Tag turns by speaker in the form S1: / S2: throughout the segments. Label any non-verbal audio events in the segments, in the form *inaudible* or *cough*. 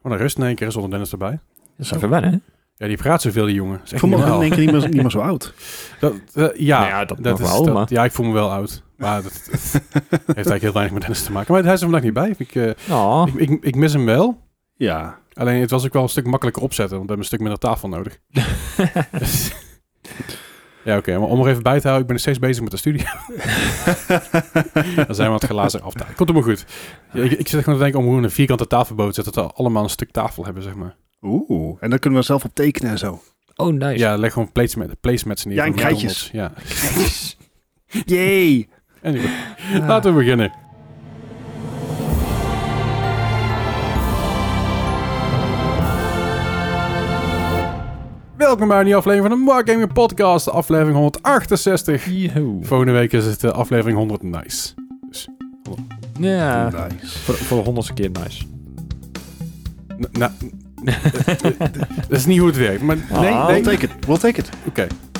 S1: Wat een rust in één keer zonder Dennis erbij.
S2: Dat is even wennen, hè?
S1: Ja, die praat zoveel, die jongen. Dat is echt
S3: Voor
S1: niet
S3: morgen in
S1: normaal.
S3: één keer niet meer, niet meer zo
S1: *laughs*
S3: oud.
S1: Dat, eh, ja,
S2: Nou ja, dat mag wel, maar-
S1: Ja, ik voel me wel oud. Maar dat, dat heeft eigenlijk heel weinig met Dennis te maken. Maar hij is er vandaag niet bij. Ik, eh,
S2: Nou,
S1: ik, ik, ik mis hem wel. *laughs*
S3: Ja.
S1: Alleen het was ook wel een stuk makkelijker opzetten, want we hebben een stuk minder tafel
S2: *laughs*
S1: nodig. Dus- *laughs* ja, oké. maar om er even bij te houden, ik ben nog steeds bezig met de studie. *laughs* Dan zijn we aan het glazen af. Nou, Komt helemaal goed. Ja, ik, ik zit gewoon te denken om hoe we een vierkante tafel boven te zetten, dat we allemaal een stuk tafel hebben, zeg maar.
S3: Oeh. En dan kunnen we zelf op tekenen en
S1: *laughs*
S3: zo.
S2: oh nice.
S1: Ja, leg gewoon placemat, placemats neer.
S3: Ja, en
S1: van
S3: krijtjes.
S1: McDonald's.
S3: *laughs*
S1: Ja.
S3: Jee.
S1: Anyway, laten we beginnen. Welkom bij een nieuwe aflevering van de Wargaming Podcast, aflevering 168.
S2: Yeehoe.
S1: Volgende week is het eh, aflevering 100 nice.
S2: Ja.
S3: Nice.
S2: Voor, voor de honderdste keer nice.
S1: N- nou, *laughs* dat is niet hoe het werkt, maar oké.
S3: Nee,
S2: Ah.
S3: we'll take it. We'll take it.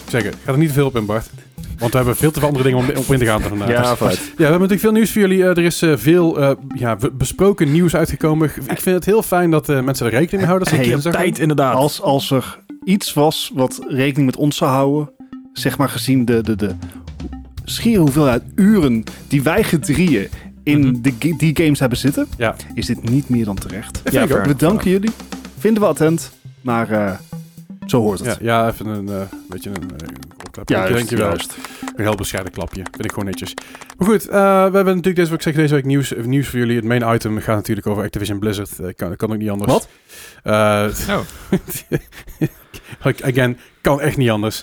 S1: Zeg het, ga er niet te veel op in, Bart. Want we hebben veel te veel andere dingen om op in te gaan vandaag.
S2: Ja, vooruit.
S1: Ja, we hebben natuurlijk veel nieuws voor jullie. Eh, er is eh, veel eh, ja, we- besproken nieuws uitgekomen. Ik vind het heel fijn dat eh, mensen er rekening mee houden. Dat ze
S3: Hey,
S1: een keer zeggen.
S2: Tijd inderdaad.
S3: Als, als er iets was wat rekening met ons zou houden, zeg maar gezien de, de, de schiere hoeveelheid uren die wij gedrieën in
S2: Mhm.
S3: de, ge- die games hebben zitten,
S1: Ja.
S3: is dit niet meer dan terecht.
S2: Ja,
S1: ik ook.
S2: fair
S3: We
S2: enough.
S3: danken jullie, vinden we attent, maar eh, zo hoort
S1: Ja,
S3: het.
S1: ja, even een eh, beetje een eh opklapje. Dankjewel. Een heel bescheiden klapje. Vind ik gewoon netjes. Maar goed, eh, we hebben natuurlijk deze week, zeg ik deze week nieuws, eh, nieuws voor jullie. Het main item gaat natuurlijk over Activision Blizzard. Eh, kan, kan ook niet anders.
S3: Wat?
S1: Eh,
S2: Oh.
S1: again, kan echt niet
S2: *laughs*
S1: anders.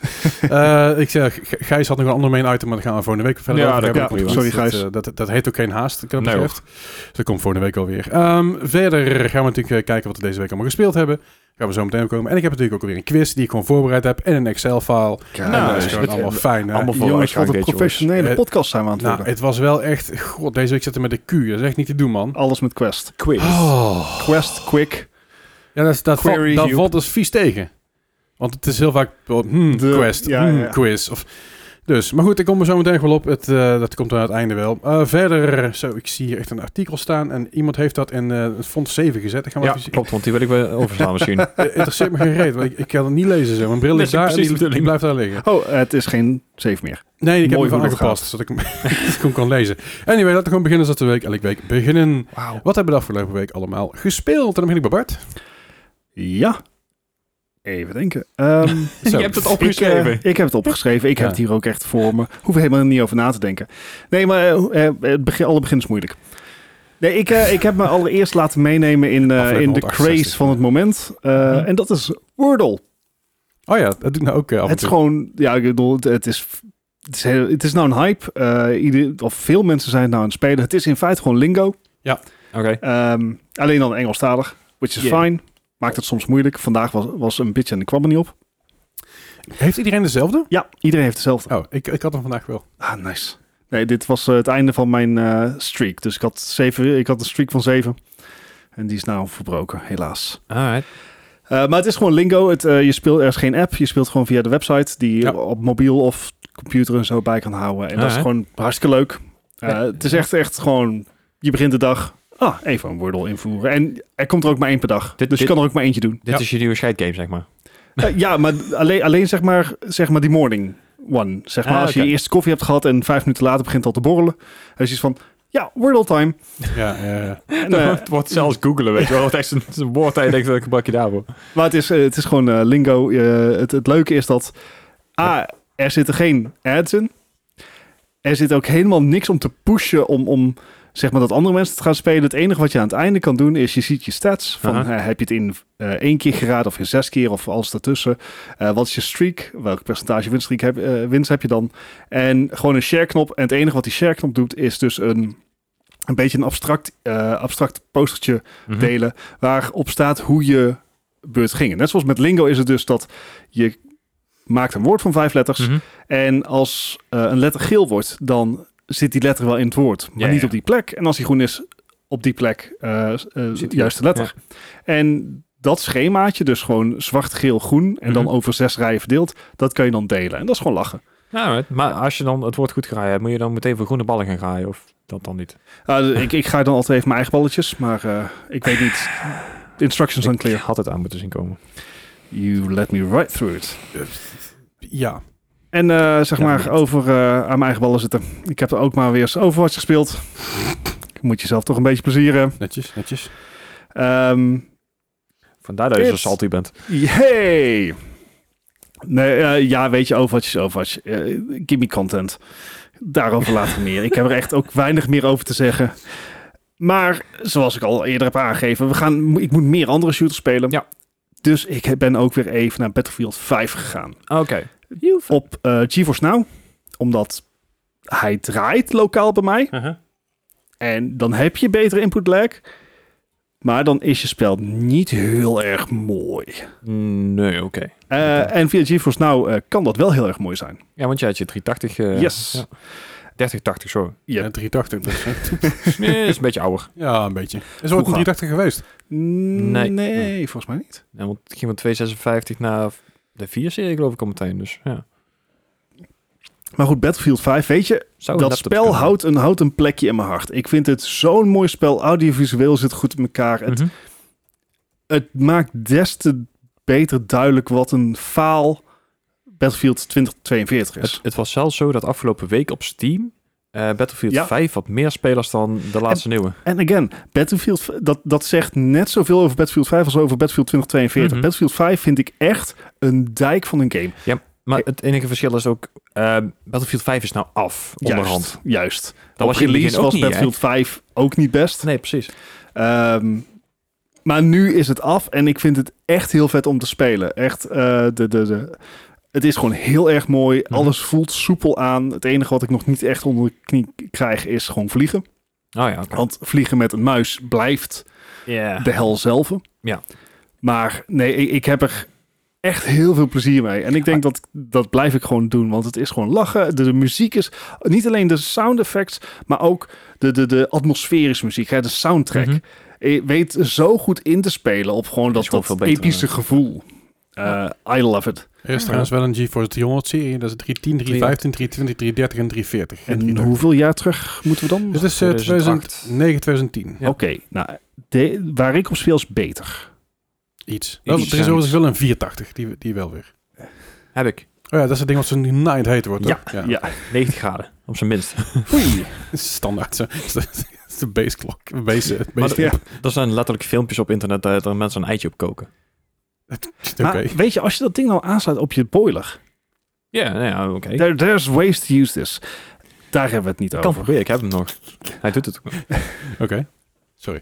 S1: Eh, ik zeg, G- Gijs had nog een ander main item, maar daar gaan we volgende week verder
S2: Ja,
S1: over
S2: dat
S1: hebben.
S3: klopt. Sorry,
S1: dat,
S3: Gijs.
S1: eh, Dat, dat, heeft ook geen haast, wat dat
S2: Nee,
S1: betreft. dus dat komt volgende week alweer. Ehm verder gaan we natuurlijk eh, kijken wat we deze week allemaal gespeeld hebben. Gaan we zo meteen opkomen. En ik heb natuurlijk ook weer een quiz die ik gewoon voorbereid heb. En een Excel-file.
S3: Kijk,
S1: en dat
S2: nice.
S1: is gewoon allemaal fijn. hè?
S2: Allemaal voor
S3: Jongens, wat een
S2: uitgang, weet je,
S3: professionele
S1: jongens.
S3: podcast zijn we aan het
S1: Nou,
S3: worden.
S1: het was wel echt... God, deze week zitten met de Q. Dat is echt niet te doen, man.
S3: Alles met Quest.
S2: Quiz.
S1: Oh.
S3: Quest, quick.
S1: Ja, dat, is- dat,
S3: Query
S1: valt, dat
S3: Hugh.
S1: valt dus vies tegen. Want het is heel vaak... oh, hmm,
S3: De-
S1: quest,
S3: ja,
S1: hmm,
S3: ja.
S1: quiz. Of, dus, maar goed, ik kom er zo meteen nog wel op. Het, eh, dat komt dan aan het einde wel. Eh, verder, zo, ik zie hier echt een artikel staan. En iemand heeft dat in eh font 7 gezet. Dat gaan we
S2: Ja,
S1: even zien.
S2: klopt, want die wil ik wel overslaan *laughs* misschien.
S1: Eh, interesseert me geen reet, want ik, ik kan het niet lezen. Zo. Mijn bril
S2: Dat
S1: ligt
S2: is
S1: daar en
S2: precies
S1: die,
S2: de
S1: die
S2: bedoeling.
S1: blijft daar liggen.
S3: Oh, het is geen save meer.
S1: Nee, ik heb
S3: Mooi
S1: hem
S3: hoe dat
S1: aangepast, zodat ik hem, *laughs* dat ik hem kan lezen. Anyway, laten we gewoon beginnen zoals de week elke week beginnen.
S3: Wauw.
S1: Wat hebben we de afgelopen week allemaal gespeeld? En dan begin ik bij Bart.
S3: Ja. Even denken.
S1: *laughs*
S3: Ehm,
S1: Zo.
S2: het
S3: ik, eh, ik heb het opgeschreven. Ik
S1: Ja.
S3: heb het hier ook echt voor me. Hoef er helemaal niet over na te denken. Nee, maar eh, eh, het begin, alle begin is moeilijk. Nee, ik, eh, ik heb me allereerst laten meenemen in, eh,
S1: Aflevering
S3: in de
S1: 168.
S3: craze van het moment. Eh,
S2: Mhm.
S3: En dat is Wordle.
S1: Oh ja, dat doe ik nou ook eh, af en
S3: Het is
S1: toe.
S3: gewoon, ja, ik bedoel, het, het is, het is, heel- het is nou een hype. Eh, ieder, of veel mensen zijn het nou aan het spelen. Het is in feite gewoon lingo.
S2: eh, Oké.
S3: Ehm, alleen dan Engelstalig, which is
S2: Yeah.
S3: fine. Maakt het soms moeilijk. Vandaag was, was een beetje en ik kwam er niet op.
S1: Heeft iedereen dezelfde?
S3: Ja, iedereen heeft hetzelfde.
S1: Oh, ik, ik had hem vandaag *laughs* wel.
S3: Ah, nice. Nee, dit was eh, het einde van mijn eh, streak. Dus ik had, zeven, ik had een streak van zeven. En die is nou verbroken, helaas.
S2: Alright.
S3: Eh, maar het is gewoon lingo. Het, eh, je speelt, er is geen app. Je speelt gewoon via de website die je
S1: Ja.
S3: op mobiel of computer en zo bij kan houden. En dat is
S2: Ah, hè.
S3: gewoon hartstikke leuk. Eh,
S2: Ja.
S3: Het is echt, echt gewoon... Je begint de dag... Ah, even een Wordle invoeren. En er komt er ook maar één per dag.
S2: Dit-
S3: dus je
S2: dit-
S3: kan er ook maar eentje
S2: *laughs*
S3: doen.
S2: Dit
S1: Ja.
S2: is je nieuwe scheidgame, zeg maar.
S3: Eh, ja, maar alleen, alleen zeg, maar, zeg maar die morning one. Zeg maar
S2: Ah,
S3: als je
S2: oké.
S3: je eerste koffie hebt gehad en vijf minuten later begint al te borrelen. Dan is iets van, ja, Wordle time.
S1: Ja, eh,
S2: *laughs*
S3: En, eh,
S2: het wordt zelfs googelen, weet je wel. Het is een, een woord dat je denkt, dat gebruik je daarvoor.
S3: maar het is, eh, het is gewoon eh, lingo. Eh, het, het leuke is dat, A, er zitten geen ads in. Er zit ook helemaal niks om te pushen om, om zeg maar, dat andere mensen het gaan spelen. Het enige wat je aan het einde kan doen is, je ziet je stats. Van,
S2: Aha.
S3: eh, heb je het in eh, één keer geraden of in zes keer of alles daartussen. Eh, wat is je streak? Welk percentage winststreak heb, eh, winst heb je dan? En gewoon een share knop. En het enige wat die share knop doet is dus een, een beetje een abstract, eh, abstract postertje
S2: Mhm.
S3: delen waarop staat hoe je beurt ging. Net zoals met Lingo is het dus dat je maakt een woord van vijf letters
S2: Mhm.
S3: en als eh, een letter geel wordt, dan zit die letter wel in het woord, maar
S2: Ja,
S3: niet
S2: ja.
S3: op die plek. En als die groen is, op die plek eh, s- eh,
S2: Zit die
S3: juiste letter. En dat schemaatje, dus gewoon zwart, geel, groen en dan
S2: Mhm.
S3: over zes rijen verdeeld, dat kan je dan delen. En dat is gewoon lachen.
S2: Alright. Maar als je dan het woord goed geraaid hebt, moet je dan meteen voor groene ballen gaan graaien? Of dat dan niet?
S3: Ah, dus ik, ik ga dan altijd even mijn eigen balletjes, maar eh, ik weet niet. Instructions
S2: Ik
S3: unclear.
S2: had het aan moeten zien komen.
S3: You let me right through it.
S1: Ja.
S3: En eh, zeg
S2: Ja,
S3: maar
S2: net.
S3: over eh, aan mijn eigen ballen zitten. Ik heb er ook maar weer eens Overwatch gespeeld. Moet jezelf toch een beetje plezieren.
S1: Netjes, netjes.
S3: Ehm
S2: Vandaar dat je zo
S3: It's-
S2: salty bent.
S3: Yay! Nee, eh, ja, weet je, Overwatch is Overwatch. Eh, give me content. Daarover later meer. Ik heb er echt ook weinig meer over te zeggen. Maar, zoals ik al eerder heb aangegeven, we gaan, ik moet meer andere shooters spelen.
S2: Ja.
S3: Dus ik ben ook weer even naar Battlefield 5 gegaan.
S2: Ah, Oké.
S3: Op eh GeForce Now. Omdat hij draait lokaal bij mij.
S2: Uh-huh.
S3: En dan heb je betere input lag. Maar dan is je spel niet heel erg mooi.
S2: Mm, Nee, oké.
S3: Eh, En via GeForce Now eh, kan dat wel heel erg mooi zijn.
S2: Ja, want je had je 380... eh
S3: Yes.
S2: Ja. 3080, sorry. *laughs*
S3: Ja.
S1: En 380. Dus, hè.
S2: Nee, is een beetje ouder.
S1: ja, een beetje. Is er ooit een 380 geweest?
S3: Mm, Nee,
S2: Nee.
S3: volgens mij niet.
S2: Ja, want het ging van 256 naar de 4-serie geloof ik al meteen. Dus ja.
S3: Maar goed, Battlefield 5, weet je,
S2: Zou
S3: dat
S2: een laptop
S3: spel
S2: kunnen.
S3: houdt een, houdt een plekje in mijn hart. Ik vind het zo'n mooi spel. Audiovisueel zit goed in elkaar. Het,
S2: Mhm.
S3: het maakt des te beter duidelijk wat een faal Battlefield 2042 is.
S2: Het, het was zelfs zo dat afgelopen week op Steam eh, Battlefield
S3: Ja.
S2: 5 had meer spelers dan de laatste nieuwe.
S3: En again, Battlefield, v- dat, dat zegt net zoveel over Battlefield 5 als over Battlefield 2042.
S2: Mhm.
S3: Battlefield 5 vind ik echt een dijk van een game.
S2: Maar het enige verschil is ook, eh, Battlefield 5 is nou af onderhand.
S3: Juist, juist.
S2: Dat was
S3: Op
S2: je in het
S3: release
S2: begin ook
S3: was
S2: niet,
S3: Battlefield 5 ook niet best.
S2: Nee, precies.
S3: Ehm, maar nu is het af en ik vind het echt heel vet om te spelen. Echt, eh, de, de, de, het is gewoon heel erg mooi.
S2: Mhm.
S3: Alles voelt soepel aan. Het enige wat ik nog niet echt onder de knie krijg is gewoon vliegen.
S2: Oh ja, oké.
S3: Want vliegen met een muis blijft de hel zelf.
S2: Ja.
S3: Maar nee, ik, ik heb er echt heel veel plezier mee. En ik denk dat dat blijf ik gewoon doen. Want het is gewoon lachen. De, de muziek is niet alleen de sound effects, maar ook de, de, de atmosferische muziek. Hè, de soundtrack.
S2: Mhm.
S3: Je weet zo goed in te spelen op gewoon dat,
S2: Is gewoon
S3: dat
S2: veel beter,
S3: epische gevoel.
S2: Ja.
S3: Eh, I love it.
S1: Er is trouwens wel een GeForce 300 serie. Dat is 310, 315, 320, 330 en 340.
S3: En
S1: 330.
S3: hoeveel jaar terug moeten we dan?
S2: Dus
S1: Dit is eh,
S2: 2008.
S1: 2009, 2010.
S2: Ja.
S3: Oké, nou, de- waar ik op speel is beter.
S1: Iets. Dat,
S2: Iets.
S1: er is overigens wel een 480, die, die wel weer.
S2: Heb ik.
S1: Oh ja, dat is het ding wat zo'n night heet wordt.
S2: Ja,
S1: toch?
S3: Ja.
S2: 90 graden, op zijn minst.
S3: Oei.
S1: *laughs* Standaard. zo. *laughs* Dat is de baseklok. Base, eh,
S2: Maar
S1: base,
S3: Ja.
S2: Er zijn letterlijk filmpjes op internet dat er mensen een eitje op koken.
S1: *laughs* Oké.
S3: Maar weet je, als je dat ding nou aansluit op je boiler,
S2: Ja, nou ja oké. Ik
S3: There- there's ways to use this. Daar hebben we het niet
S2: kan
S3: over.
S2: proberen, ik heb hem nog. Hij doet het ook nog.
S1: Oké. Sorry.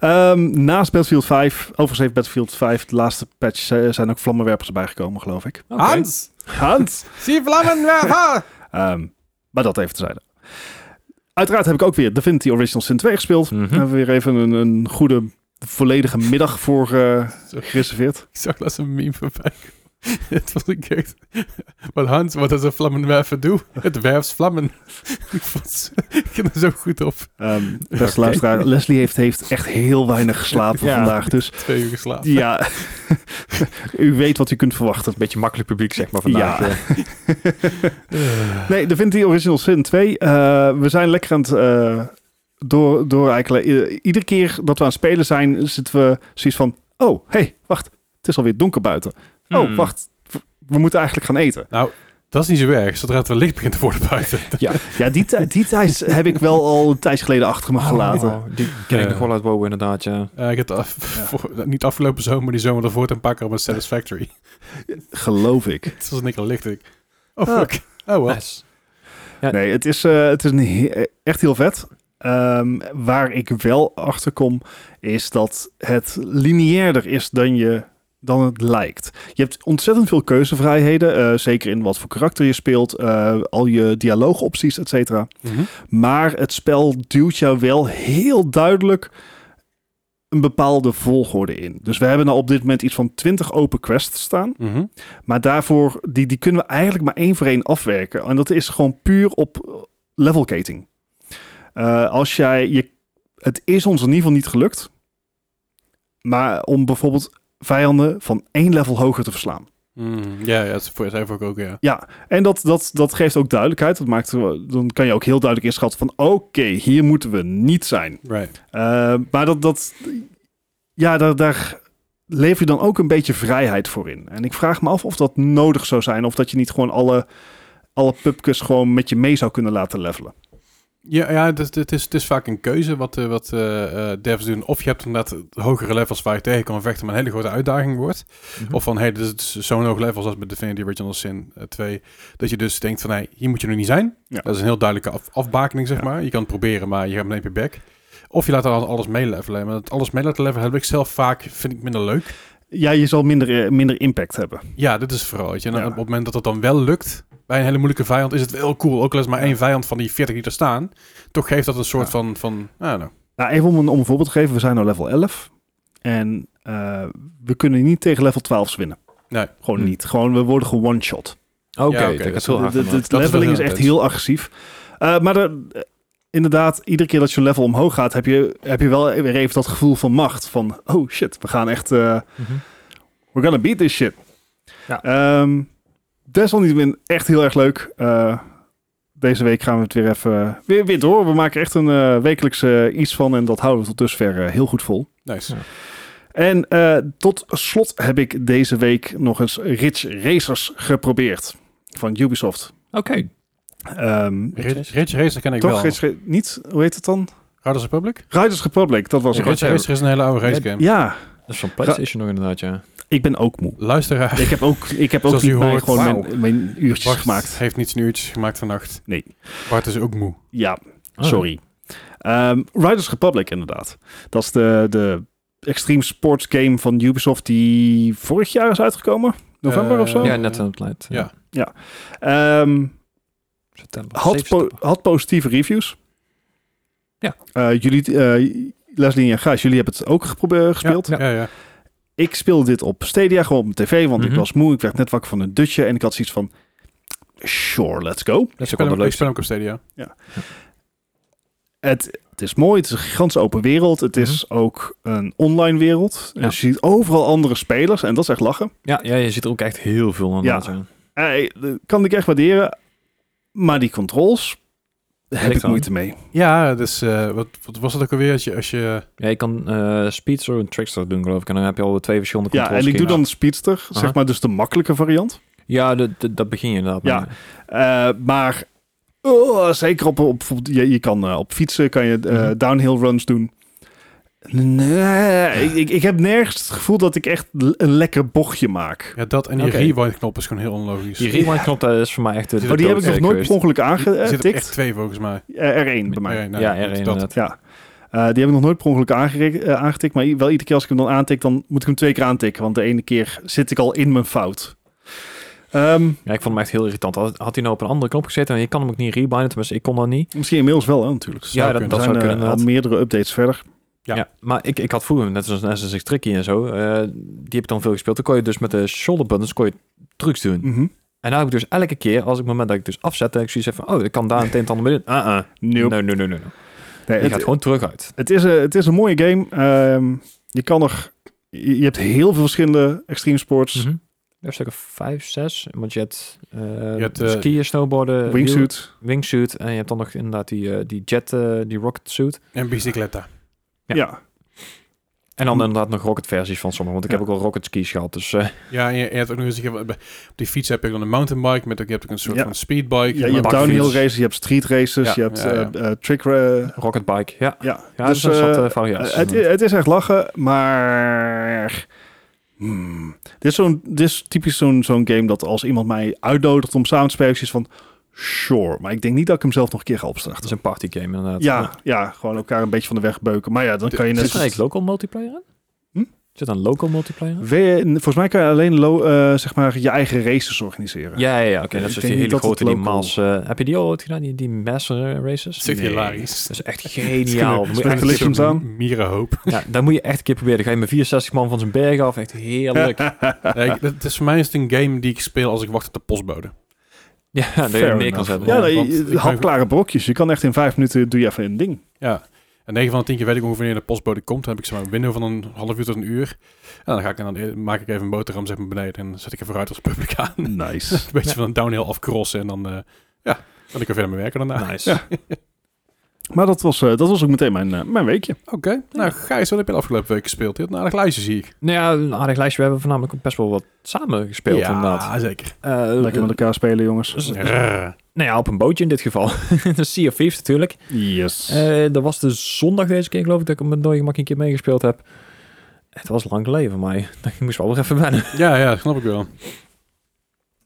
S3: Ehm, naast Battlefield 5, overigens heeft Battlefield 5, de laatste patch, eh, zijn ook vlammenwerpers erbij gekomen, geloof ik.
S2: Oké.
S3: Hans!
S1: zie vlammen!
S3: *laughs* Ehm, maar dat even terzijde. Uiteraard heb ik ook weer Divinity Original Sin 2 gespeeld.
S2: Mhm.
S3: Daar hebben we weer even een, een goede, volledige middag voor eh, gereserveerd.
S1: Ik zag laatst een meme voorbij. komen. *laughs* Het was ik echt... Wat Hans, wat is een vlammenwerver doe? Het werft vlammen. *laughs* ik vond ze- ik ging er zo goed op.
S3: Ehm beste
S1: Oké.
S3: luisteraar, Leslie heeft, heeft echt heel weinig
S2: *laughs*
S3: geslapen
S2: Ja.
S3: vandaag. Dus
S1: Twee uur geslapen.
S3: ja, *laughs* u weet wat u kunt verwachten.
S2: Beetje makkelijk publiek, zeg maar, vandaag. eh.
S3: Ja.
S2: Ja.
S3: Nee, Divinity Original Sin 2. eh, we zijn lekker aan het eh, door, door eigenlijk. iedere keer dat we aan het spelen zijn, zitten we zoiets van... Oh, hey, wacht. Het is alweer donker buiten. Oh,
S2: Hmm.
S3: wacht. w- We moeten eigenlijk gaan eten.
S1: Nou, Dat is niet zo erg, zodra het wel licht begint te worden buiten.
S3: Ja, die, tij- die tijd heb ik wel al een tijdje geleden achter me gelaten.
S2: Oh, die ken ik
S1: Ja.
S2: nog wel uit WoW, inderdaad, ja.
S1: Eh, ik heb het af, voor- niet afgelopen zomer, maar die zomer daarvoor een paar keer op een Satisfactory. *laughs*
S3: Geloof ik.
S1: Het was een keer licht. Ik, oh,
S3: Ah.
S1: fuck. Oh, wel.
S2: Nice.
S3: *laughs* Nee, het is, eh, het is een he- echt heel vet. Ehm, waar ik wel achter kom, is dat het lineairder is dan, je, dan het lijkt. Je hebt ontzettend veel keuzevrijheden, eh, zeker in wat voor karakter je speelt, eh, al je dialoogopties, et cetera.
S1: Mhm.
S3: Maar het spel duwt jou wel heel duidelijk een bepaalde volgorde in. Dus we hebben nou op dit moment iets van 20 open quests staan.
S1: Mhm.
S3: Maar daarvoor, die, die kunnen we eigenlijk maar één voor één afwerken. En dat is gewoon puur op levelgating. Eh, als jij, je, het is ons in ieder geval niet gelukt. Maar om bijvoorbeeld vijanden van één level hoger te verslaan.
S1: Mm, Ja, ja, dat is voor jezelf ook, ook, ja.
S3: En dat, dat, dat geeft ook duidelijkheid. Dat maakt, eh, dan kan je ook heel duidelijk inschatten van... oké, hier moeten we niet zijn.
S1: Right.
S3: Eh, maar dat, dat, ja, daar, daar lever je dan ook een beetje vrijheid voor in. En ik vraag me af of dat nodig zou zijn. Of dat je niet gewoon alle, alle pubkes gewoon met je mee zou kunnen laten levelen.
S1: Ja, ja het, is- het, is, het is vaak een keuze wat, eh, wat eh, eh, devs doen. Of je hebt inderdaad hogere levels waar je tegen kan vechten, maar een hele grote uitdaging wordt.
S3: Mhm.
S1: Of van, hé, hey, dit is dus zo'n hoog level als bij Divinity Original Sin eh, 2. Dat je dus denkt van, hé, hier moet je nu niet zijn.
S3: Ja.
S1: Dat is een heel duidelijke af- afbakening, zeg
S3: Ja.
S1: maar. Je kan het proberen, maar je gaat meteen op je bek. Of je laat al- alles meelevelen. Maar het alles mee laten levelen heb ik zelf vaak, vind ik minder leuk.
S3: Ja, je zal minder, eh, minder impact hebben.
S1: Ja, dit is vooral. weet je. En
S3: Ja.
S1: op het moment dat het dan wel lukt, bij een hele moeilijke vijand, is het wel cool. Ook al is maar één vijand van die 40 die er staan. Toch geeft dat een soort
S3: Ja.
S1: van, van, nou, nou.
S3: Nou, even om een, om een voorbeeld te geven. We zijn nu level 11. En eh, we kunnen niet tegen level 12's winnen.
S1: Nee.
S3: Gewoon
S2: Hm.
S3: niet. Gewoon, we worden one-shot.
S2: Oké,
S1: Ja, oké,
S2: kijk,
S1: dat
S2: dat is heel hard.
S3: De, de- de
S2: gemaakt.
S1: Dat is wel
S3: leveling is
S1: heel
S3: echt
S1: intens.
S3: heel agressief. Eh, maar de- eh, inderdaad, iedere keer dat je level omhoog gaat, heb je, heb je wel weer even dat gevoel van macht. Van, oh shit, we gaan echt... eh,
S2: Mhm.
S3: we're gonna beat this shit.
S2: Ja.
S3: Ehm, desalniettemin echt heel erg leuk. Eh, deze week gaan we het weer even weer, weer door. We maken echt een eh, wekelijkse iets van en dat houden we tot dusver eh, heel goed vol.
S1: Nice.
S2: Ja.
S3: En eh, tot slot heb ik deze week nog eens Rich Racers geprobeerd van Ubisoft.
S2: Oké.
S3: Ehm,
S1: Ridge, Ridge Racer ken ik
S3: toch
S1: wel.
S3: Ridge Ra- niet? Hoe heet het dan?
S1: Riders Republic?
S3: Riders Republic, dat was
S1: Ridge
S3: het.
S2: Ridge
S1: Racer is een hele oude race game.
S3: Ja,
S2: Dat is van PlayStation nog inderdaad, ja.
S3: ik ben ook moe.
S1: Luisteraar
S3: Ik heb ook, ik heb ook
S1: Zoals
S3: niet
S1: u
S3: mijn-
S1: hoort,
S3: gewoon
S2: wauw.
S3: mijn, mijn uurtjes
S1: Bart
S3: gemaakt.
S1: heeft niets nieuws gemaakt vannacht.
S3: Nee.
S1: Bart is ook moe.
S3: Ja,
S1: Ah.
S2: Oh.
S3: Sorry. Ehm, Riders Republic, inderdaad. Dat is de, de extreme sports game van Ubisoft die vorig jaar is uitgekomen. November
S1: Eh,
S3: of zo?
S2: Ja, net aan het pleit.
S1: Ja.
S3: Ehm,
S2: September.
S3: had,
S2: 7
S3: po-
S2: september.
S3: had positieve reviews.
S2: Ja.
S3: Eh, jullie, eh, Leslie en Gijs, jullie hebben het ook geprobeerd gespeeld.
S1: Ja, ja. ja.
S3: Ik speelde dit op Stadia, gewoon op mijn tv, want ik
S2: Mhm.
S3: was moe. Ik werd net wakker van een dutje en ik had zoiets van... Sure, let's go.
S2: Dat is
S1: Ik
S2: ook wel
S1: speel
S2: de
S1: hem- ik
S2: leukste.
S1: speel hem ook op Stadia.
S3: Het, het is mooi, het is een gigantische open wereld. Het is ook een online wereld.
S2: Mhm. Ja.
S3: Dus je ziet overal andere spelers en dat is echt lachen.
S2: Ja, ja, je ziet er ook echt heel veel aan.
S3: Ja.
S2: Ja. Ja.
S3: Eh, dat kan ik echt waarderen. Maar die controls heb
S2: Ligt
S3: ik
S2: aan.
S3: moeite mee.
S1: Ja, dus eh, wat, wat was dat ook alweer? Als je, als je
S2: je kan eh speedster en trickster doen, geloof ik. En dan heb je al twee verschillende
S3: Ja, en ik doe dan speedster, zeg
S2: Aha.
S3: maar, dus de makkelijke variant.
S2: Ja, dat- dat- dat begin je inderdaad
S3: Ja.
S2: mee.
S3: Eh, maar oh, zeker op, op bijvoorbeeld, je, je kan eh, op fietsen, kan je eh,
S2: Mhm.
S3: downhill runs doen. Nee, ik, ik, ik heb nergens het gevoel dat ik echt l- een lekker bochtje maak. Oh,
S1: ja, dat en die
S2: Oké.
S1: rewind knop is gewoon heel onlogisch.
S2: Die rewind-knop, dat is voor mij echt... de-
S1: Oh,
S3: Oh, die heb ik nog nooit per ongeluk
S1: er zitten echt
S3: aangetikt.
S1: twee volgens mij.
S3: Eh, Er één bij mij.
S1: Nee, nou,
S2: Ja,
S1: dat-
S2: er
S1: dat-
S2: inderdaad.
S3: Ja. Eh, die heb ik nog nooit per ongeluk aangerik- eh, aangetikt. Maar i- wel iedere keer als ik hem dan aantik, dan moet ik hem twee keer aantikken. Want de ene keer zit ik al in mijn fout. Ehm,
S2: Ja, ik vond hem echt heel irritant. Had, had hij nou op een andere knop gezeten en je kan hem ook niet rebinden, tenminste, ik kon dat niet.
S3: misschien inmiddels wel, hè, natuurlijk.
S1: Zou
S2: ja, dat,
S1: kunnen.
S2: dat
S3: Er
S2: zou
S3: zijn
S2: kunnen.
S3: eh, al
S2: inderdaad.
S3: meerdere updates verder.
S1: Ja.
S2: Ja. maar ik, ik had vroeger, net zoals een SSX Tricky en zo, eh, die heb ik dan veel gespeeld. Dan kon je dus met de shoulder buttons kon je trucs doen.
S3: Mhm.
S2: En nou heb ik dus elke keer, als ik het moment dat ik dus afzet, dat ik zoiets heb van, oh, ik kan daar een het ander binnen. Ah, ah.
S3: Nope.
S2: Nee, nee, nee, nee. nee.
S3: Nee,
S2: Je
S3: het,
S2: gaat gewoon terug uit.
S3: het is een, het is een mooie game. Ehm, je kan er... Je je hebt heel veel verschillende extreme sports.
S2: Je hebt stukken 5, 6, want je hebt, eh
S1: hebt, eh,
S2: skiën, snowboarden, wiel-
S3: Wingsuit.
S2: wingsuit. En je hebt dan nog inderdaad die, eh, die jet, eh, die rocket suit.
S1: En bicicletta.
S2: Ja.
S3: ja.
S2: En dan inderdaad nog rocket versies van sommige, want ik
S3: Hm. Ja.
S2: heb ook al rocket skis gehad. Dus eh, *laughs*
S1: Ja, en je, je hebt ook nog eens... je hebt- Op die fiets heb je dan een mountainbike. Met, ook- je hebt ook een soort
S3: Ja.
S1: van speedbike.
S3: Ja,
S1: maar
S3: je hebt
S1: ook
S3: downhill
S1: fiets.
S3: races, je hebt street races,
S2: Ja,
S3: je hebt
S1: ja, ja.
S3: eh, eh, trick... eh,
S2: rocket bike, ja.
S3: ja,
S2: Ja, dus, er zijn
S3: eh,
S2: zat eh, variaties.
S3: Eh, het,
S2: in.
S3: het is echt lachen, maar... Hmm. Dit, is zo'n, dit is typisch zo'n, zo'n game dat als iemand mij uitnodigt om samen te spelen, ik zoiets van... Sure, maar ik denk niet dat ik hem zelf nog een keer ga
S2: het
S3: opstarten.
S2: is een party game inderdaad.
S3: Ja, ja, gewoon elkaar een beetje van de weg beuken. Maar ja, dan kan je net...
S2: Zit er eigenlijk local multiplayer in?
S3: Hm?
S2: Zit er een local multiplayer in?
S3: We- volgens mij kan je alleen lo- eh, zeg maar je eigen races organiseren.
S2: Ja, ja, ja oké.
S3: Ik
S2: dat is dus
S3: denk
S2: die hele
S3: niet dat
S2: grote,
S3: het
S2: die
S3: local-
S2: Maas. eh, heb je die al ooit gedaan, die, die Maas eh, races?
S1: Dat is echt
S3: Nee.
S1: hilarisch.
S2: Dat is
S3: *laughs*
S2: echt geniaal. Dan moet je echt
S3: Met de
S2: een keer-
S3: lichaams
S2: *laughs*
S3: aan.
S1: Mierenhoop.
S2: ja, daar moet je echt een keer proberen. Dan ga je met 64 man van zijn berg af. Echt
S3: *laughs*
S2: heerlijk.
S1: Nee, ik- dat is voor mij is het een game die ik speel als ik wacht op de postbode.
S2: ja, dat je
S3: Fair
S2: er meer kan
S3: enough.
S2: zetten.
S3: Ja,
S1: Ja,
S3: nee,
S1: want ik
S3: je-
S1: ben-
S3: hapklare brokjes. Je kan echt in vijf minuten doe je even een ding.
S1: Ja. En 9 van de 10 keer weet ik ongeveer wanneer de postbode komt. Dan heb ik zeg maar, een window van een half uur tot een uur. En dan, ga ik, en dan maak ik even een boterham zeg maar, beneden. En dan zet ik even uit als public aan. *laughs* Een
S3: Nice.
S1: beetje
S2: Ja.
S1: van een downhill afcrossen. En dan, eh, ja, dan kan ik weer verder mee werken daarna.
S2: Nice.
S3: Ja. *laughs* Maar dat was, eh, dat was ook meteen mijn, eh, mijn weekje.
S1: Oké. Nou, Gijs, wat heb je de afgelopen week gespeeld? Je had een aardig lijstje, zie ik.
S2: Nou ja, een aardig lijstje. We hebben voornamelijk best wel wat samen gespeeld inderdaad.
S1: Ja, zeker.
S2: Eh,
S3: Lekker met elkaar spelen, jongens.
S2: dus- nou ja, op een bootje in dit geval. *laughs* de Sea of Thieves natuurlijk.
S3: Yes.
S2: Eh, dat was de zondag deze keer geloof ik dat ik hem met dode gemak een keer meegespeeld heb. Het was lang geleden voor mij. *laughs* Ik moest wel weer even wennen.
S1: Ja, ja, snap ik wel.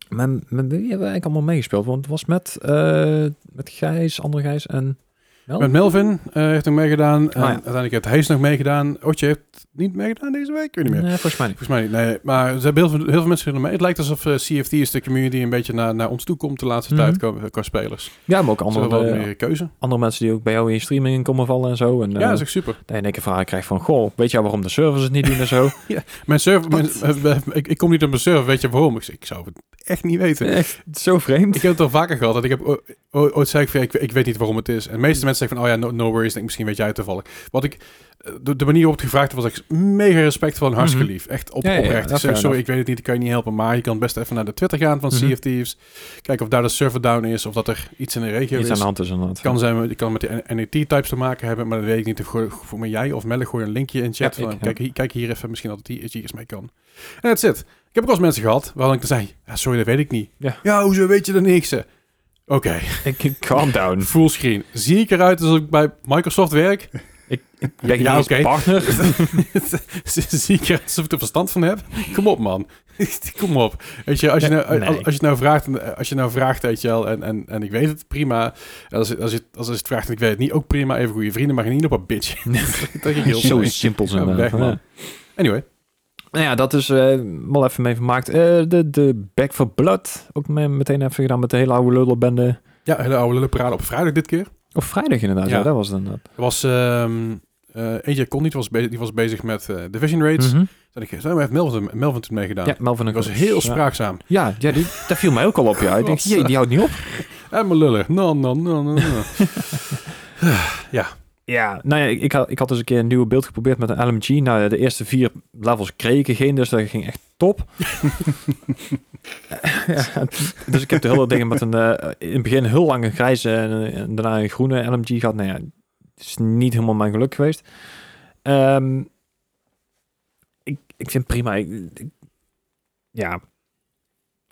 S2: Maar met wie hebben we eigenlijk allemaal meegespeeld? Want het was met, eh, met Gijs, andere Gijs en... Wel?
S1: Met Melvin eh, heeft nog meegedaan. En
S2: Oh. ja.
S1: Uiteindelijk heeft Hees nog meegedaan. Otje heeft niet meegedaan deze week. Ik weet niet meer.
S2: Nee, volgens mij niet.
S1: Volgens mij niet, nee. Maar ze hebben heel veel, heel veel mensen gedaan mee. Het lijkt alsof eh, CFT is de community een beetje naar, naar ons toe komt de laatste
S2: Mhm.
S1: tijd qua, qua spelers.
S2: Ja, maar ook
S1: Ze hebben
S2: andere,
S1: wel
S2: eh,
S1: meer keuze.
S2: andere mensen die ook bij jou in je streaming in komen vallen en zo. En, eh,
S1: ja, dat is echt super.
S2: dat je in één keer vragen krijgt van... Goh, weet jij waarom de servers het niet doen en
S1: *laughs*
S2: zo?
S1: Mijn server, mijn- *laughs* ik, ik kom niet op mijn server. Weet je waarom? Ik, zeg, ik zou het echt niet weten.
S2: Echt zo vreemd.
S1: Ik heb het al vaker gehad. Dat ik heb o- o- ooit zei ik, van, ja, ik, ik weet niet waarom het is. En de
S2: Mm.
S1: meeste mensen zeggen van, oh ja, no, no worries. Ik Denk, misschien weet jij het toevallig. Wat ik, eh, de, de manier waarop het gevraagd was, echt mega respectvol en hartstikke
S2: Mhm.
S1: lief. Echt op,
S2: Ja, ja, ja,
S1: oprecht.
S2: dat
S1: ik zei,
S2: fair
S1: sorry,
S2: enough.
S1: ik weet het niet. Ik kan je niet helpen. Maar je kan best even naar de Twitter gaan van
S2: Mhm.
S1: Sea of Thieves. Kijken of daar de server down is. Of dat er iets in de regio
S2: Iets
S1: is.
S2: aan de hand is inderdaad.
S1: Het kan zijn, het kan met de NET-types E te maken hebben, maar dat weet ik niet. Of gooi- Voor mij jij of Melle gooi een linkje in chat.
S2: Ja,
S1: van,
S2: ik, ja.
S1: kijk, hier- kijk hier even, misschien dat het hier iets hiergens mee kan. En dat zit. Ik heb ook wel eens mensen gehad waarvan ik dan zei, ja, sorry, dat weet ik niet.
S2: Ja.
S1: hoezo weet je er niks? hè? Oké,
S2: *laughs* Ik, *laughs* calm down.
S1: fullscreen. Zie ik eruit alsof ik bij Microsoft werk?
S2: Ben je
S1: Ja,
S2: niet eens
S1: oké. *laughs*
S2: partner?
S1: Zie ik eruit alsof ik er verstand van heb? Kom op, man. *laughs* Kom op. Weet je, als je,
S2: Nee,
S1: nou, als,
S2: nee.
S1: als je het nou vraagt, als je nou vraagt, weet je wel, en, en, en ik weet het, prima. En als, je- als, je, het- als je het vraagt en ik weet het niet, ook prima. Even goede vrienden, maar geen op een
S2: *laughs*
S1: bitch. dat ging heel
S2: Zo
S1: snel.
S2: simpel
S1: Ja,
S2: zijn.
S1: weg, man.
S2: Nou
S1: Anyway,
S2: ja, dat is eh, wel even mee vermaakt. Eh, de, de Back for Blood. Ook me- meteen even gedaan met de hele oude lullenbende.
S1: ja, hele oude lullenparade op vrijdag dit keer.
S2: Of vrijdag inderdaad. Ja,
S1: Ja.
S2: dat was het inderdaad.
S1: Er was, ehm eh, eentje kon niet, was bezig, die was bezig met eh, Division Raids.
S2: Mhm.
S1: Dat ik, zo, maar heeft Melvin, Melvin toen meegedaan.
S2: Ja, Melvin
S1: Ik
S2: en
S1: was
S2: Chris.
S1: heel
S2: Ja.
S1: spraakzaam.
S2: Ja, ja die, *laughs* dat viel mij ook al op. Ja. Ik denk,
S1: Was,
S2: jee, die houdt niet op.
S1: En mijn lullen. No, no, no, no,
S2: *laughs*
S1: no.
S2: Ja, nou ja, ik, ik, had, ik had dus een keer een nieuwe beeld geprobeerd met een LMG. Nou, ja, de eerste vier levels kreeg ik er geen, dus dat ging echt top. *laughs* ja, dus ik heb de hele dingen met een, eh, in het begin heel lang een grijze en, eh, en daarna een groene LMG gehad. Nou ja, het is niet helemaal mijn geluk geweest. Ehm, ik, ik vind het prima. Ik, ik- ja,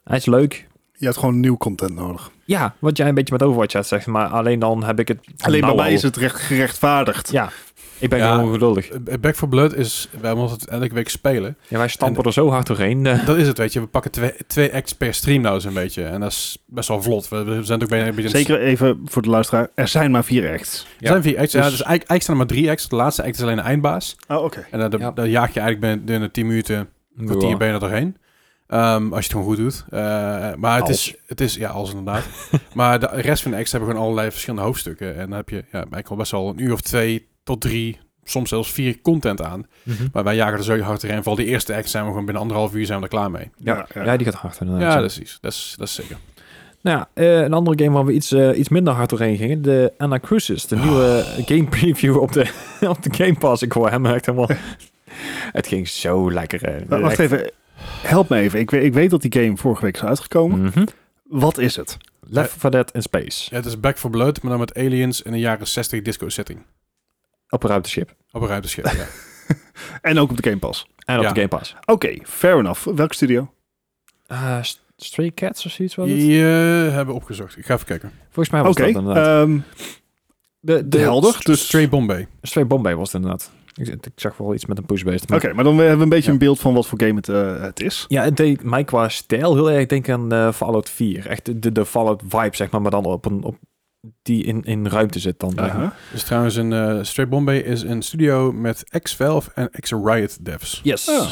S2: hij is leuk.
S3: Je hebt gewoon nieuw content nodig.
S2: Ja, wat jij een beetje met Overwatch had zegt, maar alleen dan heb ik het... van
S3: Alleen bij
S2: nou
S3: mij
S2: al.
S3: is het recht, gerechtvaardigd.
S2: Ja, ik ben
S1: Ja.
S2: gewoon geduldig.
S1: Eh, Back for Blood is, wij moeten het elke week spelen.
S2: Ja, wij stampen er zo hard doorheen. eh.
S1: Dat is het, weet je. We pakken twee, twee acts per stream nou zo'n beetje. En dat is best wel vlot. We, we zijn ook bijna een beetje...
S3: Zeker even voor de luisteraar. Er zijn maar vier acts.
S1: Er zijn vier acts. Ja,
S3: Dus-
S1: dus eigenlijk, eigenlijk staan er maar drie acts. De laatste act is alleen een eindbaas.
S3: Oh, oké.
S1: En dan,
S2: Ja.
S1: dan jaag je eigenlijk binnen, binnen 10 minuten een kwartier ben je er doorheen. Ehm, als je het gewoon goed doet. Eh, maar het is, het is, ja, als inderdaad. maar de rest van de acts hebben gewoon allerlei verschillende hoofdstukken. En dan heb je ja, eigenlijk al best wel een uur of twee tot drie, soms zelfs vier content aan.
S2: Mhm.
S1: Maar wij jagen er zo hard doorheen. Vooral die eerste act zijn we gewoon binnen anderhalf uur zijn we er klaar mee.
S2: Ja, ja.
S3: Eh,
S2: die gaat hard inderdaad.
S1: Ja,
S2: Ja. dus-
S1: precies. Dat is, dat is zeker.
S2: Nou ja, eh, een andere game waar we iets, eh, iets minder hard doorheen gingen. De Anna Crucis, de nieuwe game preview op de, *laughs* op de Game Pass. Ik hoor hem echt *laughs* helemaal... het ging zo lekker. eh.
S3: Wa- Wacht
S2: Echt-
S3: even. Help me even. Ik weet, ik weet dat die game vorige week is uitgekomen.
S2: Mhm.
S3: Wat is het?
S2: Left 4 Dead in Space.
S1: Ja, het is Back for Blood, maar dan met aliens in een jaren 60 disco setting.
S2: Op een ruimteschip.
S1: Op een ruimteschip, ja.
S3: En ook op de Game Pass.
S2: En op
S1: Ja.
S2: de Game Pass.
S3: Oké, fair enough. Welk studio?
S2: Eh, St- Stray Cats of zoiets was het?
S1: Die eh, hebben we opgezocht. Ik ga even kijken.
S2: Volgens mij was
S3: Oké,
S2: dat inderdaad.
S3: ehm,
S2: de,
S3: de helder. Dus, Oké,
S1: Stray Bombay.
S2: Stray Bombay was het inderdaad. Ik, ik zag wel iets met een pushbeest. maar-
S3: maar dan hebben we een beetje
S1: Ja.
S3: een beeld van wat voor game het, eh, het is.
S2: Ja, het deed mij qua stijl heel erg denken aan eh, Fallout 4. Echt de, de, de Fallout vibe, zeg maar, maar dan op een... Op die in, in ruimte zit dan. zeg maar.
S3: Aha.
S1: Dus trouwens, een eh Stray Bombay is een studio met X-Valve en X-Riot devs.
S2: Yes.
S3: Ja.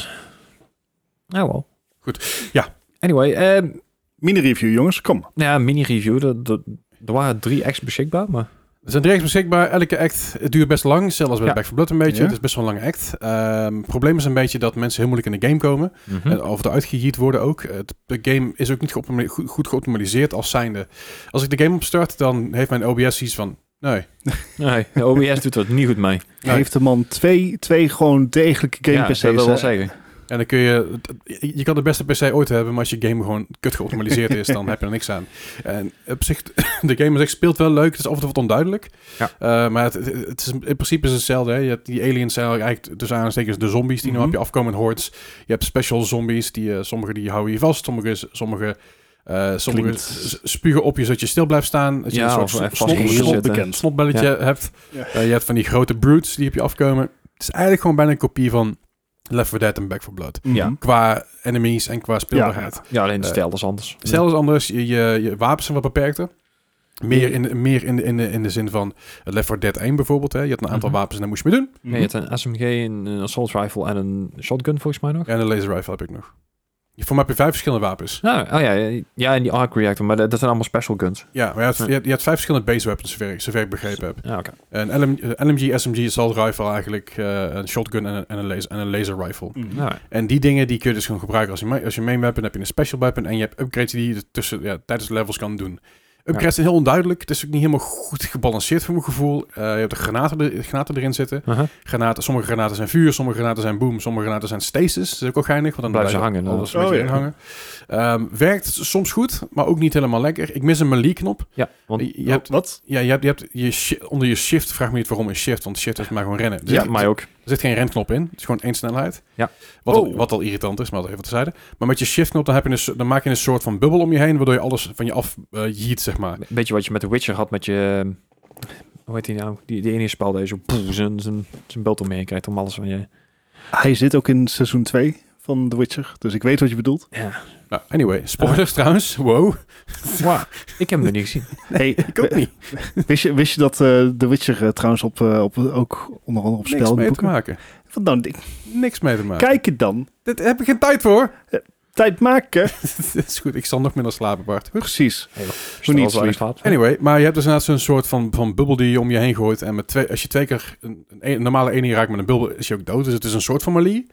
S2: Nou wel.
S1: Goed, ja.
S2: Anyway, ehm,
S3: Mini-review, jongens. Kom.
S2: nou ja, mini-review. Er- Er er waren drie acts beschikbaar, maar...
S1: Er zijn direct beschikbaar. Elke act het duurt best lang. Zelfs bij de
S2: Ja.
S1: Back 4 Blood een beetje.
S3: Ja.
S1: Het is best wel een lange act. Ehm, het probleem is een beetje dat mensen heel moeilijk in de game komen.
S3: Mhm.
S2: En-
S1: En of eruit gejiet worden ook. Het, de game is ook niet geoptima- goed, goed geoptimaliseerd als zijnde. Als ik de game opstart, dan heeft mijn OBS iets van... Nee,
S2: Nee, de OBS doet dat niet goed mee.
S1: Nee.
S3: Heeft de man twee, twee gewoon degelijke
S2: ja,
S3: game
S2: dat wil
S3: PC's?
S2: wel
S3: hè?
S2: zeggen.
S1: En dan kun je... Je kan de beste PC ooit hebben, maar als je game gewoon kut geoptimaliseerd is,
S3: *laughs*
S1: dan heb je er niks aan. En op zich, *laughs* de game zich speelt wel leuk. Het is af en toe wat onduidelijk.
S2: Ja.
S1: Eh, maar het, het- het is, in principe is het hetzelfde. Hè? Je hebt, die aliens zijn eigenlijk tussen aanstekens de zombies die nu
S3: Mhm.
S1: op je afkomen in hordes. Je hebt special zombies. Die, eh, sommige die houden je vast. Sommige... sommige eh sommige
S3: Klinkt-
S1: s- spugen op je zodat je stil blijft staan. Dat je
S2: Ja,
S1: een soort
S2: of
S1: slot-
S2: even
S1: slot-
S2: vast
S1: slot-
S2: zitten.
S1: een slotbelletje hebt.
S3: Ja.
S1: Eh, je hebt van die grote brutes die op je afkomen. Het is eigenlijk gewoon bijna een kopie van Left 4 Dead en Back 4 Blood.
S3: Mhm.
S2: Ja.
S1: Qua enemies en qua speelbaarheid.
S2: Ja, alleen de
S1: Eh,
S2: stijl is anders.
S1: Stel is anders, je, je, je wapens zijn wat beperkter. Meer in, meer in, de- in, de, in de zin van Left 4 Dead 1 bijvoorbeeld. Hè. Je had een aantal
S2: Mhm.
S1: wapens en dat moest je mee doen.
S2: Nee, je hebt een SMG, een, een assault rifle en een shotgun volgens mij nog.
S1: En een laser rifle heb ik nog. Voor mij heb je vijf verschillende wapens.
S2: Nou, oh ja, ja, ja, en die arc reactor, maar dat, dat zijn allemaal special guns.
S1: Ja, maar je had,
S2: Ja.
S1: je had, je had vijf verschillende base weapons, zover ik, zover ik begrepen heb.
S2: Ja, oké.
S1: Een LM, eh, LMG, SMG, assault rifle eigenlijk, eh, een shotgun en een, en, een laser, en een laser rifle.
S3: Mhm.
S2: Nou,
S1: En die dingen die kun je dus gewoon gebruiken als je, ma- als je main weapon, heb je een special weapon en je hebt upgrades die je tussen, ja, tijdens levels kan doen. Upgrades zijn heel onduidelijk, het is ook niet helemaal goed gebalanceerd voor mijn gevoel. Eh, je hebt de granaten, de granaten erin zitten.
S2: aha.
S1: Granaten, sommige granaten zijn vuur, sommige granaten zijn boom, sommige granaten zijn stasis. Dat is ook wel geinig, want dan
S2: Blijven ze
S1: blijft
S2: hangen, eh.
S1: Alles
S3: ja.
S1: een beetje
S3: Oh, ja.
S1: hangen. Ehm, werkt soms goed, maar ook niet helemaal lekker. Ik mis een melee-knop.
S2: Ja, want
S1: Je, je hebt,
S3: Wat?
S2: oh.
S1: ja, je hebt, je hebt je shi- onder je shift, vraag me niet waarom een shift, want shift is maar gewoon rennen. Dus
S2: ja,
S1: het-
S2: mij ook.
S1: er zit geen remknop in. Het is gewoon één snelheid.
S2: Ja.
S1: Wat, al,
S3: Oh.
S1: wat al irritant is, maar dat even terzijde. Maar met je shiftknop dan, heb je een, so- dan maak je een soort van bubbel om je heen... waardoor je alles van je af eh, yeet, zeg maar.
S2: Be- Beetje wat je met The Witcher had met je... ehm, Hoe heet die nou? Die, die ene spel deze zijn zijn bult omheen krijgt om alles van je...
S3: Hij zit ook in seizoen 2 van The Witcher, dus ik weet wat je *laughs* bedoelt.
S2: Ja.
S1: Nou, anyway. Spoilers trouwens. Wow.
S2: Ik heb hem nog niet
S1: *laughs*
S2: gezien.
S3: Hey, ik ook niet. Wist je, wist je dat eh, The Witcher eh, trouwens op, eh, op, ook onder andere op
S1: Niks
S3: spel
S1: mee te maken.
S3: Van, nou, ik-
S1: Niks mee te maken.
S3: kijk het dan.
S1: Dit heb ik geen tijd voor. *laughs*
S3: Tijd maken.
S1: Dit is goed. Ik zal nog minder slapen, Bart. Goed.
S3: Precies.
S2: Stel,
S3: niet
S2: dat is wel
S3: sleep.
S2: echt wat.
S1: Anyway, maar je hebt dus inderdaad zo'n soort van, van bubbel die je om je heen gooit. En met twee, als je twee keer een, een, een normale ene raakt met een bubbel, is je ook dood. Dus het is een soort van melee.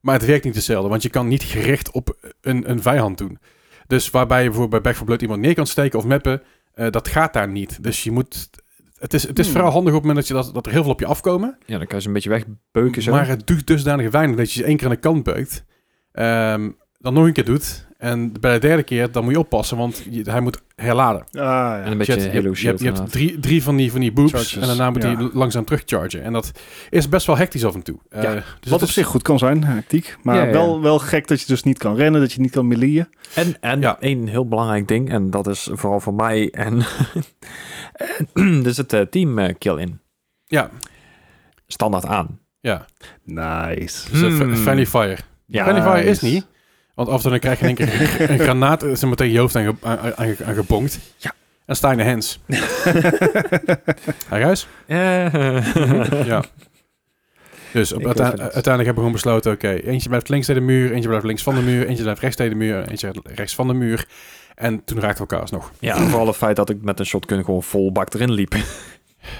S1: Maar het werkt niet hetzelfde, want je kan niet gericht op een, een vijand doen. Dus waarbij je bijvoorbeeld bij Back 4 Blood iemand neer kan steken of mappen, eh, dat gaat daar niet. Dus je moet... Het is, het is
S3: Hmm.
S1: vooral handig op het moment dat, je dat, dat er heel veel op je afkomen.
S2: Ja, dan kan je ze een beetje wegbeuken zo.
S1: Maar het doet dusdanig weinig dat je ze één keer aan de kant beukt. ehm, dan nog een keer doet. En bij de derde keer, dan moet je oppassen, want je- hij moet herladen.
S3: Ah, ja.
S2: en een beetje
S1: eh, Je hebt-
S2: Halo
S1: je hebt,
S2: Shield
S1: je hebt
S2: inderdaad.
S1: drie, drie van die, van die boobs
S3: Charges,
S1: en daarna moet
S3: ja.
S1: hij l- langzaam terugchargen. En dat is best wel hectisch af en toe. Eh,
S2: Ja,
S1: dus
S3: Wat
S1: het
S3: op
S1: is-
S3: zich goed kan zijn, hectiek. Maar
S2: Ja, ja.
S3: Wel, wel gek dat je dus niet kan rennen, dat je niet kan meleeën.
S2: En, en
S1: Ja.
S2: één heel belangrijk ding, en dat is vooral voor mij, en *laughs* en er zit eh, team eh, kill in.
S1: Ja,
S2: Standaard aan.
S1: ja.
S3: Nice.
S1: Dus dat-
S2: Hmm.
S1: Friendly fire.
S2: Ja,
S1: friendly fire is
S3: nice.
S1: niet. Want af en toe dan krijg je in één keer een granaat eh, zeg maar, tegen je hoofd aan, ge- aan, aan, aan- aan gebonkt.
S2: Ja.
S1: En sta in de hands. *laughs* Hi guys.
S2: Eh,
S1: Ja. Dus op,
S2: Ik
S1: uiteind-
S2: weet het.
S1: uiteindelijk hebben we gewoon besloten, oké, eentje blijft links tegen de muur, eentje blijft links van de muur, eentje blijft rechts tegen de muur, eentje rechts van de muur. En toen raakten we elkaar alsnog.
S2: *laughs* ja, vooral het feit dat ik met een shotgun gewoon vol bak erin liep.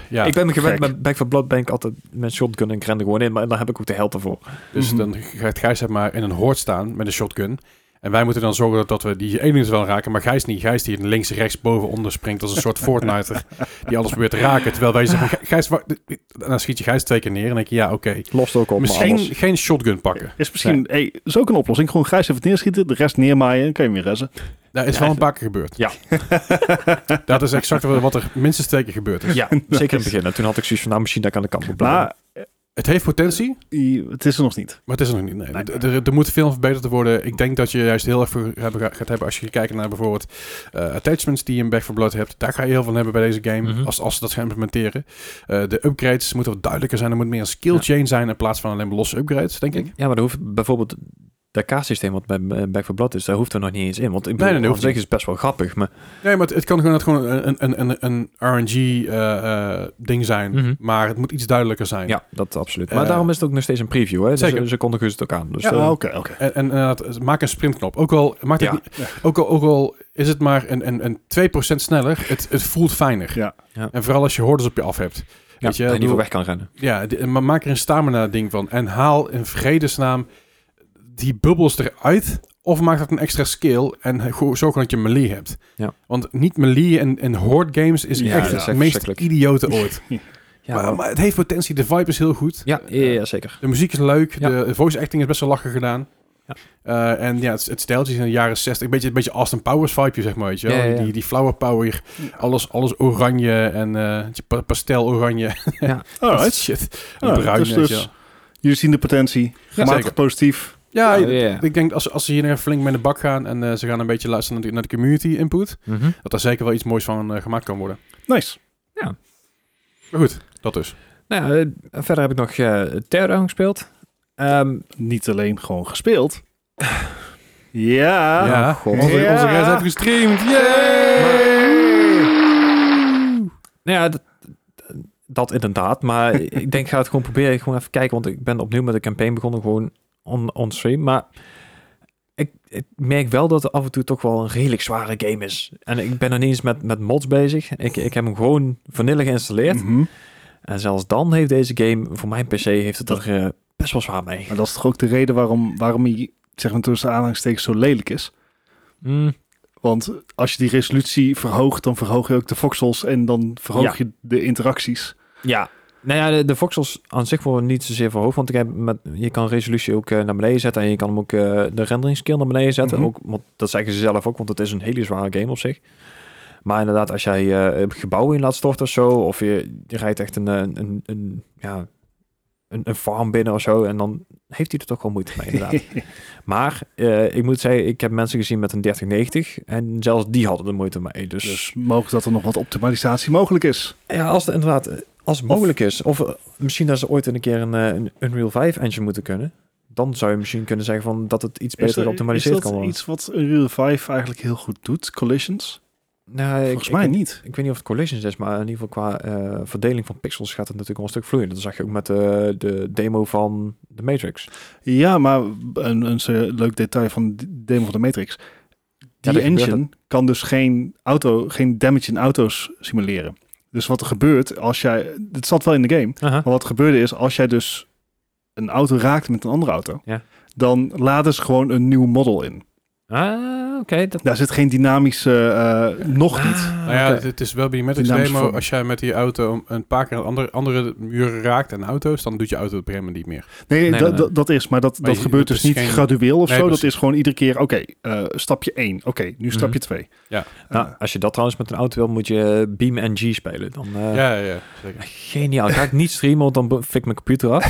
S1: Ja.
S2: ik ben me gewend,
S3: gek.
S2: met Back for Blood ben ik altijd met shotgun en ik ren er gewoon in, maar daar heb ik ook de held ervoor.
S1: Dus
S3: Mhm.
S1: dan gaat Gijs zeg maar in een hoort staan met een shotgun. En wij moeten dan zorgen dat, dat we die aliens wel raken. Maar Gijs niet. Gijs die links, rechts, boven, onder springt als een soort Fortniter. Die alles probeert te raken. Terwijl wij zeggen, "Gij- Gijs, wa- en dan schiet je Gijs twee keer neer. En dan denk je, ja, oké.
S2: Lost ook op,
S1: Misschien
S2: maar alles.
S1: geen shotgun pakken.
S3: Is misschien, hey, is ook een oplossing. Gewoon grijs even neerschieten, de rest neermaaien, dan kan je hem weer ressen.
S1: Dat is wel een paar keer gebeurd.
S2: Ja.
S1: *laughs* dat is exact wat wat er minstens twee keer gebeurd is.
S2: Ja, zeker in het begin. En toen had ik zoiets van, nou, misschien dat ik aan de kant moet blijven.
S3: Maar
S1: Het heeft potentie,
S3: i- het is er nog niet.
S1: maar het is er nog niet. Nee.
S3: Nee.
S1: D- Er, er moet veel verbeterd worden. Ik denk dat je juist heel erg veel hebben- gaat hebben als je kijkt naar bijvoorbeeld eh, attachments die je in Back 4 Blood hebt. Daar ga je heel veel hebben bij deze game,
S2: Mhm.
S1: als, als ze dat gaan implementeren. Eh, de upgrades moeten wat duidelijker zijn. Er moet meer een skill
S2: Ja. Mhm.
S1: chain zijn in plaats van alleen maar losse upgrades, denk ik.
S2: Ja, maar er hoeft bijvoorbeeld dat kaartsysteem wat bij eh, Back for Blood is, daar hoeft er nog niet eens in. Want ik
S1: nee,
S2: bedoel,
S1: dat
S2: op
S1: hoeft
S2: zich
S1: niet.
S2: is het best wel grappig, maar
S1: Nee, maar het, het kan gewoon, dat gewoon een, een, een, een RNG-ding eh, zijn.
S2: Mhm.
S1: Maar het moet iets duidelijker zijn.
S2: ja, dat absoluut.
S1: Eh,
S2: Maar daarom is het ook nog steeds een preview, hè?
S1: zeker.
S2: Dus, eh, ze kondigen het ook aan. Dus,
S3: Ja,
S2: eh,
S3: oké, oké.
S1: En, en inderdaad, maak een sprintknop. Ook al, maakt het
S2: Ja.
S1: niet- ook al, ook al is het maar een, een, een 2% sneller, het, het voelt fijner.
S3: Ja.
S2: Ja.
S1: En vooral als je hordes op je af hebt.
S2: ja,
S1: Weet je,
S2: dat je in ieder
S1: bedoel-
S2: geval weg kan rennen.
S1: Ja, d- maar maak er een stamina ding van. En haal in vredesnaam die bubbels eruit. Of maak dat een extra skill en go- zorg dat je melee hebt.
S2: Ja.
S1: Want niet melee en, en horde games is
S3: Ja,
S1: echt
S3: dat
S1: het
S3: is
S2: echt
S1: meest
S2: verschrikkelijk.
S1: idiote ooit.
S2: Ja,
S1: maar, maar het heeft potentie, de vibe is heel goed.
S2: ja, ja, ja, zeker.
S1: De muziek is leuk,
S2: Ja.
S1: de voice acting is best wel lachen gedaan.
S2: Ja.
S1: Eh, en ja, het, het stijltje is in de jaren 60. Een beetje, een beetje Austin Powers vibe, zeg maar. Weet je wel?
S2: Ja, ja, ja.
S1: Die, die flower power. Alles, alles oranje en eh, pa- pastel
S2: *laughs*
S1: oranje.
S3: Alright.
S1: *laughs* Shit. En
S3: Ja,
S1: bruin,
S3: dus-
S1: weet je
S3: dus-
S1: wel.
S3: Jullie zien de potentie.
S1: Ja,
S3: Gematigd
S1: zeker.
S3: positief.
S1: Ja,
S2: Oh, ja, ja.
S1: ik denk als, als ze hier nog even flink mee in de bak gaan en eh, ze gaan een beetje luisteren naar de, naar de community input,
S2: Mhm.
S1: dat daar zeker wel iets moois van eh, gemaakt kan worden.
S3: Nice.
S1: Maar goed, dat dus.
S2: Nou, ja, eh, verder heb ik nog eh Terra gespeeld. Ehm,
S3: Niet alleen gewoon gespeeld. ja.
S1: ja,
S2: god.
S1: Onze,
S3: Ja.
S1: onze guys hebben gestreamd.
S3: Yay!
S2: Nou ja, dat, dat inderdaad. Maar ik denk, ik ga het gewoon proberen. Gewoon even kijken. Want ik ben opnieuw met de campaign begonnen. Gewoon on, on stream. Maar ik, ik merk wel dat het af en toe toch wel een redelijk zware game is. En ik ben er niet eens met, met mods bezig. Ik, ik heb hem gewoon vanille geïnstalleerd.
S3: Mhm.
S2: En zelfs dan heeft deze game, voor mijn PC, heeft het er eh, best wel zwaar mee.
S3: Maar dat is toch ook de reden waarom, waarom hij, zeg maar tussen aanhalingstekens, zo lelijk is.
S2: Mm,
S3: Want als je die resolutie verhoogt, dan verhoog je ook de voxels en dan verhoog je de interacties.
S2: ja. Nou ja, de, de voxels aan zich worden niet zozeer verhoogd. Want ik heb met, je kan resolutie ook eh, naar beneden zetten. En je kan hem ook eh, de rendering skill naar beneden zetten.
S3: Mhm.
S2: ook, want dat zeggen ze zelf ook, want het is een hele zware game op zich. Maar inderdaad, als jij eh, gebouwen in laat storten of zo. Of je, je rijdt echt een, eh, een, een, een, ja, een, een farm binnen of zo. En dan heeft hij er toch wel moeite mee inderdaad.
S3: *laughs*
S2: Maar eh, ik moet zeggen, ik heb mensen gezien met een 3090 en zelfs die hadden er moeite mee. Dus,
S3: Dus mogelijk dat er nog wat optimalisatie mogelijk is.
S2: ja, als het inderdaad eh, als het mogelijk is, of eh, misschien dat ze ooit een keer een, eh, een Unreal 5 engine moeten kunnen, dan zou je misschien kunnen zeggen van dat het iets beter
S3: is, dat-
S2: geoptimaliseerd
S3: is
S2: kan
S3: dat
S2: worden.
S3: iets wat Unreal 5 eigenlijk heel goed doet? Collisions?
S2: Nou,
S3: Volgens mij
S2: ik,
S3: niet.
S2: Ik weet niet of het collisions is, maar in ieder geval qua eh, verdeling van pixels gaat het natuurlijk wel een stuk vloeiender. Dat zag je ook met eh, de demo van de Matrix.
S3: Ja, maar een, een zo leuk detail van de demo van de Matrix. Die
S2: dat gebeurt
S3: engine kan dus geen, auto, geen damage in auto's simuleren. Dus wat er gebeurt als jij... Het zat wel in de game. Maar wat gebeurde is, als jij dus een auto raakt met een andere auto...
S2: Ja.
S3: dan laden ze gewoon een nieuw model in. Oh.
S2: Ah, oké. dat...
S3: Daar zit geen dynamische... eh, nog niet.
S2: Ah,
S1: Nou ja,
S2: oké.
S1: het, het is wel bij die Matrix
S3: Dynamisch
S1: demo,
S3: vormen.
S1: als jij met die auto een paar keer een andere, andere muren raakt en auto's, dan doet je auto het op een gegeven moment niet meer.
S3: Nee,
S2: Nee,
S3: dat-
S2: nee, nee.
S3: dat- dat is, maar dat,
S1: Maar
S3: dat
S1: je-
S3: gebeurt
S1: dat
S3: dus
S1: is
S3: niet
S1: geen-
S3: gradueel of
S1: Nee,
S3: zo.
S1: precies.
S3: Dat
S1: Mhm.
S3: is gewoon iedere keer, oké, eh, stapje 1. Oké, nu stapje 2.
S1: Ja.
S3: Eh,
S2: Nou, als je dat trouwens met een auto wil, moet je eh, Beam en G spelen. Dan, eh,
S1: ja, ja, ja, zeker.
S2: Geniaal. Ga ik niet streamen, want dan be- fik ik mijn computer
S3: *laughs*
S2: af.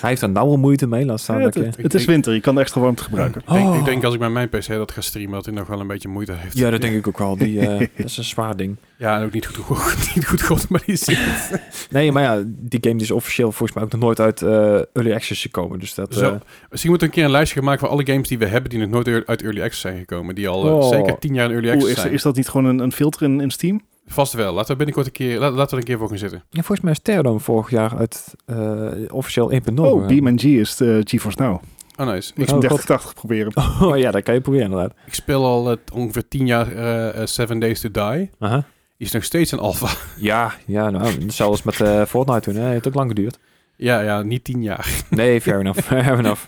S2: Hij heeft daar nou al moeite mee. Laat staan dat eh,
S3: het,
S2: je-
S3: het- het is winter, je kan de extra warmte gebruiken.
S1: Ik, denk,
S2: Oh.
S1: ik denk als ik met mijn PC dat ga streamen, dat hij nog wel een beetje moeite heeft.
S2: Ja, dat denk ik ook wel. Die, eh,
S1: *laughs*
S2: dat is een zwaar ding.
S1: Ja, en ook niet goed, goed, *laughs* niet goed geoptimaliseerd.
S2: Nee, maar ja, die game die is officieel volgens mij ook nog nooit uit eh, Early Access gekomen. Dus dat... eh,
S1: Zo. Misschien moeten we een keer een lijstje gaan maken van alle games die we hebben die nog nooit eur- uit Early Access zijn gekomen. Die al eh,
S2: Oh.
S1: zeker tien jaar in Early
S3: Oeh,
S1: Access
S3: is,
S1: zijn.
S3: is dat niet gewoon een, een filter in, in Steam?
S1: Vast wel. Laten we binnenkort een keer, la- laten we er een keer voor gaan zitten.
S2: ja, volgens mij is Terradome vorig jaar uit eh, officieel 1.0.
S3: Oh,
S2: gegaan.
S3: BeamNG is de GeForce Now.
S1: eh. Oh, nice.
S3: Ik
S1: Ik,
S3: zou
S2: Oh,
S3: 3080 proberen.
S2: *laughs* Oh ja, dat kan je proberen inderdaad.
S1: ik speel al eh, ongeveer tien jaar eh, eh, Seven Days to Die.
S2: Aha.
S1: Die is nog steeds een alpha. *laughs*
S2: Ja, ja, nou, zelfs met eh, Fortnite toen. Hè, heeft ook lang geduurd.
S1: ja, ja, niet tien jaar.
S2: Nee, fair
S1: *laughs*
S2: enough. Fair enough.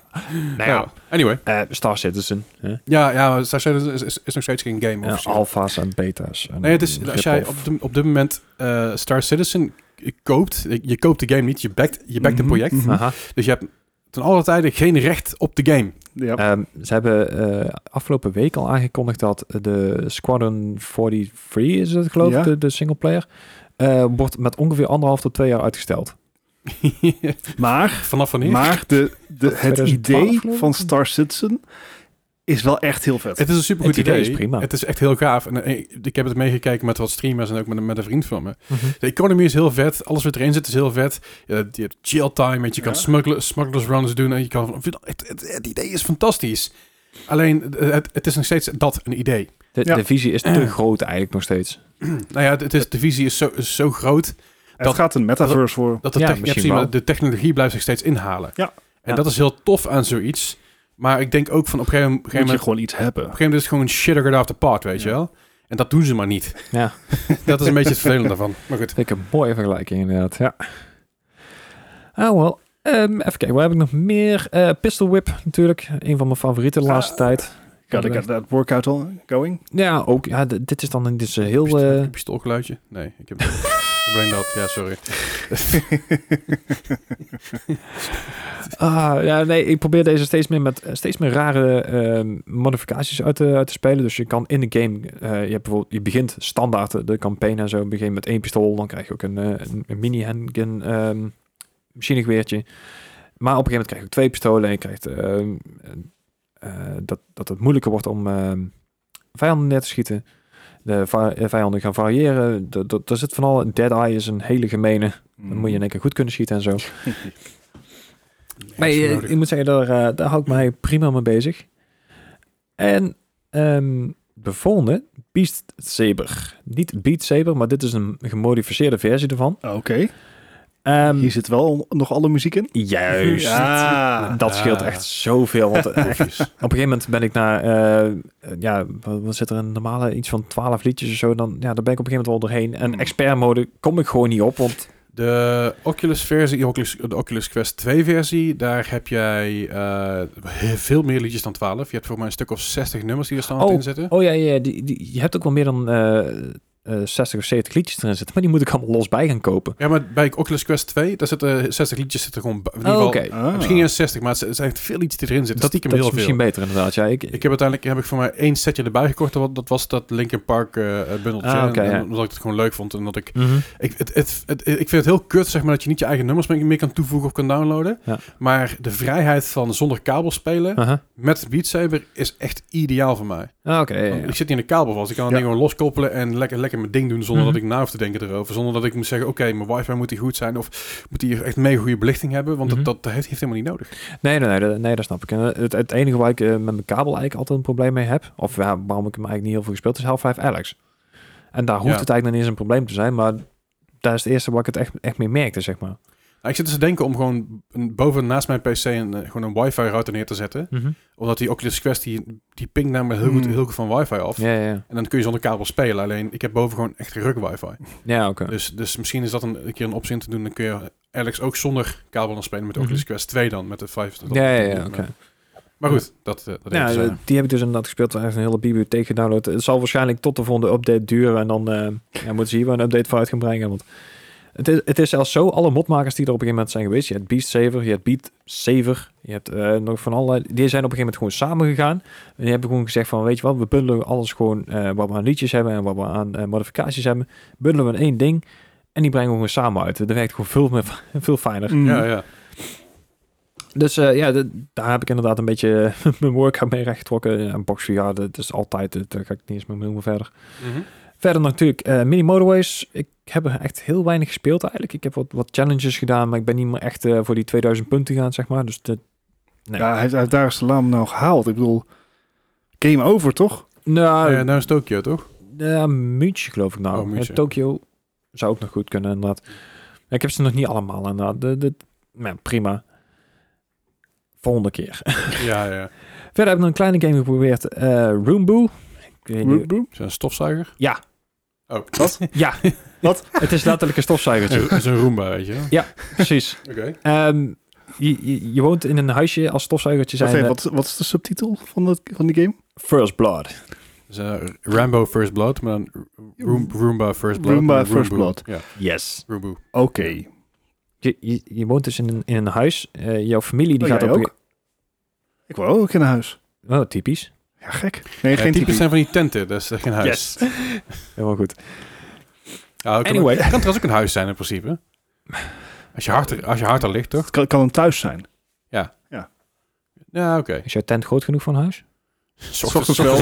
S2: Nou ja,
S1: Nou, anyway.
S2: eh, Star Citizen. hè.
S1: Ja, ja maar Star Citizen is, is, is nog steeds geen game.
S2: En
S1: officieel.
S2: alfa's en beta's. en
S1: nee, het is, als jij
S2: rip-off.
S1: op, de, op dit moment eh, Star Citizen koopt, je koopt de game niet, je backt, je backt
S3: Mhm,
S1: een project.
S3: mhm.
S2: Aha.
S1: Dus je hebt ten alle tijde geen recht op de game. *laughs*
S3: Ja.
S2: Ehm, ze hebben eh, afgelopen week al aangekondigd dat de Squadron 43 is het geloof ik,
S3: Ja.
S2: de, de singleplayer, eh wordt met ongeveer anderhalf tot twee jaar uitgesteld.
S3: maar
S1: Vanaf wanneer?
S3: maar de, de, het
S2: 2012
S3: idee
S2: geloof ik?
S3: van Star Citizen is wel echt heel vet.
S1: het is een supergoed
S2: Het
S1: idee.
S2: idee is prima.
S1: Het is echt heel gaaf. En eh, ik heb het meegekeken met wat streamers en ook met, een- met een vriend van me.
S3: Mhm.
S1: De economy is heel vet. Alles wat erin zit is heel vet. Je, hebt- je hebt chill time. weet Je, je kan
S3: Ja.
S1: smuggler- smugglers runs doen. En je kan, het, het, het idee is fantastisch. Alleen, het, het is nog steeds dat, een idee. *clears throat*
S2: De,
S3: Ja.
S2: de visie is te groot eigenlijk nog steeds.
S1: Nou ja, het is, de visie is zo, is zo groot
S3: het
S1: dat-
S3: gaat een metaverse voor.
S1: dat de,
S2: Ja,
S1: tech-
S2: misschien
S1: je hebt gezien,
S2: wel.
S1: de technologie blijft zich steeds inhalen.
S3: Ja.
S1: En
S2: Ja.
S1: dat is heel tof aan zoiets. Maar ik denk ook van op een gegeven, op een gegeven
S3: Moet je
S1: moment...
S3: gewoon iets hebben.
S1: Op een gegeven moment is het gewoon shitter get off the pot, weet
S3: Ja.
S1: je wel? En dat doen ze maar niet.
S2: Ja,
S1: *laughs* Dat is een beetje het vervelende daarvan. Maar goed.
S2: vind ik een mooie vergelijking inderdaad. Ja. Ah, wel. Ehm, even kijken, waar heb ik nog meer? Eh, Pistol Whip natuurlijk, een van mijn favorieten de laatste
S3: Ah.
S2: tijd.
S3: Got to get that workout al going.
S2: Ja, ook. Ja, d- dit is dan dit is een heel... eh,
S1: Pistoolgeluidje? Nee, ik heb Blame dat, ja, sorry.
S2: Ah, ja, nee, ik probeer deze steeds meer met eh, steeds meer rare ehm, modificaties uit te, uit te spelen. Dus je kan in de game, eh, je, hebt bijvoorbeeld, je begint standaard de campaign en zo. Begin met één pistool, dan krijg je ook een, eh, een, een mini handgun ehm machinegeweertje. Maar op een gegeven moment krijg je ook twee pistolen en je krijgt ehm, eh, dat, dat het moeilijker wordt om ehm, vijanden neer te schieten. De va- eh, vijanden gaan variëren. Dat- dat- Daar zit van al. Dead Eye is een hele gemene. Dan moet je in één keer goed kunnen schieten en zo. Maar
S1: Niks
S2: je-
S1: nodig.
S2: ik moet zeggen, daar, eh, daar hou ik mij prima mee bezig. En ehm, de volgende, Beast Saber. Niet Beat Saber, maar dit is een gemodificeerde versie ervan.
S3: Oké,
S2: Ehm,
S3: hier zit wel nog alle muziek in.
S2: juist.
S3: Ja.
S2: Dat scheelt
S1: Ja.
S2: echt zoveel. Want *laughs* eh,
S1: Oefjes.
S2: op een gegeven moment ben ik naar, eh, ja, wat, wat zit er een normale, iets van 12 liedjes of zo. Dan, ja, daar ben ik op een gegeven moment al doorheen. En
S3: Hmm.
S2: expert mode kom ik gewoon niet op, want
S1: De Oculus versie, de Oculus, de Oculus Quest 2 versie, daar heb jij eh, heel veel meer liedjes dan 12. Je hebt voor mij een stuk of 60 nummers die er staan in zitten.
S2: Oh ja, ja die, die, je hebt ook wel meer dan eh, eh, 60 of 70 liedjes erin zitten. Maar die moet ik allemaal los bij gaan kopen.
S1: Ja, maar bij Oculus Quest 2, daar zitten 60 liedjes zitten gewoon. bij- In ieder
S2: Oh,
S1: geval,
S2: Oké,
S3: Ah.
S1: Misschien eens 60, maar het zijn echt veel liedjes die erin zitten.
S2: dat,
S1: Stiekem
S2: dat is
S1: heel veel.
S2: misschien beter inderdaad. Ja, ik,
S1: Ik heb uiteindelijk heb ik voor mij één setje erbij gekocht. Dat, dat was dat Linkin Park eh eh, bundeltje.
S2: Ah, oké,
S1: En- en
S2: ja.
S1: Omdat ik het gewoon leuk vond. En dat ik,
S2: Mhm.
S1: ik, het, het, het- ik vind het heel kut zeg maar, dat je niet je eigen nummers meer meer kan toevoegen of kan downloaden.
S2: Ja.
S1: Maar de vrijheid van zonder kabel spelen
S2: Aha.
S1: met Beat Saber is echt ideaal voor mij.
S2: Ah, Oké, ja, ja.
S1: Ik zit niet in een kabel vast. Ik kan het
S3: Ja.
S1: ding gewoon loskoppelen en lekker, lekker mijn ding doen zonder
S2: Mhm.
S1: dat ik na hoef te denken erover. Zonder dat ik moet zeggen, oké, mijn wifi moet hier goed zijn of moet hier echt mega goede belichting hebben. Want
S2: Mhm.
S1: dat, dat heeft, heeft helemaal niet nodig.
S2: Nee, nee, nee, dat- nee, dat snap ik. En eh, het, het enige waar ik eh, met mijn kabel eigenlijk altijd een probleem mee heb, of ja, waarom ik hem eigenlijk niet heel veel gespeeld, is Half-Life Alex. En daar hoeft
S1: Ja.
S2: het eigenlijk nog niet eens een probleem te zijn, maar daar is het eerste waar ik het echt, echt mee merkte, zeg maar.
S1: Nou, ik zit dus te denken om gewoon een- boven naast mijn pc een, eh, gewoon een wifi router neer te zetten. Omdat die Oculus Quest, die, die pingt namelijk heel goed,
S3: Hmm.
S1: heel goed van wifi af.
S2: Mhm. Ja, ja, ja.
S1: En dan kun je zonder kabel spelen. Alleen ik heb boven gewoon echt ruk wifi.
S2: Ja, oké.
S1: Dus, dus misschien is dat een, een keer een optie om te doen. Dan kun je Alex ook zonder kabel dan spelen met de
S2: Mhm.
S1: Oculus Quest 2 dan. Met de 5. dat-
S2: Ja, ja, ja,
S1: dat-
S2: oké.
S1: Maar goed, dat, eh, dat
S2: Ja,
S1: even zijn.
S2: eh, die heb ik dus inderdaad gespeeld. Er is een hele bibliotheek gedownload. Het zal waarschijnlijk tot de volgende update duren. En dan eh, ja, moeten ze hier wel een update voor uit gaan brengen. Want het is, het is zelfs zo, alle modmakers die er op een gegeven moment zijn geweest. Je hebt Beast Saver, je hebt Beat Saver. Je hebt eh, nog van allerlei... Die zijn op een gegeven moment gewoon samengegaan. En die hebben gewoon gezegd van, weet je wat, we bundelen alles gewoon... eh wat we aan liedjes hebben en wat we aan eh, modificaties hebben. Bundelen we in één ding. En die brengen we gewoon samen uit. Dat werkt gewoon veel, meer, *laughs* veel fijner.
S3: Mm.
S1: Ja, ja.
S2: Dus eh, ja, d- daar heb ik inderdaad een beetje eh, *laughs* mijn workout mee rechtgetrokken. Ja, Een box VR, dat is altijd, eh, daar ga ik niet eens meer helemaal verder.
S1: Mhm.
S2: Verder natuurlijk eh, mini motorways. Ik heb er echt heel weinig gespeeld eigenlijk. Ik heb wat, wat challenges gedaan, maar ik ben niet meer echt eh, voor die 2000 punten gaan, zeg maar. Dus de, nee.
S3: Ja, hij, hij heeft daar is de naam nou gehaald. Ik bedoel, game over toch?
S2: nou,
S1: Eh, nou is Tokio, toch?
S2: eh, München geloof ik nou.
S1: Oh, München.
S2: Eh, Tokio zou ook nog goed kunnen, inderdaad. Ja, Ik heb ze nog niet allemaal, inderdaad. De, de, nou, prima. Volgende keer.
S1: ja, ja.
S2: Verder heb ik nog een kleine game geprobeerd. eh Roomboo. Ik weet niet-
S3: Boep, boep.
S1: *laughs* Is dat een stofzuiger?
S2: Ja.
S1: Oh,
S3: Wat?
S2: Ja.
S3: Wat?
S2: Het is letterlijk een stofzuigertje.
S1: Dat *laughs* is een Roomba, weet je.
S2: Precies.
S1: Oké.
S2: Ehm, je, je, je woont in een huisje als stofzuigertje
S3: Wacht
S2: zijn.
S3: even,
S2: eh,
S3: wat, wat is de subtitel van, dat, van die game?
S2: First Blood.
S1: Dus, eh, Rambo First Blood, maar dan Room, Roomba First Blood.
S3: Roomba
S1: en
S3: First
S1: Roomboe.
S3: Blood.
S1: Ja,
S2: Yes.
S1: Roomboe.
S3: Oké.
S2: Je, je, je woont dus in een, in een huis. Eh, jouw familie die
S3: Oh,
S2: gaat
S3: jij
S2: op een
S3: ook? Ik wil ook in een huis.
S2: ge- Oh, typisch.
S3: Ja, gek. Nee,
S1: Ja, typisch
S3: geen typisch.
S1: Eh, zijn van die tenten, dat is echt geen huis.
S2: Helemaal goed.
S1: Ja, het kan,
S2: Anyway.
S1: het kan trouwens ook een huis zijn in principe. Als je hard, er- als je hard er ligt, toch?
S3: Het kan, kan een thuis zijn.
S1: Ja, oké.
S2: Is jouw tent groot genoeg voor een huis?
S1: S
S3: Ochtends wel.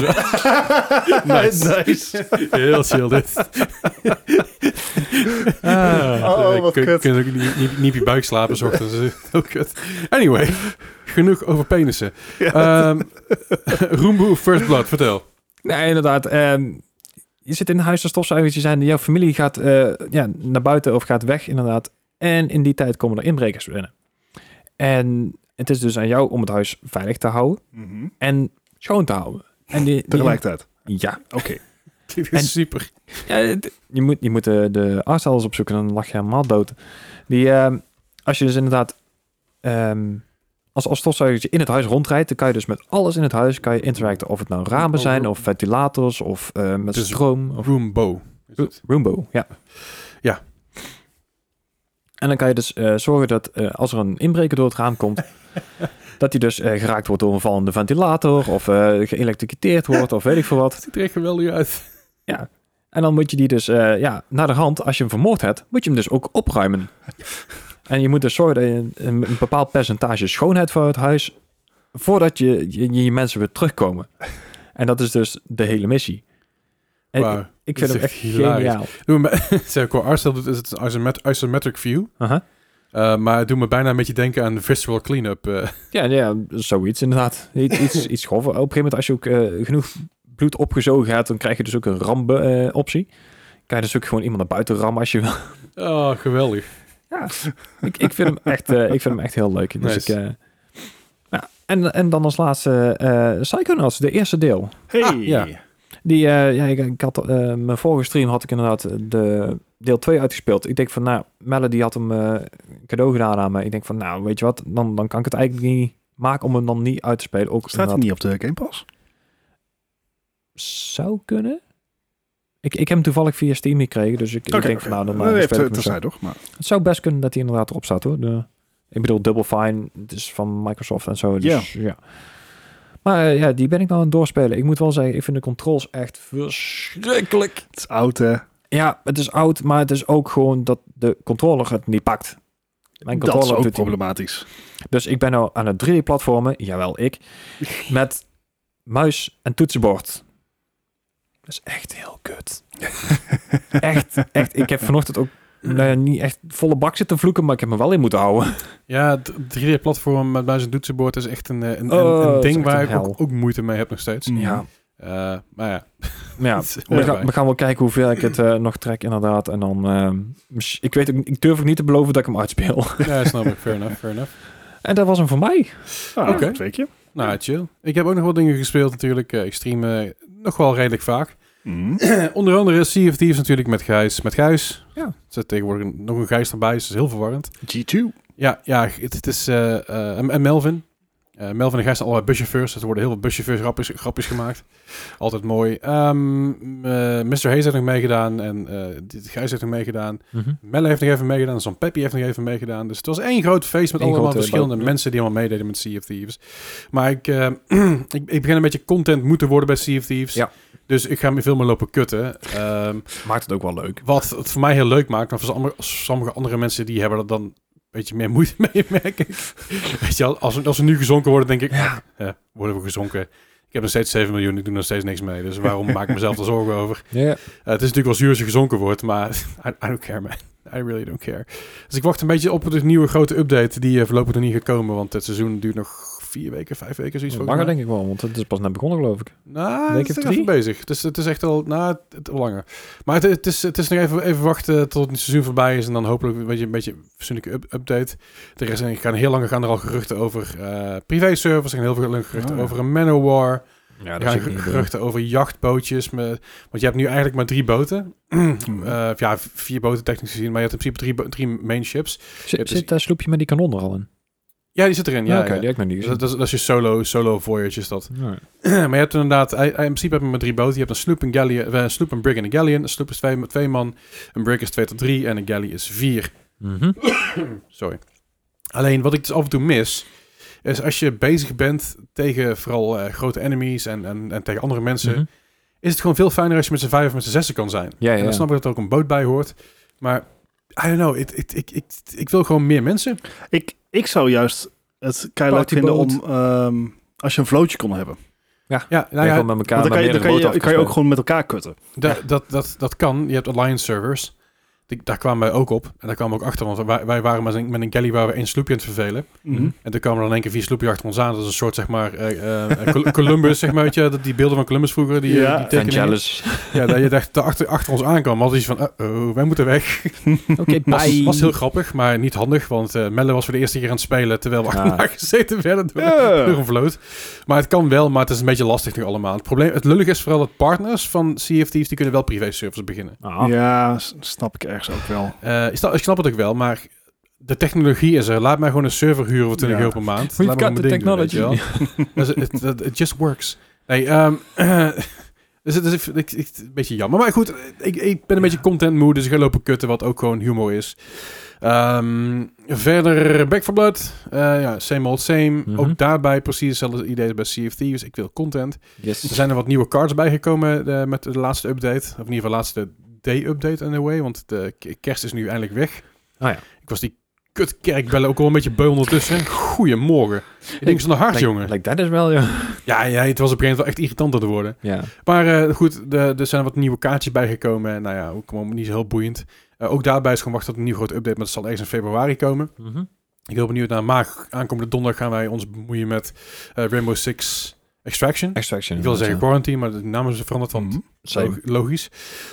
S3: *laughs* nice.
S1: *laughs* Heel chill
S3: *laughs*
S1: dit.
S3: Oh,
S1: Ik
S3: wat
S1: kun-
S3: kut.
S1: kun je ook niet, niet, niet op je buik slapen, s ochtends. Dat is ook kut. Anyway, genoeg over penissen. Ehm *laughs* Roomboe First Blood, vertel.
S2: Nee, inderdaad. ehm, je zit in een huis als stofzuigertje zijn. Jouw familie gaat eh, ja, naar buiten of gaat weg, inderdaad. En in die tijd komen er inbrekers binnen. En het is dus aan jou om het huis veilig te houden.
S3: Mhm.
S2: en schoon te houden. En die, die-
S3: Tegelijkertijd.
S2: Ja.
S3: Oké.
S1: Klinkt
S2: En-
S1: super.
S2: ja het- je, moet, je moet de, de artsalers opzoeken, dan lag je helemaal dood. Die, ehm, als je dus inderdaad ehm, als, als stofzuigertje in het huis rondrijdt, dan kan je dus met alles in het huis kan je interacten. Of het nou ramen zijn, of ventilators, of eh, met
S1: Dus-
S2: stroom. Of,
S1: Roombo.
S2: Roombo, ja.
S1: Ja.
S2: En dan kan je dus eh, zorgen dat eh, als er een inbreker door het raam komt, dat hij dus eh, geraakt wordt door een vallende ventilator of eh geëlektrocuteerd wordt of weet ik veel wat.
S1: ziet er echt geweldig uit.
S2: En dan moet je die dus, eh, ja, naar de hand, als je hem vermoord hebt, moet je hem dus ook
S1: *laughs*
S2: opruimen. En je moet dus zorgen dat je een, een bepaald percentage schoonheid voor het huis, voordat je je, je mensen weer terugkomen. En dat is dus de hele missie. En
S1: Wauw.
S2: ik, ik
S1: dat
S2: vind
S1: is
S2: hem echt
S1: echt hilarisch.
S2: geniaal.
S1: Doe me, *laughs* zeg, qua artstijl doet- is het een isomet- isometric view.
S2: Aha.
S1: eh, maar het doet me bijna een beetje denken aan visual cleanup. eh.
S2: Ja, ja, zoiets inderdaad. Iets,
S1: *laughs*
S2: iets, iets grover. Op een gegeven moment, als je ook eh, genoeg bloed opgezogen hebt, dan krijg je dus ook een rambe-optie. kan je dus ook gewoon iemand naar buiten rammen als je wil.
S1: oh, geweldig.
S2: *laughs* ik, ik, vind hem echt, eh, ik vind hem echt heel leuk. Dus
S1: Nice.
S2: ik, eh, ja. en, en dan als laatste eh Psychonauts, de eerste deel.
S3: Hey.
S1: Ah, ja.
S2: Die, eh, ja, ik, ik had, eh, mijn vorige stream had ik inderdaad de deel 2 uitgespeeld. Ik denk van, nou, Melody had hem eh, cadeau gedaan aan me. Ik denk van, nou, weet je wat, dan, dan kan ik het eigenlijk niet maken om hem dan niet uit te spelen. Ook
S3: Staat hij
S2: omdat-
S3: niet op de Game Pass?
S2: zou kunnen. Ik, ik heb hem toevallig via Steam gekregen, dus ik, ik
S3: Oké,
S2: denk van nou, dan
S3: oké.
S2: eh,
S3: nee,
S2: speel ik
S3: nee,
S2: hem zo.
S3: terzijde toch? Maar
S2: Het zou best kunnen dat hij inderdaad erop staat hoor. De, ik bedoel, Double Fine, het is van Microsoft en zo. Dus, ja. Maar eh, ja, die ben ik nou aan het doorspelen. Ik moet wel zeggen, ik vind de controls echt verschrikkelijk.
S3: het is oud, eh, hè?
S2: Ja, het is oud, maar het is ook gewoon dat de controller het niet pakt. Mijn
S3: Dat is
S2: controller
S3: ook
S2: doet het
S3: problematisch.
S2: dus ik ben nou aan het 3D-platformen, jawel ik, met muis en toetsenbord. Dat is echt heel kut. echt, echt. Ik heb vanochtend ook nou ja, niet echt volle bak zitten vloeken, maar ik heb me wel in moeten houden.
S1: Ja, 3D-platform met muis en toetsenbord is echt een, eh, een, een-
S2: Oh,
S1: een
S2: dat is
S1: ding
S2: echt
S1: waar
S2: een
S1: ik ook,
S2: hel.
S1: ook moeite mee heb nog steeds.
S3: Mm.
S2: Ja,
S1: Eh, maar ja,
S2: ja.
S1: het
S2: We
S1: hoort
S2: gaan,
S1: erbij.
S2: we gaan wel kijken hoeveel ik het eh, nog trek, inderdaad. En dan, eh, miss- ik, weet, ook- ik durf ook niet te beloven dat ik hem uitspeel. *laughs*
S1: Ja, snap ik. Fair enough, fair enough.
S2: en dat was hem voor mij.
S3: *laughs* Ah,
S1: Oké.
S3: Oké. Twee keer.
S1: Nou, chill. Ik heb ook nog wat dingen gespeeld natuurlijk. Eh, ik stream eh, nog wel redelijk vaak.
S3: Mhm.
S1: Eh, Onder andere Sea of Thieves natuurlijk met Gijs. Met Gijs.
S2: Ja.
S1: Er zit tegenwoordig een- nog een Gijs erbij, dus dat is heel verwarrend.
S3: G2.
S1: Ja, ja het, het is... eh, eh, en, en Melvin. Eh, Melvin en Gijs zijn allebei buschauffeurs. Dus er worden heel veel buschauffeurs grapjes, grapjes gemaakt. Altijd mooi. Ehm, eh, Mr. Hayes heeft nog meegedaan. En eh, dit Gijs heeft nog meegedaan. Melle heeft nog even meegedaan. Sam Peppy heeft nog even meegedaan. Dus het was één groot feest met
S2: Eén
S1: allemaal
S2: grote
S1: verschillende
S2: bal-
S1: mensen die allemaal meededen met Sea of Thieves. Maar ik, eh, *clears throat* ik, ik begin een beetje content moeten worden bij Sea of Thieves.
S2: Ja.
S1: Dus ik ga me veel meer lopen kutten. Ehm,
S2: Maakt het ook wel leuk.
S1: wat het voor mij heel leuk maakt. Maar voor sommige, sommige andere mensen die hebben er dan een beetje meer moeite *laughs* mee, merk ik. Weet je wel, als, we- als we nu gezonken worden, denk ik,
S2: Ja.
S1: eh, worden we gezonken. Ik heb nog steeds 7 miljoen, ik doe nog steeds niks mee. Dus waarom maak ik mezelf er zorgen over?
S2: Ja.
S1: Eh, het is natuurlijk wel zuur als je gezonken wordt, maar *laughs* I, I don't care, man. I really don't care. Dus ik wacht een beetje op de nieuwe grote update die eh, voorlopig nog niet gaat komen, want het seizoen duurt nog vier weken, vijf weken, zoiets
S2: Langer denk ik wel, want het is pas net begonnen geloof ik.
S1: Nou,
S2: week
S1: ik
S2: of
S1: ben
S2: drie?
S1: even bezig. Dus het is echt al, nou, het, het- langer. Maar het, het, is, het is nog even, even wachten tot het seizoen voorbij is en dan hopelijk weet je, een beetje een fatsoenlijke up- update. Er is, een- gaan heel lang gaan er al geruchten over eh privé-servers, er gaan heel veel geruchten
S3: Oh, ja.
S1: over een Manowar.
S2: Ja,
S1: Er gaan ge- geruchten over jachtbootjes. Met, want je hebt nu eigenlijk maar drie boten. *clears throat*
S2: Oh.
S1: Eh, ja, v- vier boten technisch gezien. Maar je hebt in principe drie, bo- drie main ships.
S2: Zit,
S1: Het is-
S2: zit daar sloepje met die kanon er al in?
S1: Ja, die zit erin. Ja,
S2: Ja, oké,
S1: ja.
S2: die heb ik nog niet gezien.
S1: Dat, dat, is- dat is je solo, solo voyage is dat. *clears throat* maar je hebt inderdaad, eh, in principe heb je maar drie boten. Je hebt een sloep, een, galleon, eh, een sloep, een brig en een galleon. Een sloep is twee, twee man, een brig is twee tot drie en een galley is vier.
S2: Mhm.
S1: Sorry. Alleen wat ik dus af en toe mis, is als je bezig bent tegen vooral eh, grote enemies en, en, en tegen andere mensen,
S2: Mhm.
S1: is het gewoon veel fijner als je met z'n vijf of met z'n zessen kan zijn.
S2: Ja,
S1: En
S2: ja.
S1: dan snap ik dat er ook een boot bij hoort. Maar, I don't know, ik, ik, ik, ik, ik wil gewoon meer mensen.
S3: Ik, ik zou juist het kei leuk vinden
S2: Partyboat.
S3: om... ehm, als je een vlootje kon hebben.
S1: Ja, nou
S2: Ja,
S1: ja,
S2: gewoon met elkaar
S3: Want dan kan je,
S2: naar
S3: dan kan
S2: meerdere
S3: je,
S2: boten af
S3: kan je
S2: gaan
S3: ook gewoon met elkaar kutten.
S1: da- dat, dat, dat kan. Je hebt alliance servers. Die- Daar kwamen wij ook op. En daar kwamen we ook achter. Want wij, wij waren met een, met een galley waar we één sloepje aan het vervelen.
S3: Mhm.
S1: En toen kwamen er in één keer vier sloepjes achter ons aan. Dat is een soort, zeg maar, eh, eh,
S3: *laughs*
S1: Col- Columbus, zeg maar. Weet je, dat- die beelden van Columbus vroeger, die, eh,
S3: Ja.
S1: die
S2: spelen. Van
S1: tekeningen.
S2: Jealous.
S1: Ja, dat je dacht dat achter, achter ons aankwam. Had iets van, oh, wij moeten weg.
S2: Oké,
S1: Was,
S2: bye.
S1: was heel grappig, maar niet handig. Want eh Melle was voor de eerste keer aan het spelen terwijl we
S2: Ah.
S1: achterna gezeten werden door, *laughs*
S3: Ja.
S1: door een vloot. Maar het kan wel, maar het is een beetje lastig nu allemaal. Het probleem, het lullig is vooral dat partners van CFT's, die kunnen wel privé-servers beginnen.
S2: Ah,
S3: Ja, s- snap ik ergens ook wel.
S1: Eh, ik, snap, ik snap het ook wel, maar de technologie is er. Laat mij gewoon een server huren voor 20
S3: Ja.
S1: euro per maand.
S2: We've
S1: Laat mij
S2: got
S1: mijn
S2: the *laughs*
S1: ding doen, weet je wel. Dus het- het- het just works. Nee, ehm, *laughs* Dus het is ik- ik- ik- een beetje jammer. Maar goed, ik, ik ben een beetje content moe, dus ik ga lopen kutten, wat ook gewoon humor is. Ehm, verder, Back for Blood. Eh, ja, same old same.
S2: Mhm.
S1: Ook daarbij precies hetzelfde idee als bij Sea of Thieves. Ik wil content. Er
S2: Yes.
S1: zijn er wat nieuwe cards bijgekomen eh, met de laatste update. Of in ieder geval de laatste day-update in a way. Want de k- kerst is nu eindelijk weg.
S2: Oh ja.
S1: Ik was die kut kerkbellen ook wel een beetje beu ondertussen. Goedemorgen. Ik denk zo'n hart, jongen.
S2: Like that is wel, ja.
S1: Ja, ja, het was op een gegeven moment wel echt irritant aan het worden.
S2: Ja.
S1: Maar eh, goed, de- er zijn wat nieuwe kaartjes bijgekomen. Nou ja, ook gewoon niet zo heel boeiend. Eh, ook daarbij is gewoon wachten tot een nieuw grote update. Maar dat zal ergens in februari komen. Ik ben heel benieuwd naar maag. Aankomende donderdag gaan wij ons bemoeien met eh, Rainbow Six Extraction.
S2: Extraction.
S1: Ik wil zeggen
S2: inderdaad,
S1: quarantine, maar de naam is veranderd van
S2: ja. Same.
S1: Log- Logisch.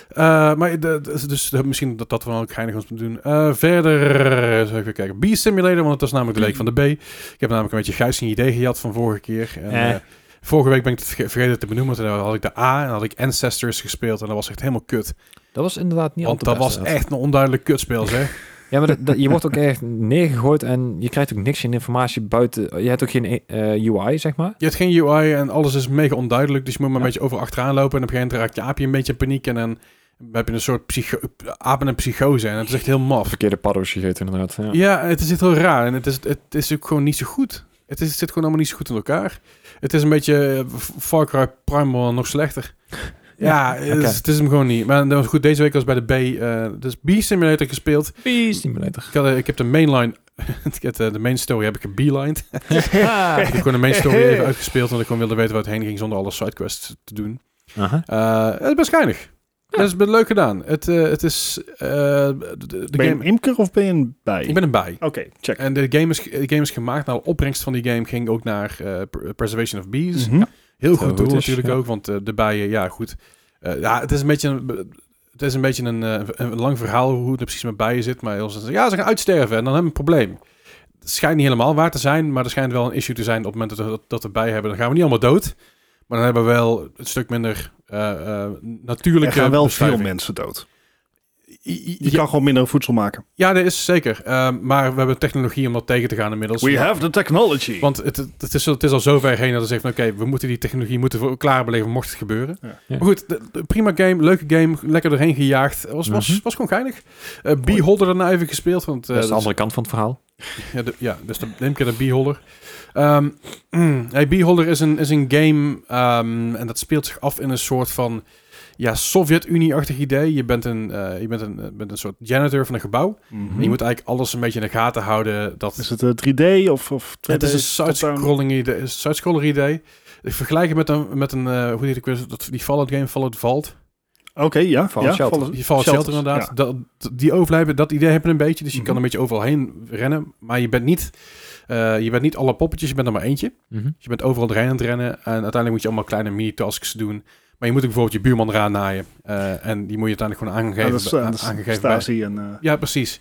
S1: Eh, maar de- de- dus de- misschien dat dat we dan ook geinig ons moeten doen. Eh, verder zou ik weer kijken. B-Simulator, want dat is namelijk de week van de B. Ik heb namelijk een beetje gijs een idee gejat van vorige keer. En,
S2: Eh.
S1: eh, vorige week ben ik het verge- vergeten te benoemen. Toen had ik de A en had ik Ancestors gespeeld. En dat was echt helemaal kut.
S2: Dat was inderdaad niet
S1: want
S2: al
S1: dat
S2: te
S1: was
S2: best,
S1: echt een onduidelijk kutspel,
S2: *laughs*
S1: zeg.
S2: Ja, maar dat- dat- je wordt ook echt neergegooid en je krijgt ook niks in informatie buiten. Je hebt ook geen eh, UI, zeg maar.
S1: Je hebt geen UI en alles is mega onduidelijk. Dus je moet maar een
S2: Ja.
S1: beetje over achteraan lopen. En op een gegeven moment raakt je aapje een beetje in paniek. En dan heb je een soort psycho apen en psychose. En dat is echt heel maf.
S2: Verkeerde paddo's gegeten, inderdaad. Ja.
S1: Ja, het is echt heel raar. En het is, het is ook gewoon niet zo goed. Het, is, het zit gewoon allemaal niet zo goed in elkaar. Het is een beetje eh, F- Far Cry Primal nog slechter. Ja, het,
S2: oké.
S1: is, het is hem gewoon niet. Maar dat was goed, deze week was bij de B, eh, dus B-Simulator gespeeld.
S2: Simulator. *laughs*
S1: Ik, had, eh, ik heb de mainline, *laughs* ik heb, eh, de main story heb ik gebeelined. ik heb gewoon de main *laughs* story even uitgespeeld, omdat ik gewoon wilde weten waar het heen ging zonder alle sidequests te doen.
S2: Aha.
S1: Eh, het is best geinig. Het is best leuk gedaan. Het, eh, het is... eh, de, de- de
S3: Ben je
S1: game,
S3: een imker of ben je een bij?
S1: ik ben een bij.
S3: Oké, check.
S1: En de game is, de game is gemaakt. Nou, de opbrengst van die game ging ook naar eh, Pre- Preservation of Bees.
S3: Mhm.
S1: Heel
S2: Terwijl
S1: goed doel
S2: het is,
S1: natuurlijk
S2: ja.
S1: ook, want eh, de bijen, ja goed. Eh, ja, het is een beetje een, het is een, beetje een, eh, een lang verhaal hoe het precies met bijen zit. Maar heel snel zeggen, ja, ze gaan uitsterven en dan hebben we een probleem. Het schijnt niet helemaal waar te zijn, maar er schijnt wel een issue te zijn op het moment dat, we- dat we bijen hebben. Dan gaan we niet allemaal dood, maar dan hebben we wel een stuk minder eh, eh,
S3: Er
S1: natuurlijke
S3: gaan wel veel
S1: beschrijving.
S3: mensen dood.
S1: I- i-
S3: Je kan gewoon minder voedsel maken.
S1: Ja, dat is zeker. Eh, maar we hebben technologie om dat tegen te gaan inmiddels. Maar-
S3: have the technology.
S1: Want het, het- het, is, het is al zo ver heen dat ze zegt van oké, we moeten die technologie moeten voor klaar beleven mocht het gebeuren.
S3: Ja.
S2: Ja.
S1: Maar goed, de- de- prima game, leuke game, lekker doorheen gejaagd. Was, was,
S2: Mhm.
S1: was gewoon geinig. Eh Beholder daarna even gespeeld, want eh,
S2: dat is de
S1: dat is-
S2: andere kant van het verhaal.
S1: ja, de- ja, dus dan neem ik de Beholder. Ehm hey, Beholder is een, is een game ehm, en dat speelt zich af in een soort van ja, Sovjet-Unie-achtig idee. Je bent een, eh, je bent een, eh, bent een soort janitor van een gebouw. En je moet eigenlijk alles een beetje in de gaten houden dat
S3: Mhm. Is het eh, 3D of, of 2D?
S1: het is een
S3: top-down?
S1: side-scrolling idee. een side-scroller idee. Ik vergelijk het met een, met een eh, hoe heet ik weer, dat die Fallout game, Fallout Vault.
S3: Oké, ja.
S2: Fallout
S3: ja,
S2: Shelter.
S1: Die Fallout Shelter inderdaad. Dat, die overlijven, dat idee heb je een beetje. Dus je
S3: Mhm.
S1: kan een beetje overal heen rennen. Maar je bent niet, eh, je bent niet alle poppetjes, je bent er maar eentje.
S2: Mhm.
S1: Dus je bent overal doorheen aan het rennen. En uiteindelijk moet je allemaal kleine mini-tasks doen. Maar je moet ook bijvoorbeeld je buurman eraan naaien. Eh, en die moet je uiteindelijk gewoon
S3: Ja,
S1: aangegeven,
S3: dat is, eh,
S1: aan-
S3: dat is
S1: aangegeven bij-
S3: Stasi en... eh,
S1: ja, precies.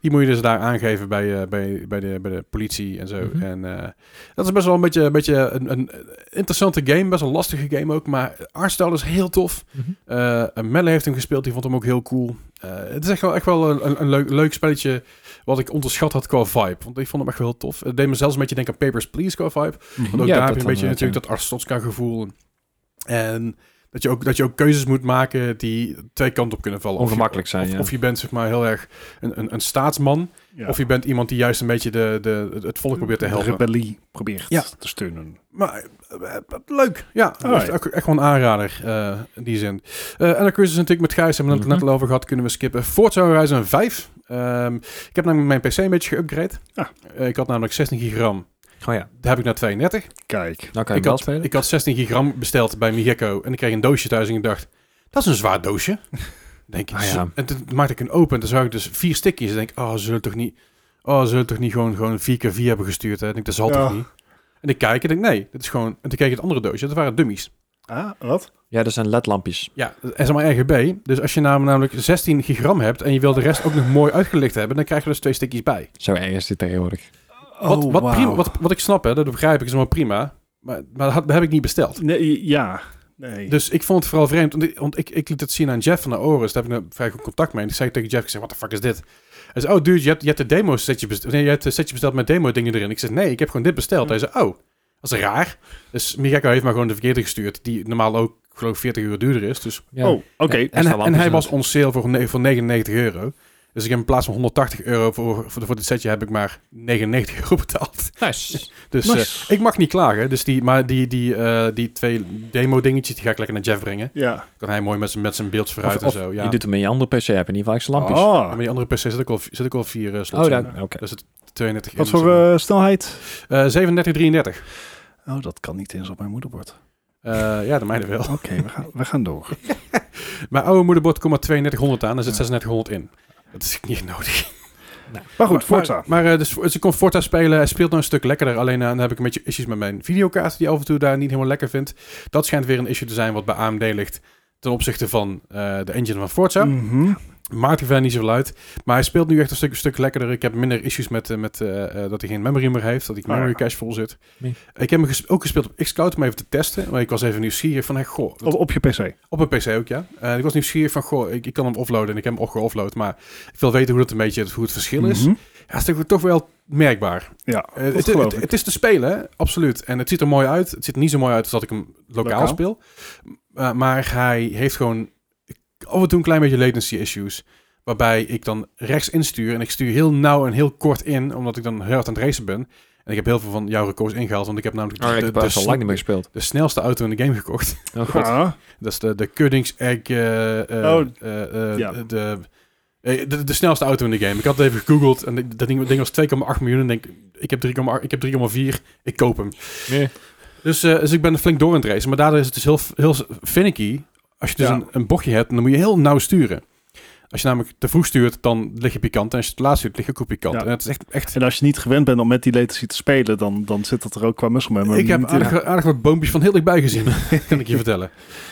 S1: Die moet je dus daar aangeven bij, eh, bij, bij, de, bij de politie en zo.
S2: Mhm.
S1: En eh, dat is best wel een beetje, een, beetje een, een interessante game. Best wel een lastige game ook. Maar Artstyle is heel tof. Eh, en Melle heeft hem gespeeld. Die vond hem ook heel cool. Eh, het is echt wel, echt wel een, een- een leuk, leuk spelletje wat ik onderschat had qua vibe. Want ik vond hem echt wel heel tof. Het deed me zelfs een beetje denken aan Papers, Please qua vibe. Want ook daar
S2: Ja,
S1: heb
S2: dat
S1: je een beetje
S2: inderdaad,
S1: natuurlijk dat Arstotska gevoel. En dat je, ook, dat je ook keuzes moet maken die twee kanten op kunnen vallen. Of je-
S2: Ongemakkelijk zijn,
S1: of,
S2: ja.
S1: of je bent zeg maar heel erg een, een, een staatsman.
S3: ja.
S1: Of je bent iemand die juist een beetje de, de, het volk probeert te
S3: De
S1: helpen.
S3: rebellie probeert
S1: Ja.
S3: te steunen.
S1: Maar eh, eh, leuk. Ja, echt,
S3: Alright.
S1: echt, echt gewoon een aanrader eh, in die zin. Eh en de cruises natuurlijk met Gijs hebben we het
S2: Mhm.
S1: net al over gehad. Kunnen we skippen. Forza Horizon 5. Ehm, ik heb namelijk mijn PC een beetje geüpgrade.
S3: Ah.
S1: Eh, ik had namelijk 16 gigram.
S2: Oh ja,
S1: Daar heb ik naar 32.
S3: Kijk.
S2: nou kan je
S1: ik,
S2: wel
S1: had,
S2: spelen.
S1: ik had 16 gigram besteld bij Migekko. En ik kreeg een doosje thuis en ik dacht, dat is een zwaar doosje. Denk ik.
S2: Ah, ja.
S1: zo- En toen maakte ik een open en toen zag ik dus vier stikjes. En denk ik, oh, ze zullen toch niet, oh, ze zullen toch niet gewoon, gewoon 4 keer 4 hebben gestuurd. Hè? Ik denk, dat zal toch
S3: Ja.
S1: niet. En ik kijk en denk, nee, dit is gewoon... En toen keek ik het andere doosje, dat waren dummies.
S3: Ah, wat?
S2: Ja, dat zijn ledlampjes.
S1: Ja, en zeg maar RGB. Dus als je nam- namelijk 16 gigram hebt en je wil de rest ook nog mooi uitgelicht hebben, dan krijg je dus twee stikjes bij.
S2: Zo erg is dit tegenwoordig.
S1: Wat,
S3: Oh,
S1: wat,
S3: wauw.
S1: prima, wat, wat ik snap, hè, dat begrijp ik, is maar prima. Maar, maar dat had- dat heb ik niet besteld.
S3: Nee, ja. Nee.
S1: Dus ik vond het vooral vreemd, want ik, want ik, ik liet het zien aan Jeff van de Oris. Daar heb ik nou vrij goed contact mee. En ik zei tegen Jeff, ik zeg, what the fuck is dit? Hij zei, oh dude, je hebt, je hebt de demo setje besteld, nee, je hebt een setje besteld met demo dingen erin. Ik zeg, nee, ik heb gewoon dit besteld. Hij zei, oh, dat is raar. Dus Miyako heeft maar gewoon de verkeerde gestuurd, die normaal ook geloof ik 40 uur duurder is. Dus.
S2: Ja.
S3: Oh, oké.
S2: Ja.
S1: En,
S2: Extra
S1: hij- en hij
S2: lampjes
S1: was on sale voor, ne- voor 99 euro. Dus ik heb in plaats van 180 euro voor, voor, voor dit setje heb ik maar 99 euro *laughs* betaald.
S2: Nice.
S1: Dus
S3: Nice.
S1: eh, ik mag niet klagen. Dus die, maar die, die, eh, die twee demo dingetjes die ga ik lekker naar Jeff brengen.
S3: Ja.
S1: Kan hij mooi met zijn, met zijn beelds vooruit
S2: Of- of
S1: en zo. Ja.
S2: Je doet hem in je andere PC, heb in ieder geval extra lampjes.
S1: Ja,
S3: Ah,
S1: maar die andere PC zit ook al, zit ook al vier eh, slots
S2: oh,
S1: in.
S2: daar, oké.
S1: Dus het 32
S3: wat
S1: in.
S3: voor eh, snelheid?
S1: Eh, 37, 33.
S3: Oh, dat kan niet eens op mijn moederbord.
S1: Eh, ja, de mijne wel. *laughs*
S3: *laughs* Oké, we, gaan, we gaan door.
S1: Mijn oude moederbord komt maar 3200 aan. Daar zit 3600 in. Dat is niet nodig.
S3: Maar goed, Forza.
S1: Maar, eh, dus, dus ik kon Forza spelen. Hij speelt nou een stuk lekkerder. Alleen eh, dan heb ik een beetje issues met mijn videokaart. Die af en toe daar niet helemaal lekker vindt. Dat schijnt weer een issue te zijn wat bij AMD ligt. Ten opzichte van eh, de engine van Forza.
S3: Mhm.
S1: Maakt er verder niet zoveel uit. Maar hij speelt nu echt een stuk, een stuk lekkerder. Ik heb minder issues met, eh, met eh, eh, dat hij geen memory meer heeft. Dat die
S3: Ah, ja.
S1: memory cache vol zit.
S2: Nee.
S1: Ik heb hem ges- ook gespeeld op Xcloud om even te testen. Maar ik was even nieuwsgierig van... Hey, goh,
S3: Op, op je PC.
S1: op een PC ook, ja. Eh, ik was nieuwsgierig van... Goh, ik, ik kan hem offloaden en ik heb hem ook geoffload. Maar ik wil weten hoe, dat een beetje, hoe het verschil is.
S3: Mhm.
S1: Ja, het is toch wel merkbaar.
S3: Ja,
S1: Eh,
S3: dat
S1: het,
S3: geloof
S1: het-
S3: ik.
S1: het is te spelen, hè? absoluut. En het ziet er mooi uit. Het ziet er niet zo mooi uit als dat ik hem lokaal,
S3: Lokaal.
S1: speel. Eh, maar hij heeft gewoon af en toe een klein beetje latency issues. Waarbij ik dan rechts instuur en ik stuur heel nauw en heel kort in, omdat ik dan heel hard aan het racen ben. En ik heb heel veel van jouw records ingehaald, want ik heb namelijk
S2: Oh, ik
S1: de,
S2: heb
S1: de,
S2: pas al lang niet meer
S1: de,
S2: gespeeld.
S1: snelste auto in de game gekocht.
S2: Oh, god.
S3: Ah,
S1: Dat is de, de Kuddings-Egg, eh, eh,
S3: Oh,
S1: eh, eh,
S3: ja.
S1: de, eh, de, de snelste auto in de game. Ik had het even gegoogeld en ik- dat ding, ding was 2,8 miljoen. En denk, ik heb 3,8 ik heb 3,4, ik koop hem.
S2: Nee.
S1: Dus, eh, dus ik ben er flink door aan het racen. Maar daardoor is het dus heel, heel finicky. Als je dus
S3: Ja.
S1: een, een bochtje hebt, dan moet je heel nauw sturen. Als je namelijk te vroeg stuurt, dan lig je pikant. En als je te laat stuurt, lig je ook op pikant.
S3: Ja.
S1: En het is echt... echt
S3: En als je niet gewend bent om met die latency te spelen, dan, dan zit dat er ook qua muscle memory
S1: ik heb
S3: niet in.
S1: aardig, aardig wat boompjes van heel dichtbij
S3: *laughs*
S1: gezien, *laughs* kan ik je vertellen.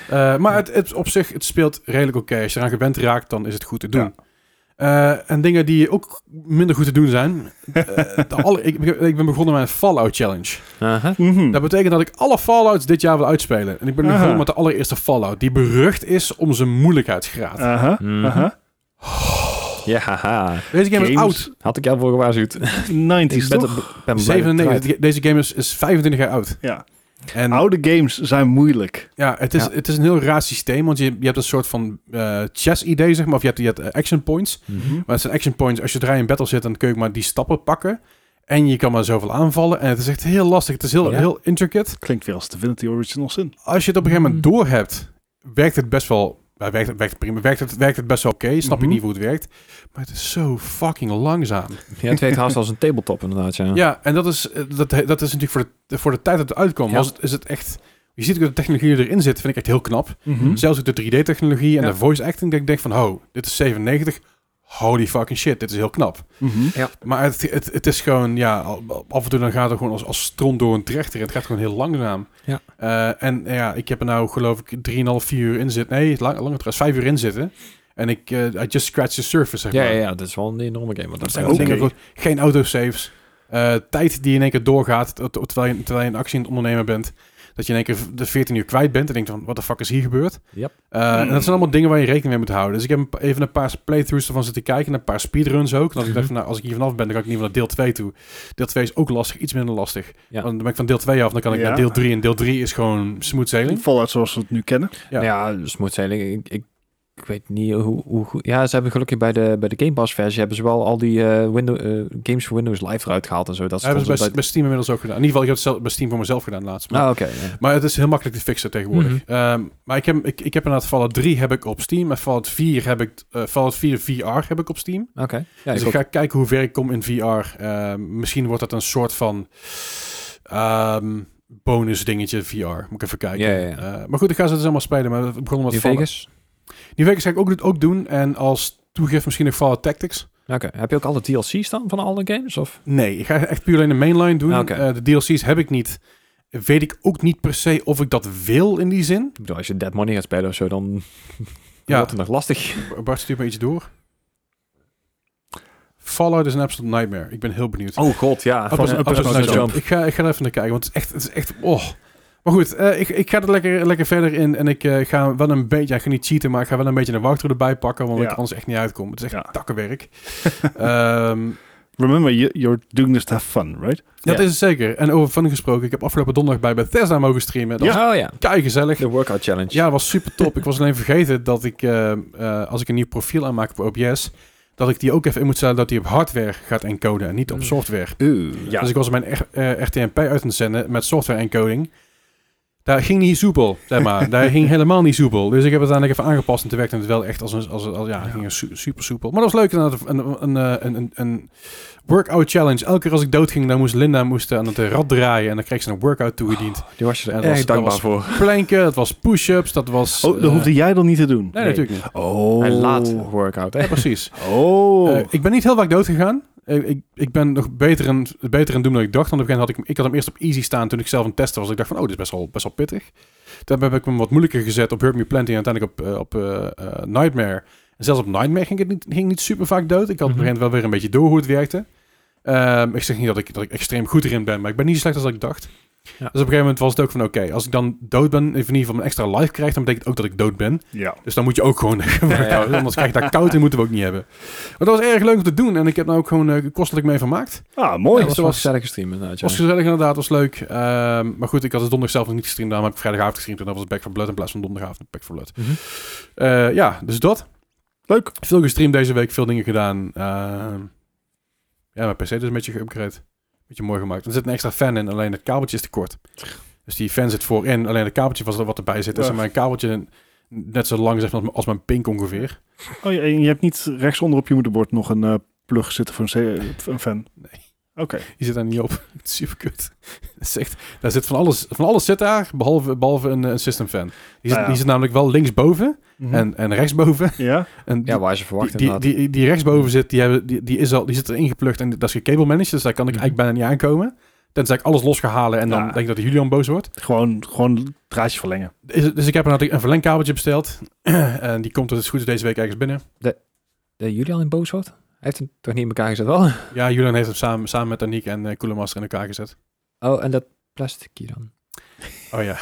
S1: Eh, maar het, het op zich, het speelt redelijk oké. Als je eraan gewend raakt, dan is het goed te doen. Eh, en dingen die ook minder goed te doen zijn. eh, de alle, ik, ik ben begonnen met een Fallout Challenge.
S2: Aha.
S3: Mhm.
S1: Dat betekent dat ik alle Fallouts dit jaar wil uitspelen. En ik ben nu
S3: Aha.
S1: begonnen met de allereerste Fallout, die berucht is om zijn moeilijkheidsgraad.
S3: Aha,
S2: Mhm.
S3: aha.
S2: Ja, haha.
S1: Deze game is oud.
S3: Games.
S2: Had ik jou voor gewaarschuwd. Ik
S3: 90s,
S2: ben,
S3: toch?
S2: ben blij dat het
S1: 97. Deze game is, is 25 jaar oud.
S3: Ja.
S1: En
S3: Oude games zijn moeilijk.
S1: Ja, het is,
S2: Ja.
S1: Het is een heel raar systeem, want je, je hebt een soort van eh, chess-idee, zeg maar. Of je hebt, je hebt eh, action points.
S2: Mhm.
S1: Maar het zijn action points, als je zodra je in battle zit, dan kun je ook maar die stappen pakken. En je kan maar zoveel aanvallen. En het is echt heel lastig. Het is heel,
S2: Ja.
S1: heel intricate.
S3: Klinkt weer als Divinity Original Sin.
S1: Als je het op een gegeven
S2: Mm.
S1: moment door hebt, werkt het best wel... eh, werkt, het- werkt het prima. Werkt het, werkt het best wel oké. Snap
S3: Mhm.
S1: je niet hoe het werkt. Maar het is zo fucking langzaam.
S2: Ja, het heet haast als een tabletop inderdaad, ja.
S1: Ja, en dat is, eh, dat, dat is natuurlijk voor de, voor de tijd dat het uitkomt.
S2: Ja.
S1: Was het, is het echt... Je ziet ook dat de technologie die erin zit, vind ik echt heel knap.
S2: Mhm.
S1: Zelfs ook de 3D-technologie en
S2: Ja.
S1: de voice acting. Dat ik denk van, ho, dit is 97. Holy fucking shit, dit is heel knap.
S3: Mhm.
S1: Maar het, het, het is gewoon, ja, al- af en toe dan gaat het gewoon als, als stront door een trechter. Het gaat gewoon heel langzaam.
S2: Ja.
S1: Eh, en ja, ik heb er nou geloof ik 3,5, 4 uur in zitten. Nee, lang, langer trouwens, 5 uur in zitten. En ik, eh, I just scratched the surface, zeg
S2: Ja,
S1: maar.
S2: ja, ja, dat is wel een enorme game. Want dat
S1: Dat zijn
S2: is
S1: ook
S3: Oké.
S1: dingen voor- geen autosaves. eh, tijd die in één keer doorgaat, ter- ter- terwijl je, terwijl je een actie in het ondernemen bent. Dat je in één keer de 14 uur kwijt bent en denkt van, wat de fuck is hier gebeurd?
S2: Yep.
S1: Eh, En dat zijn allemaal dingen waar je rekening mee moet houden. Dus ik heb een pa- even een paar playthroughs ervan zitten kijken, en een paar speedruns ook. En als ik dacht van, nou, als ik hier vanaf ben, dan ga ik niet naar deel 2 toe. Deel 2 is ook lastig, iets minder lastig.
S2: Ja.
S1: Want dan ben ik van deel 2 af, dan kan ik
S3: Ja.
S1: naar deel 3. En deel 3 is gewoon smooth sailing.
S3: Fallout zoals we het nu kennen.
S1: Ja.
S2: Ja, dus moet zijn. Ik, ik, ik, ik weet niet hoe, hoe goed. Ja, ze hebben gelukkig bij de, bij de Game Pass versie hebben ze wel al die eh, Windows, eh, games voor Windows Live eruit gehaald en zo. Dat
S1: Dat hebben ze
S2: stond
S1: bij,
S2: bij-
S1: bij Steam inmiddels ook gedaan. In ieder geval, ik heb het zelf, bij Steam voor mezelf gedaan laatst. Maar-
S2: Ah, oké. ja.
S1: Maar het is heel makkelijk te fixen tegenwoordig. Ehm, maar ik heb, ik, ik heb inderdaad Fallout 3 heb ik op Steam. En Fallout 4 heb ik eh, Fallout 4 VR heb ik op Steam.
S2: Oké. Ja,
S1: dus
S2: ik
S1: ik ga
S2: ook.
S1: kijken hoe ver ik kom in VR. Ehm, misschien wordt dat een soort van ehm, bonus dingetje VR. Moet ik even kijken.
S2: Ja, ja, ja.
S1: Eh, maar goed, ik ga ze dus allemaal spelen. Maar we begonnen met
S2: In
S1: Fallout.
S2: Vegas.
S1: Die Vegas ga ik ook, do- ook doen. En als toegift misschien nog Fallout Tactics.
S2: Oké. Heb je ook alle DLC's dan van alle games? Of?
S1: Nee, ik ga echt puur alleen de mainline doen.
S2: Ah, Oké.
S1: Eh, de DLC's heb ik niet. Weet ik ook niet per se of ik dat wil in die zin.
S2: Ik bedoel, als je Dead Money gaat spelen of zo, dan
S1: Ja.
S2: wordt het nog lastig.
S1: Bart, stuur me iets door. Fallout is een absolute nightmare. Ik ben heel benieuwd.
S2: Oh god, ja.
S1: Up is-
S2: Van-
S1: Up is
S2: Up is
S1: no
S2: no
S1: jump. Ik, ga, ik ga er even naar kijken, want het is echt... Het is echt oh. Maar goed, eh, ik, ik ga er lekker, lekker verder in. En ik eh, ga wel een beetje... Ik ga niet cheaten, maar ik ga wel een beetje een wachtroute erbij pakken. Want
S2: *laughs*
S3: Ja.
S1: ik anders echt niet uitkom. Het is echt
S3: Ja.
S1: takkenwerk. Ehm,
S3: remember, you, you're doing this to have fun, right?
S1: Dat
S2: Ja.
S1: is het zeker. En over fun gesproken, ik heb afgelopen donderdag bij Bethesda mogen streamen. Dat was
S2: Ja. Oh ja,
S1: kei gezellig.
S2: de workout challenge.
S1: Ja, dat was super top. ik was alleen vergeten dat ik, eh, eh, als ik een nieuw profiel aanmaak op OBS, dat ik die ook even in moet stellen dat die op hardware gaat encoden en niet op
S2: Mm.
S1: software.
S2: Ja.
S1: Dus ik was mijn R- eh, RTMP uit aan het zenden met software encoding. Daar ging niet soepel, zeg maar. Daar ging helemaal niet soepel. Dus ik heb het uiteindelijk even aangepast en toen werkte het wel echt als een... Als, een- als, ja, het ging su- super soepel. Maar dat was leuk. inderdaad, Een, een, eh, een, een, een workout challenge. Elke keer als ik doodging, dan moest Linda moest eh, aan het eh, rad draaien. En dan kreeg ze een workout toegediend.
S2: Die was je
S1: Ja,
S2: er
S1: dat
S2: erg
S1: was-
S2: dankbaar
S1: dat
S2: voor.
S1: Planken, dat was push-ups, dat was...
S3: Oh, dat
S1: eh,
S3: hoefde jij dan niet te doen.
S1: Nee,
S2: Nee.
S1: natuurlijk niet.
S3: Oh.
S2: Hij laat workout.
S1: Ja,
S2: Hè?
S1: precies.
S3: Oh.
S1: Eh, ik ben niet heel vaak dood gegaan. Eh, ik, ik ben nog beter in, beter in doen dan ik dacht. Want op een gegeven moment had ik, hem- ik had hem eerst op easy staan toen ik zelf aan het testen was. Ik dacht van, oh, dit is best wel, best wel pittig. Toen heb ik hem wat moeilijker gezet op Hurt Me Plenty en uiteindelijk op, eh, op eh, eh, Nightmare. En zelfs op Nightmare ging ik niet, ging niet super vaak dood. Ik had op een gegeven moment wel weer een beetje door hoe het werkte. Ehm, ik zeg niet dat ik, dat ik extreem goed erin ben, maar ik ben niet zo slecht als dat ik dacht. Dus op een gegeven moment was het ook van, oké, als ik dan dood ben, in ieder geval een extra life krijg, dan betekent het ook dat ik dood ben.
S3: ja.
S1: Dus dan moet je ook gewoon *laughs* workout. Anders krijg je daar koud in, moeten we ook niet hebben. Maar dat was erg leuk om te doen. En ik heb nou ook gewoon eh, kostelijk mee vermaakt.
S3: Ah, mooi.
S2: dat was wel
S1: was-
S2: gezellig gestreamd
S1: Het
S2: inderdaad. ja.
S1: was gezellig inderdaad, was leuk. Ehm, maar goed, ik had het donderdag zelf nog niet gestreamd. Daarom heb ik vrijdagavond gestreamd. En dat was het Back for Blood in plaats van donderdagavond Back for Blood.
S2: Mhm.
S1: Eh, ja, dus dat.
S3: Leuk.
S1: Veel gestreamd deze week, veel dingen gedaan. Ehm, ja, mijn PC dus een beetje geüpgrade. Beetje mooi gemaakt. Er zit een extra fan in, alleen het kabeltje is te kort. Dus die fan zit voorin, alleen het kabeltje was er wat erbij zit. Dus
S3: Ja.
S1: mijn kabeltje net zo lang zeg maar, als mijn pink ongeveer.
S3: Oh, je, en je hebt niet rechtsonder op je moederbord nog een eh, plug zitten voor een, C- een fan?
S1: Nee.
S3: Oké.
S1: Die zit daar niet op. *laughs* Het is super kut. Dat is echt- daar zit van alles, van alles zit daar, behalve, behalve een, eh, een system fan. Die zit,
S3: Nou ja. Mhm.
S1: die zit namelijk wel linksboven en, en rechtsboven.
S3: Ja?
S1: En die,
S2: Ja, waar ze verwachten
S1: die, die, die, die rechtsboven zit, die, hebben, die, die, is al, die zit erin geplukt en dat is gecable managed, dus daar kan ik
S2: Mhm.
S1: eigenlijk bijna niet aankomen. Tenzij ik alles los ga halen en dan
S3: Ja.
S1: denk ik dat Julian boos wordt.
S3: Gewoon, gewoon draadje verlengen.
S1: Is het- Dus ik heb een, een verlengkabeltje besteld. *clears throat* en die komt dus het goed is deze week ergens binnen.
S2: De Julian in boos wordt? Hij heeft hem toch niet in elkaar gezet wel? *laughs*
S1: Ja, Julian heeft hem samen, samen met Aniek en eh Koelemaster in elkaar gezet.
S2: Oh, en dat plasticje dan.
S1: Oh ja.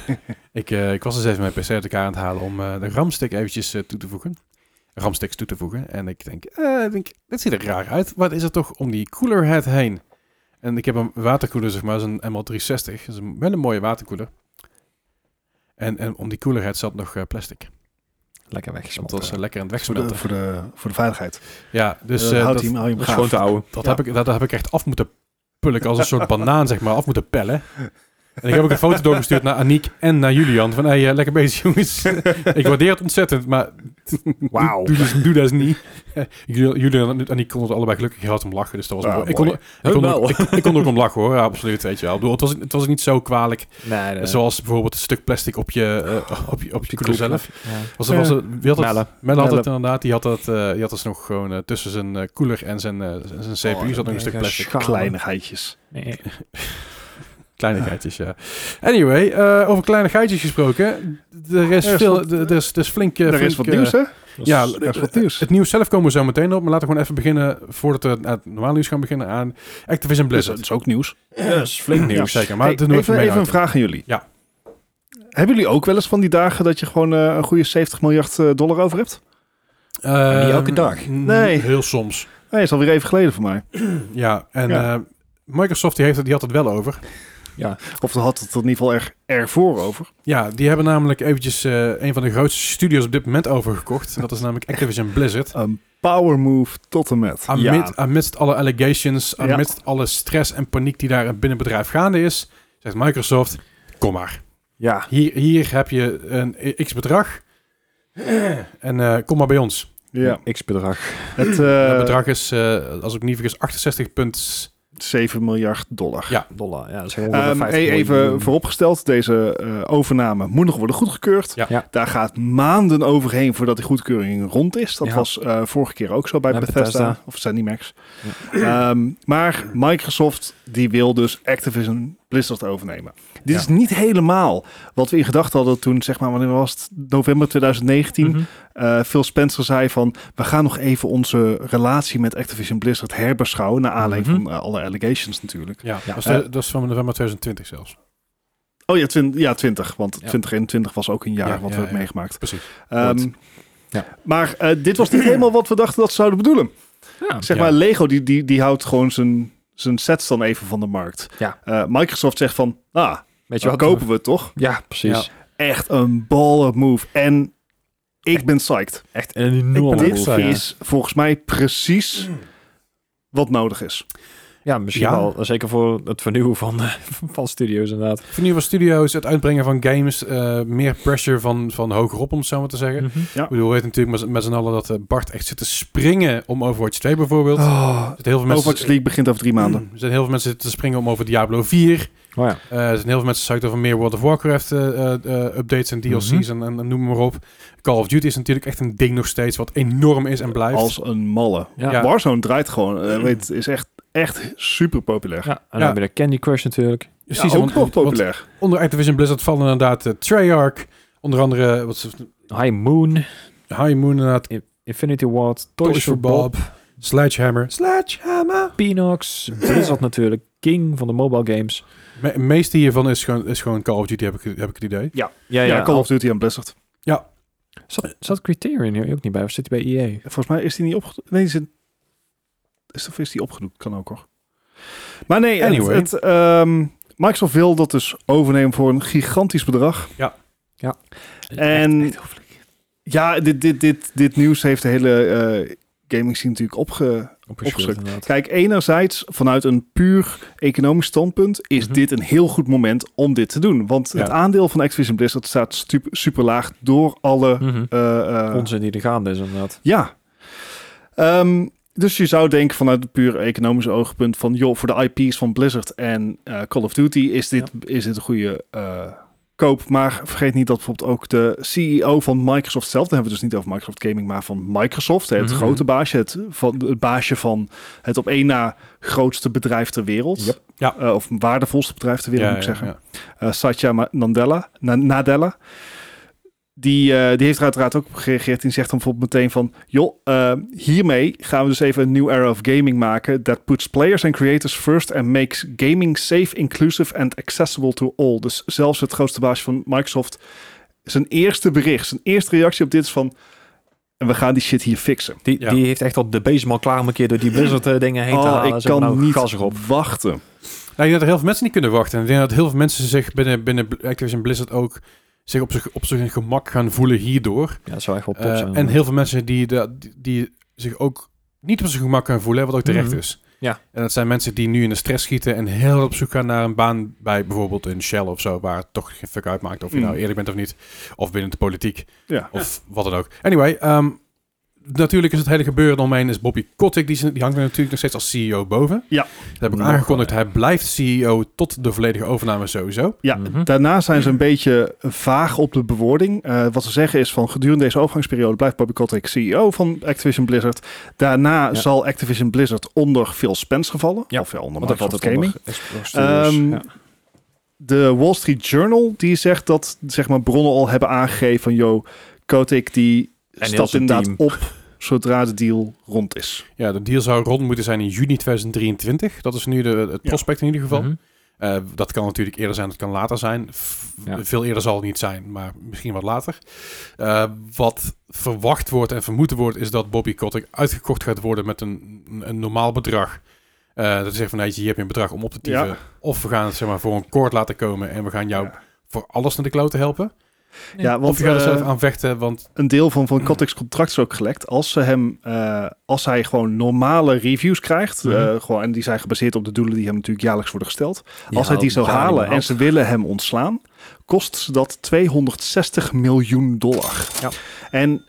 S1: *laughs* ik, eh, ik was dus even mijn PC uit elkaar aan het halen om eh, de ramstick eventjes eh, toe te voegen. Ramsticks toe te voegen. En ik denk, eh, ik denk, dit ziet er raar uit. Wat is er toch om die cooler head heen? En ik heb een waterkoeler, zeg maar, zo'n ML360. Dat is een, wel een mooie waterkoeler. En, en om die cooler head zat nog eh, plastic.
S2: Lekker
S1: Dat
S2: weggesmolten.
S1: was eh, lekker aan het
S3: Voor de,
S1: wegsmelten.
S3: voor de, voor de veiligheid.
S1: Ja, dus
S3: Eh,
S1: eh, dat,
S3: houdt hij hem, hou je hem gaaf.
S2: Schoon te houden.
S1: dat,
S3: Ja.
S1: heb ik, dat heb ik echt af moeten pulken. Als een soort banaan, zeg maar, af moeten pellen. En ik heb ook een foto doorgestuurd naar Aniek en naar Julian. Van, hé, hey, eh, lekker bezig, jongens. ik waardeer het ontzettend, maar
S2: Wauw.
S1: Doe, doe, dus- doe dat eens niet. Jullie jullie en en ik konden het allebei gelukkig hard om lachen. Dus dat was
S3: Ah,
S1: mooi. ik, kon,
S3: mooi.
S1: er- ik, kon er
S2: Wel.
S1: ook, ik, ik kon er ook om lachen hoor. Ja, absoluut. Weet je wel. Ik bedoel, het, was, het was niet zo kwalijk.
S2: Nee, nee.
S1: Zoals bijvoorbeeld een stuk plastic op je, eh, op je, op je koeler zelf.
S2: Ja.
S1: Was, er- was, er- wie had het,
S2: Melle.
S1: Melle had het
S3: Melle.
S1: inderdaad. Die had, dat, eh, die had dus nog gewoon eh, tussen zijn eh, koeler en zijn, eh, zijn zijn CPU
S3: Oh,
S1: zat nog een stuk plastic.
S2: Schaam.
S3: Kleinigheidjes.
S2: Nee.
S1: Kleinigheidjes, ja. Anyway, eh, over kleine geitjes gesproken. Er is,
S3: Er is
S1: veel,
S3: wat-
S1: er er is, er is flink... eh,
S3: er is
S1: flink,
S3: wat
S1: eh,
S3: nieuws, hè?
S1: Ja,
S3: er is wat nieuws.
S1: Het nieuws zelf komen we zo meteen op, maar laten we gewoon even beginnen, voordat we naar het normale nieuws gaan beginnen, aan Activision
S3: Dus
S1: Blizzard.
S3: dat is ook nieuws.
S1: flink
S3: nieuws.
S1: zeker. Maar
S3: Hey,
S1: dat doen we
S3: even,
S1: mee
S3: even een
S1: uit.
S3: vraag aan jullie.
S1: Ja.
S3: Hebben jullie ook wel eens van die dagen dat je gewoon eh, een goede 70 miljard eh, dollar over hebt?
S2: Maar niet
S1: Ehm,
S2: elke dag.
S1: Nee.
S3: Nee.
S1: Heel soms.
S3: Nee, is alweer even geleden voor mij.
S1: Ja, en
S3: Ja.
S1: eh, Microsoft die heeft het, die had het wel over.
S3: Of had het er in ieder geval er, ervoor over.
S1: Ja, die hebben namelijk eventjes eh, een van de grootste studios op dit moment overgekocht. En dat is namelijk Activision *laughs* Blizzard.
S3: Een power move tot en met.
S1: Amid, Amidst alle allegations,
S3: Ja.
S1: amidst alle stress en paniek die daar binnen het bedrijf gaande is, zegt Microsoft, kom maar.
S3: Ja.
S1: Hier, hier heb je een x bedrag. En eh, kom maar bij ons.
S3: ja.
S2: X-bedrag.
S3: Het
S1: dat
S3: eh
S1: bedrag is, eh, als ik niet vergis, 68 punt.
S3: 7 miljard dollar.
S2: Dollar. Ja, dat is ongeveer
S3: Ehm,
S2: 50
S3: e- even
S2: miljoen.
S3: vooropgesteld, deze eh, overname moet nog worden goedgekeurd.
S1: Ja.
S2: Ja.
S3: Daar gaat maanden overheen voordat die goedkeuring rond is. Dat
S2: Ja.
S3: was eh, vorige keer ook zo bij
S2: Bij
S3: Bethesda,
S2: Bethesda.
S3: of Zenimax. Ehm, maar Microsoft die wil dus Activision Blizzard overnemen. Dit
S1: Ja.
S3: is niet helemaal wat we in gedachten hadden toen, zeg maar, wanneer was het? November 2019.
S2: Mhm.
S3: Eh, Phil Spencer zei van, we gaan nog even onze relatie met Activision Blizzard herbeschouwen. Naar aanleiding
S2: Mhm.
S3: van eh, alle allegations natuurlijk.
S1: Ja, Dat, is
S3: Eh.
S1: de- dat is van november 2020 zelfs.
S3: Oh ja, 20, ja, 20 want
S2: Ja.
S3: 2021 was ook een jaar
S1: Ja,
S3: wat
S1: ja,
S3: we hebben
S1: ja.
S3: meegemaakt.
S1: Precies.
S3: Ehm,
S2: Klopt. Ja.
S3: Maar eh, dit was niet helemaal wat we dachten dat ze zouden bedoelen.
S2: Ja.
S3: Zeg
S1: Ja.
S3: maar, Lego die, die, die houdt gewoon zijn, zijn sets dan even van de markt.
S2: Ja.
S3: Eh, Microsoft zegt van, ah,
S2: Weet je
S3: dan
S2: wat?
S3: kopen we het toch?
S2: Ja, precies.
S3: Echt een baller move. En ik ben psyched.
S2: Echt een enorme
S1: ben
S3: Dit
S1: ook
S2: move.
S1: psyched.
S2: Ja.
S3: is volgens mij precies wat nodig is.
S2: Ja, misschien
S1: Ja.
S2: wel. Zeker voor het vernieuwen van, eh, van studio's inderdaad.
S1: Vernieuwen van studio's, het uitbrengen van games, eh, meer pressure van, van hogerop, om het zo maar te zeggen. Ik bedoel, we weten natuurlijk met, met z'n allen dat eh, Bart echt zit te springen om Overwatch 2 bijvoorbeeld. Er zitten
S3: Oh,
S1: heel veel mensen, Hmm.
S3: Overwatch League begint over drie maanden.
S1: er zijn heel veel mensen te springen om over Diablo 4.
S2: Oh ja.
S1: Eh, er zijn heel veel mensen zuikt over meer World of Warcraft eh, eh, eh, updates en DLC's
S2: Mhm.
S1: en, en, en noem maar op. Call of Duty is natuurlijk echt een ding nog steeds wat enorm is en blijft.
S3: Als een malle.
S2: Ja.
S1: Ja. Hmm.
S3: Warzone draait gewoon. eh, weet, is echt, echt super populair.
S2: Ja, en
S1: Ja.
S2: dan weer de Candy Crush natuurlijk.
S1: Precies,
S3: Ja, ook
S1: want-
S3: nog
S1: want
S3: populair.
S1: Onder Activision Blizzard vallen inderdaad eh, Treyarch, onder andere eh, wat is het?
S2: High Moon,
S1: High Moon inderdaad,
S2: Infinity Ward,
S1: Toys, for Bob, Sledgehammer.
S2: Sledgehammer, Pinox, Blizzard natuurlijk, King van de mobile games.
S1: Me meeste hiervan is gewoon, is gewoon Call of Duty, heb ik, heb ik het idee.
S2: Ja,
S3: ja,
S2: ja,
S3: Call of Duty en Blizzard.
S2: Zat, zat Criterion hier ook niet bij? Of zit hij bij E EA?
S3: Volgens mij is die niet opgedoekt. Nee, is, het- is, of is die opgedoekt? Kan ook hoor. Maar nee, het-
S1: Anyway.
S3: het, ehm, Microsoft wil dat dus overnemen voor een gigantisch bedrag. En-
S2: Echt, echt hoofdelijk.
S3: Ja, dit, dit, dit, dit nieuws heeft de hele eh, gaming scene natuurlijk opge,
S2: Opgeschud,
S3: opgeschud.
S2: inderdaad.
S3: Kijk, enerzijds vanuit een puur economisch standpunt is
S2: Mhm.
S3: dit een heel goed moment om dit te doen. Want
S1: Ja.
S3: het aandeel van Activision Blizzard staat stu- super laag door alle...
S2: Mhm.
S3: eh, eh,
S2: Onzin die er gaande is inderdaad.
S3: ja. Ehm, dus je zou denken vanuit het puur economische oogpunt van... joh, voor de IP's van Blizzard en eh, Call of Duty is dit, is dit een goede eh, koop. Maar vergeet niet dat bijvoorbeeld ook de CEO van Microsoft zelf... dan hebben we het dus niet over Microsoft Gaming, maar van Microsoft... het
S2: Mhm.
S3: grote baasje, het, van, het baasje van het op één na grootste bedrijf ter wereld...
S2: Yep.
S1: Ja.
S3: Eh, of waardevolste bedrijf ter wereld,
S1: Ja,
S3: moet ik
S1: ja,
S3: zeggen.
S1: ja.
S3: Eh, Satya Ma- Nadella. Na- Nadella. Die, eh, die heeft er uiteraard ook op gereageerd. Die zegt dan bijvoorbeeld meteen van... joh, eh, hiermee gaan we dus even een new era of gaming maken... that puts players and creators first... and makes gaming safe, inclusive and accessible to all. Dus zelfs het grootste baasje van Microsoft... zijn eerste bericht, zijn eerste reactie op dit is van... en we gaan die shit hier fixen.
S2: Die,
S1: Ja.
S2: die heeft echt al de bezem al klaar om een keer door die Blizzard eh, dingen heen te
S3: Oh,
S2: halen.
S3: ik
S2: Zeg maar,
S3: kan
S2: nou,
S3: niet
S2: gas erop.
S3: wachten.
S1: Nou, ik denk dat er heel veel mensen niet kunnen wachten. Ik denk dat heel veel mensen zich binnen, binnen Activision Blizzard ook zich op zich op zijn gemak gaan voelen hierdoor.
S2: Ja, dat zou echt wel top
S1: Eh,
S2: zijn.
S1: en heel veel mensen die, de, die, die zich ook niet op zijn gemak gaan voelen, wat ook terecht
S2: Mhm.
S1: is.
S2: Ja.
S1: En dat zijn mensen die nu in de stress schieten en heel hard op zoek gaan naar een baan bij bijvoorbeeld een Shell of zo, waar het toch geen fuck uitmaakt of je
S2: Mhm.
S3: Mm.
S1: nou eerlijk bent of niet. Of binnen de politiek.
S3: Ja.
S1: Of wat dan ook. Anyway, ehm, natuurlijk is het hele gebeuren omheen is Bobby Kotick. Die, zit- die hangt er natuurlijk nog steeds als CEO boven.
S3: Ja.
S1: Dat heb ik
S2: Nog
S1: aangekondigd. Hij blijft CEO tot de volledige overname sowieso.
S3: Ja,
S2: Mhm.
S3: daarna zijn ze een beetje vaag op de bewoording. Eh, wat ze zeggen is van gedurende deze overgangsperiode blijft Bobby Kotick CEO van Activision Blizzard. Daarna
S2: Ja.
S3: zal Activision Blizzard onder Phil Spencer vallen.
S2: Ja,
S3: Of ja, onder
S2: Want dat valt
S3: Microsoft
S2: ook
S3: Gaming.
S2: onder Xbox Studios.
S3: Ehm,
S2: Ja.
S3: De Wall Street Journal die zegt dat zeg maar, bronnen al hebben aangegeven van... yo, Kotick die
S2: heel
S3: stapt
S2: zijn
S3: inderdaad
S2: team.
S3: op zodra de deal rond is.
S1: Ja, de deal zou rond moeten zijn in juni 2023. Dat is nu de, het
S3: Ja.
S1: prospect in ieder geval.
S2: Mhm.
S1: Eh, dat kan natuurlijk eerder zijn, dat kan later zijn. F-
S2: Ja.
S1: Veel eerder zal het niet zijn, maar misschien wat later. Eh, wat verwacht wordt en vermoed wordt, is dat Bobby Kotick uitgekocht gaat worden met een, een normaal bedrag. Eh, dat is echt van, nee, hier heb je een bedrag om op te tieven.
S3: Ja.
S1: Of we gaan het zeg maar, voor een koord laten komen en we gaan jou
S3: Ja.
S1: voor alles naar de klote helpen.
S2: Ja,
S3: Ja, want
S1: of je gaat er
S3: eh,
S1: zelf aan vechten, want
S3: een deel van, van Kotick's contract is ook gelekt. Als, ze hem, eh, als hij gewoon normale reviews krijgt,
S2: Mhm.
S3: eh, gewoon, en die zijn gebaseerd op de doelen die hem natuurlijk jaarlijks worden gesteld. Als
S2: Ja,
S3: hij die zou
S2: ja,
S3: halen en
S2: überhaupt.
S3: ze willen hem ontslaan, kost ze dat 260 miljoen dollar.
S2: Ja.
S3: En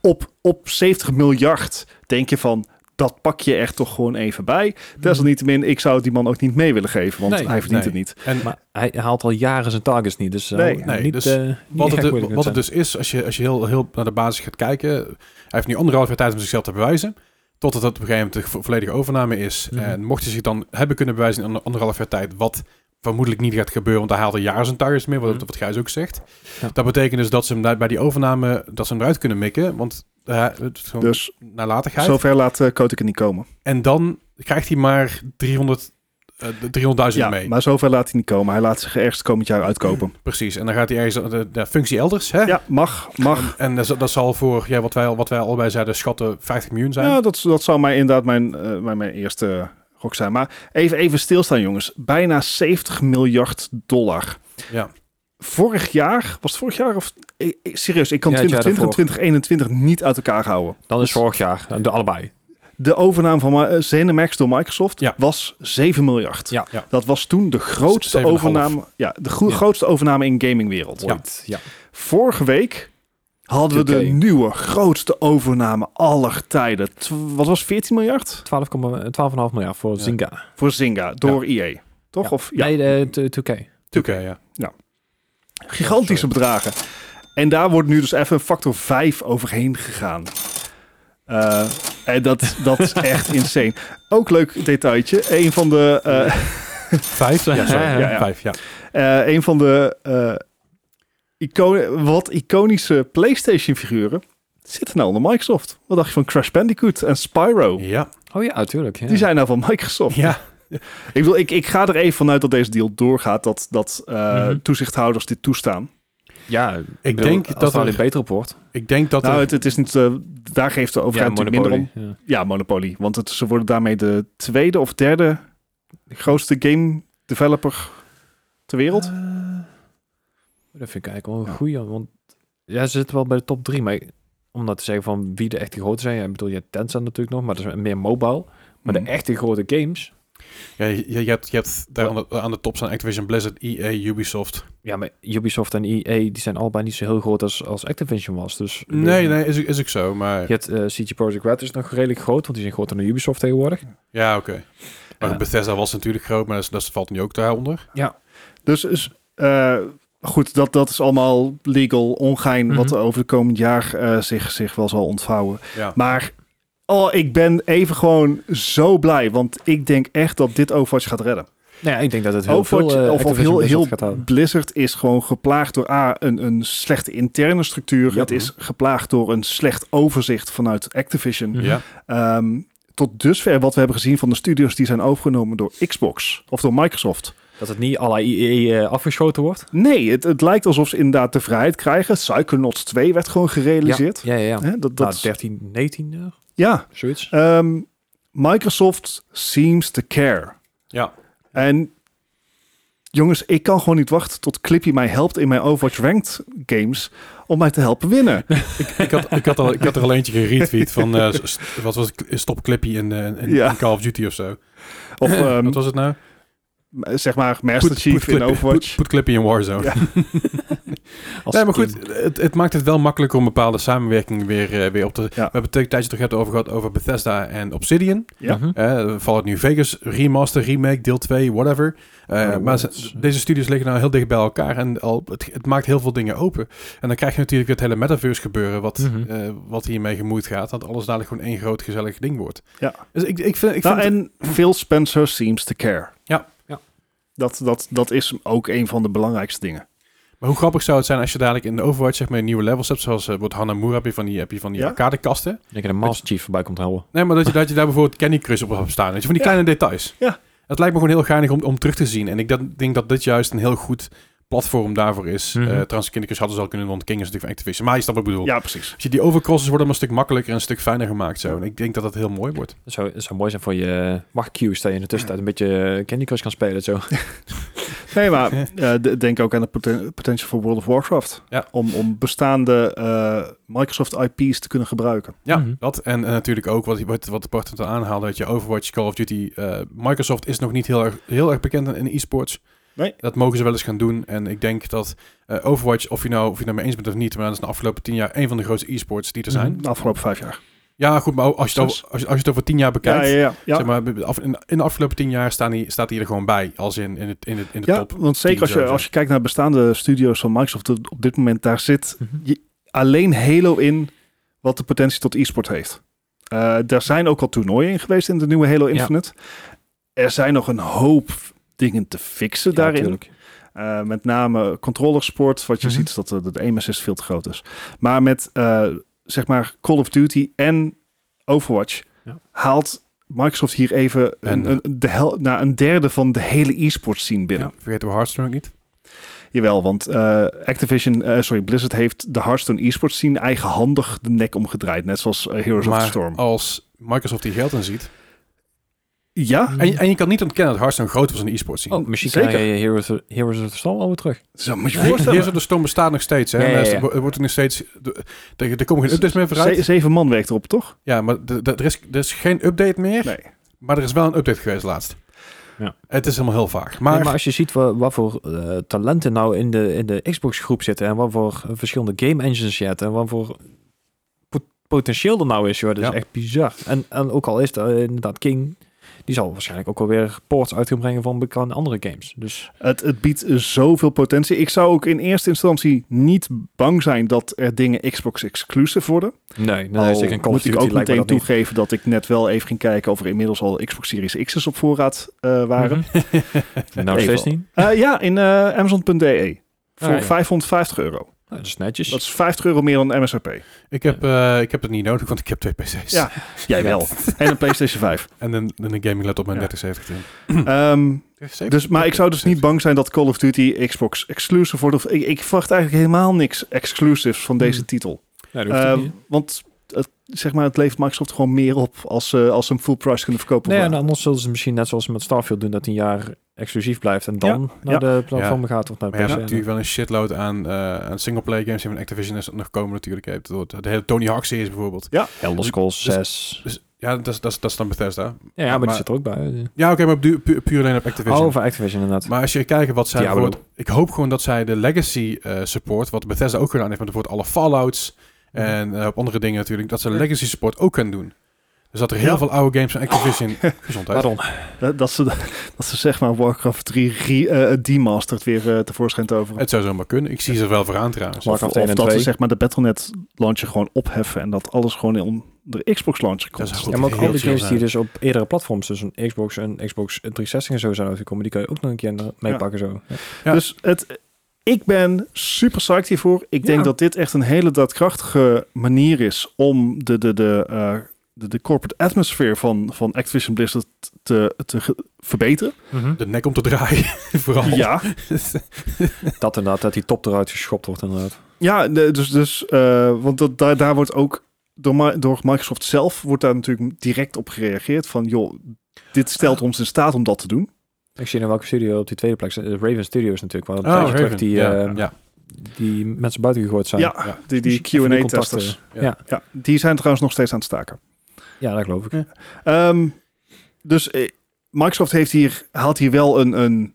S3: op, op 70 miljard denk je van, dat pak je echt toch gewoon even bij. Desalniettemin, ik zou het die man ook niet mee willen geven, want
S2: Nee,
S3: hij verdient
S1: nee.
S3: het niet.
S1: en
S2: Maar hij haalt al jaren zijn targets niet, dus... eh,
S3: Nee.
S2: niet,
S1: Nee, dus
S2: eh, niet
S1: Wat,
S2: erg
S1: het,
S2: moeilijk
S1: wat het
S2: met
S1: dus is, als je, als je heel, heel naar de basis gaat kijken. Hij heeft nu anderhalf jaar tijd om zichzelf te bewijzen. Totdat het op een gegeven moment de vo- volledige overname is.
S2: Mhm.
S1: En mocht hij zich dan hebben kunnen bewijzen in ander- anderhalf jaar tijd. Wat vermoedelijk niet gaat gebeuren, want hij haalt een jaar zijn targets mee. Wat,
S2: Mhm.
S1: wat Gijs ook zegt.
S2: Ja.
S1: Dat betekent dus dat ze hem daar- bij die overname dat ze hem eruit kunnen mikken. Want eh, het is gewoon
S3: Dus
S1: nalatigheid.
S3: zover laat eh Kotick er niet komen.
S1: En dan krijgt hij maar 300, eh, de 300.000
S3: Ja,
S1: mee.
S3: maar zover laat hij niet komen. Hij laat zich ergens komend jaar uitkopen.
S1: Precies. En dan gaat hij ergens eh, de, de functie elders. Hè?
S3: Ja, mag, mag.
S1: En dat, dat zal voor ja, wat, wij, al- wat wij allebei zeiden, schatten 50 miljoen zijn.
S3: Ja, dat, dat zou mij inderdaad mijn, eh, mijn, mijn eerste gok zijn. Maar even, even stilstaan, jongens. Bijna 70 miljard dollar.
S1: Ja.
S3: Vorig jaar, was het vorig jaar of... eh, eh, serieus, ik kan
S2: Ja, het jaar
S3: 2020 en 2021 niet uit elkaar houden.
S2: Dan is vorig jaar, eh, de allebei.
S3: De overname van Ma- eh, ZeniMax door Microsoft
S1: Ja.
S3: was 7 miljard.
S2: Ja.
S1: Ja.
S3: Dat was toen de grootste
S1: 7,5.
S3: overname, ja, de gro-
S2: Ja.
S3: grootste overname in gamingwereld.
S2: Ooit. Ja.
S3: Vorige week hadden we de
S2: 2K.
S3: nieuwe grootste overname aller tijden. Tw- wat was 14 miljard?
S2: 12, 12,5 miljard voor
S1: Ja.
S2: Zynga.
S3: voor Zynga door EA. Toch? Of, ja,
S2: Nee, eh, de 2K.
S1: 2K, ja.
S3: gigantische bedragen. En daar wordt nu dus even een factor 5 overheen gegaan. Eh, en dat, dat
S2: *laughs*
S3: is echt insane. Ook leuk detailtje. Een van de, eh,
S1: Vijf, ja, sorry.
S2: Ja,
S1: Ja,
S3: ja, ja.
S1: Vijf, ja.
S3: eh, een van de eh, ico- wat iconische PlayStation figuren zitten nou onder Microsoft. Wat dacht je van Crash Bandicoot en Spyro?
S1: Ja.
S2: Oh ja, natuurlijk. Ja.
S3: Die zijn nou van Microsoft.
S1: ja.
S3: Ik, bedoel, ik, ik ga er even vanuit dat deze deal doorgaat. Dat, dat eh,
S2: Mhm.
S3: toezichthouders dit toestaan.
S2: ja
S1: Ik
S2: bedoel,
S1: denk
S2: als
S1: dat
S2: er
S1: er-
S2: alleen beter op wordt.
S1: Ik denk dat
S3: Nou,
S1: er-
S3: het, het is niet, eh, daar geeft de overheid natuurlijk minder om.
S2: Ja.
S3: Ja, Monopoly. Want het, ze worden daarmee de tweede of derde grootste game developer ter wereld.
S2: Eh, dat vind ik eigenlijk wel een goeie. Want ja, ze zitten wel bij de top drie. Maar ik- om dat te zeggen van wie de echte grote zijn. Ja, ik bedoel, je hebt Tencent natuurlijk nog, maar dat is meer mobile. Maar
S3: Mm.
S2: de echte grote games.
S1: ja, je, je hebt, je hebt daar aan de, aan de top staan Activision Blizzard, EA, Ubisoft.
S2: Ja, maar Ubisoft en EA, die zijn allebei niet zo heel groot als, als Activision was. Dus
S1: Nee, nee, is, ook- is ook zo, maar...
S2: Je hebt eh CG Projekt Red is nog redelijk groot, want die zijn groter dan Ubisoft tegenwoordig.
S1: Ja, oké. Maar
S2: Ja.
S1: Bethesda was natuurlijk groot, maar dat, is- dat valt nu ook daaronder.
S3: Dus is, eh, goed, dat, dat is allemaal legal ongein
S2: Mhm.
S3: wat er over de komend jaar eh, zich, zich wel zal ontvouwen. *laughs*
S1: Ja.
S3: Maar oh, ik ben even gewoon zo blij. Want ik denk echt dat dit Overwatch gaat redden.
S2: Nou ja, ik denk dat het heel
S3: Overwatch,
S2: veel eh,
S3: of, of
S2: Activision
S3: heel,
S2: Blizzard
S3: heel
S2: gaat houden.
S3: Blizzard is gewoon geplaagd door A, een, een slechte interne structuur.
S2: Ja.
S3: Het is geplaagd door een slecht overzicht vanuit Activision.
S2: Mhm.
S1: Ja.
S3: Ehm, tot dusver wat we hebben gezien van de studios die zijn overgenomen door Xbox of door Microsoft.
S2: Dat het niet alle EA eh, afgeschoten wordt.
S3: Nee, het, het lijkt alsof ze inderdaad de vrijheid krijgen. Psychonauts 2 werd gewoon gerealiseerd.
S2: Ja, ja, ja.
S3: Hè, dat, dat,
S2: Nou, 13, 19, eh,
S3: ja.
S2: zoiets.
S3: Ehm, Microsoft seems to care.
S1: Ja.
S3: En jongens, ik kan gewoon niet wachten tot Clippy mij helpt in mijn Overwatch Ranked games om mij te helpen winnen.
S1: Ik had, ik, had al, ik had er al eentje geretweet van, eh, st- wat was het, stop Clippy in, eh, in,
S3: Ja.
S1: in Call of Duty of zo.
S3: Of ehm,
S1: wat was het nou?
S3: zeg maar Master Chief in
S1: Clippy-
S3: Overwatch.
S1: Put, put Clippy in Warzone.
S3: Ja.
S2: Als
S1: Nee, maar
S2: team.
S1: goed, het, het maakt het wel makkelijker om bepaalde samenwerkingen weer, eh, weer op te... We hebben het een tijdje terug het over gehad over Bethesda en Obsidian.
S3: Ja.
S2: Mhm.
S1: Eh, Fallout New Vegas, remaster, remake, deel 2, whatever. Eh,
S2: Oh,
S1: maar
S2: wow,
S1: ze-
S2: dat is, eh,
S1: deze studios liggen nou heel dicht bij elkaar en al, het, het maakt heel veel dingen open. En dan krijg je natuurlijk het hele metaverse gebeuren wat,
S2: Mhm.
S1: eh, wat hiermee gemoeid gaat. Dat alles dadelijk gewoon één groot gezellig ding wordt.
S3: Ja.
S1: Dus ik, ik vind... Ik
S3: Nou,
S1: vind
S3: en Phil Spencer seems to care.
S1: Ja.
S2: Ja.
S3: Dat, dat, dat is ook een van de belangrijkste dingen.
S1: Maar hoe grappig zou het zijn als je dadelijk in de Overwatch zeg maar nieuwe levels hebt, zoals eh, wordt Hanamura, heb je van die, heb je van die
S3: Ja.
S1: arcadekasten.
S2: Ik denk dat Master Chief voorbij komt houden.
S1: Nee, maar dat je, dat je daar bijvoorbeeld Candy Crush op hebt staan. Weet je, van die
S3: Ja.
S1: kleine details.
S3: Ja.
S1: Het lijkt me gewoon heel geinig om, om terug te zien. En ik dat, denk dat dit juist een heel goed platform daarvoor is. Eh
S2: Mhm.
S1: trouwens, Candy Crush hadden ze al kunnen doen, want King is natuurlijk van Activision. Maar je snapt wat ik bedoel.
S3: Ja, precies.
S1: Als je die overcrosses worden maar een stuk makkelijker en een stuk fijner gemaakt zo. En ik denk dat dat heel mooi wordt.
S2: Het zou, het zou mooi zijn voor je eh, wachtqueues, dat je in de tussentijd een beetje eh, Candy Crush kan spelen. Zo.
S1: *laughs*
S3: Nee, maar eh, de- denk ook aan het poten- potential voor World of Warcraft.
S1: Ja.
S3: Om, om bestaande eh, Microsoft IP's te kunnen gebruiken.
S1: Ja,
S2: Mhm.
S1: dat. En, en natuurlijk ook wat, wat, wat Bart al aanhaalde, dat je Overwatch, Call of Duty... eh, Microsoft is nog niet heel erg, heel erg bekend in, in e-sports.
S3: Nee.
S1: Dat mogen ze wel eens gaan doen. En ik denk dat eh, Overwatch, of je nou of je nou mee eens bent of niet... maar dat is de afgelopen tien jaar een van de grootste e-sports die er zijn.
S2: Mhm.
S3: De afgelopen vijf jaar.
S1: Ja, goed, maar als je het over, als je, als je het over tien jaar bekijkt...
S3: ja, ja. ja.
S1: Zeg maar, af- in, in de afgelopen tien jaar staan die, staat hij er gewoon bij. Als in, in, het, in, het, in de
S3: Ja,
S1: top.
S3: want zeker als je,
S1: sowieso.
S3: als je kijkt naar bestaande studio's van Microsoft dat op dit moment, daar zit je- alleen Halo in wat de potentie tot e-sport heeft. Eh daar zijn ook al toernooien in geweest in de nieuwe Halo Infinite. Er zijn nog een hoop dingen te fixen daarin. Eh, met name controllersport. Wat je
S2: Mhm.
S3: ziet is dat de, de aim assist veel te groot is. Maar met eh, zeg maar Call of Duty en Overwatch
S2: Ja.
S3: haalt Microsoft hier even
S1: En,
S3: een, een- de hel, nou, een derde van de hele e-sports scene binnen.
S1: Ja, vergeten we Hearthstone ook niet.
S3: Jawel, want eh, Activision, eh, sorry, Blizzard heeft de Hearthstone e-sports scene eigenhandig de nek omgedraaid. Net zoals eh, Heroes of
S1: maar
S3: the Storm.
S1: als Microsoft hier geld in ziet...
S3: Ja,
S1: En, en je kan niet ontkennen dat Hearthstone groot was in de e-sports scene.
S2: Oh, misschien
S3: zeker.
S2: krijg je Heroes of, Heroes of the Storm alweer terug.
S3: zo moet je je
S1: Hier
S3: voorstellen.
S1: Heroes of the Storm bestaat nog steeds, hè?
S2: Ja, ja, ja.
S1: Mensen- wo- Er wordt nog steeds... de- Er er komen geen updates meer vooruit.
S3: Ze- zeven man werkt erop, toch?
S1: Ja, maar de- de- er is, er is geen update meer.
S3: Nee.
S1: Maar er is wel een update geweest laatst.
S2: Ja.
S1: Het is helemaal heel vaag.
S2: Maar,
S1: Maar,
S2: maar als je ziet wa- wat voor eh, talenten nou in de, in de Xbox-groep zitten en wat voor eh, verschillende game engines je hebt en wat voor pot- potentieel er nou is, joh, dat
S1: Ja.
S2: is echt bizar. En, en ook al is dat eh, inderdaad King, die zal waarschijnlijk ook alweer ports uit gaan brengen van bekende andere games. Dus
S3: Het, het biedt zoveel potentie. Ik zou ook in eerste instantie niet bang zijn dat er dingen Xbox exclusive worden.
S2: nee, nee
S3: Al
S2: zeker een Call of
S3: moet ik
S2: Duty lijkt
S3: ook
S2: me
S3: meteen
S2: dat niet.
S3: toegeven dat ik net wel even ging kijken of er inmiddels al Xbox Series X's op voorraad eh,
S2: *laughs*
S3: waren.
S2: Mhm. nou, steeds
S3: Even.
S2: niet.
S3: Eh, ja, in eh, Amazon.de voor
S2: Ah, ja.
S3: 550 euro.
S2: Nou, dat is netjes.
S3: Dat is 50 euro meer dan
S2: *laughs*
S3: MSRP.
S1: ik, heb, eh, ik heb het niet nodig, want ik heb twee PC's.
S3: Ja. Jij wel. *laughs* En een PlayStation 5.
S1: En een, en een gaming laptop met
S3: Ja.
S1: 3070.
S3: Ehm,
S1: in.
S3: dus, maar ik zou dus niet bang zijn dat Call of Duty Xbox exclusive wordt. Of, ik, ik verwacht eigenlijk helemaal niks exclusives van deze
S2: Hmm.
S3: titel.
S2: Nee, dat hoeft ook
S3: Eh,
S2: niet.
S3: want het, zeg maar, het levert Microsoft gewoon meer op als ze als ze hem full price kunnen verkopen.
S2: Nee, nou.
S3: voor-
S2: en anders zullen ze misschien net zoals ze met Starfield doen, dat die een jaar exclusief blijft en dan naar de platform gaat of naar
S1: Maar je hebt
S2: PC.
S1: natuurlijk wel een shitload aan, eh aan singleplayer games. Van Activision is nog komen natuurlijk. Je hebt de- De hele Tony Hawk series bijvoorbeeld.
S2: Elder Scrolls
S1: Dus-
S2: 6.
S1: Dus ja, dat is, dat is, dat is dan Bethesda.
S2: Ja, ja, maar,
S1: maar-
S2: die zit er ook bij.
S1: Ja, oké, maar du- pu- puur alleen op Activision.
S2: Oh, voor Activision inderdaad.
S1: Maar als je kijkt wat zij
S2: Diablo.
S1: bijvoorbeeld... Ik hoop gewoon dat zij de legacy eh, support, wat Bethesda ook gedaan heeft, met bijvoorbeeld alle Fallouts en eh, op andere dingen natuurlijk, dat ze
S2: Ja.
S1: legacy support ook kunnen doen. Dus dat er heel
S3: Ja.
S1: veel oude games van Activision... Gezondheid.
S2: Waarom?
S3: Eh, dat, dat ze, *laughs* dat ze zeg maar Warcraft 3 re, eh, demastered weer eh, tevoorschijn toveren.
S1: Het zou zomaar kunnen. Ik zie ze er wel voor aan trouwens.
S3: Of,
S2: Warcraft
S3: of
S2: 1 en
S3: dat
S2: 2.
S3: ze zeg maar de Battle.net launcher gewoon opheffen en dat alles gewoon in de Xbox launcher komt.
S1: Dat is
S2: Ja,
S1: goed.
S2: maar ook
S1: Heel
S2: al die
S1: chill
S2: games die
S1: zijn.
S2: dus op eerdere platforms, dus een Xbox en Xbox 360 en zo zijn uitgekomen, die kan je ook nog een keer meepakken zo.
S1: Ja.
S3: Dus het, ik ben super psyched hiervoor. Ik denk
S2: Ja.
S3: dat dit echt een hele daadkrachtige manier is om de, de, de, eh, de, de corporate atmosphere van, van Activision Blizzard te, te ge- verbeteren.
S2: Mhm.
S1: De nek om te draaien, *laughs* vooral.
S3: Ja,
S2: Dus Dat inderdaad, dat die top eruit geschopt wordt inderdaad.
S3: Ja, de- dus, dus eh, want dat, daar, daar wordt ook door, Mi- door Microsoft zelf wordt daar natuurlijk direct op gereageerd van joh, dit stelt ons in staat om dat te doen.
S2: Ik zie in welke studio op die tweede plek, zit. Eh, Raven Studios natuurlijk, waar een
S1: Oh,
S2: tijdje terug
S1: Raven.
S2: die,
S1: ja,
S2: eh,
S1: ja.
S2: die mensen buiten gegooid zijn.
S3: ja,
S1: ja.
S3: die, die
S2: Dus even die
S3: Q&A-testers.
S1: Ja.
S2: contacten. Ja.
S3: Ja, die zijn trouwens nog steeds aan het staken.
S2: Ja, dat geloof ik.
S3: Ehm, dus eh, Microsoft heeft hier, haalt hier wel een, een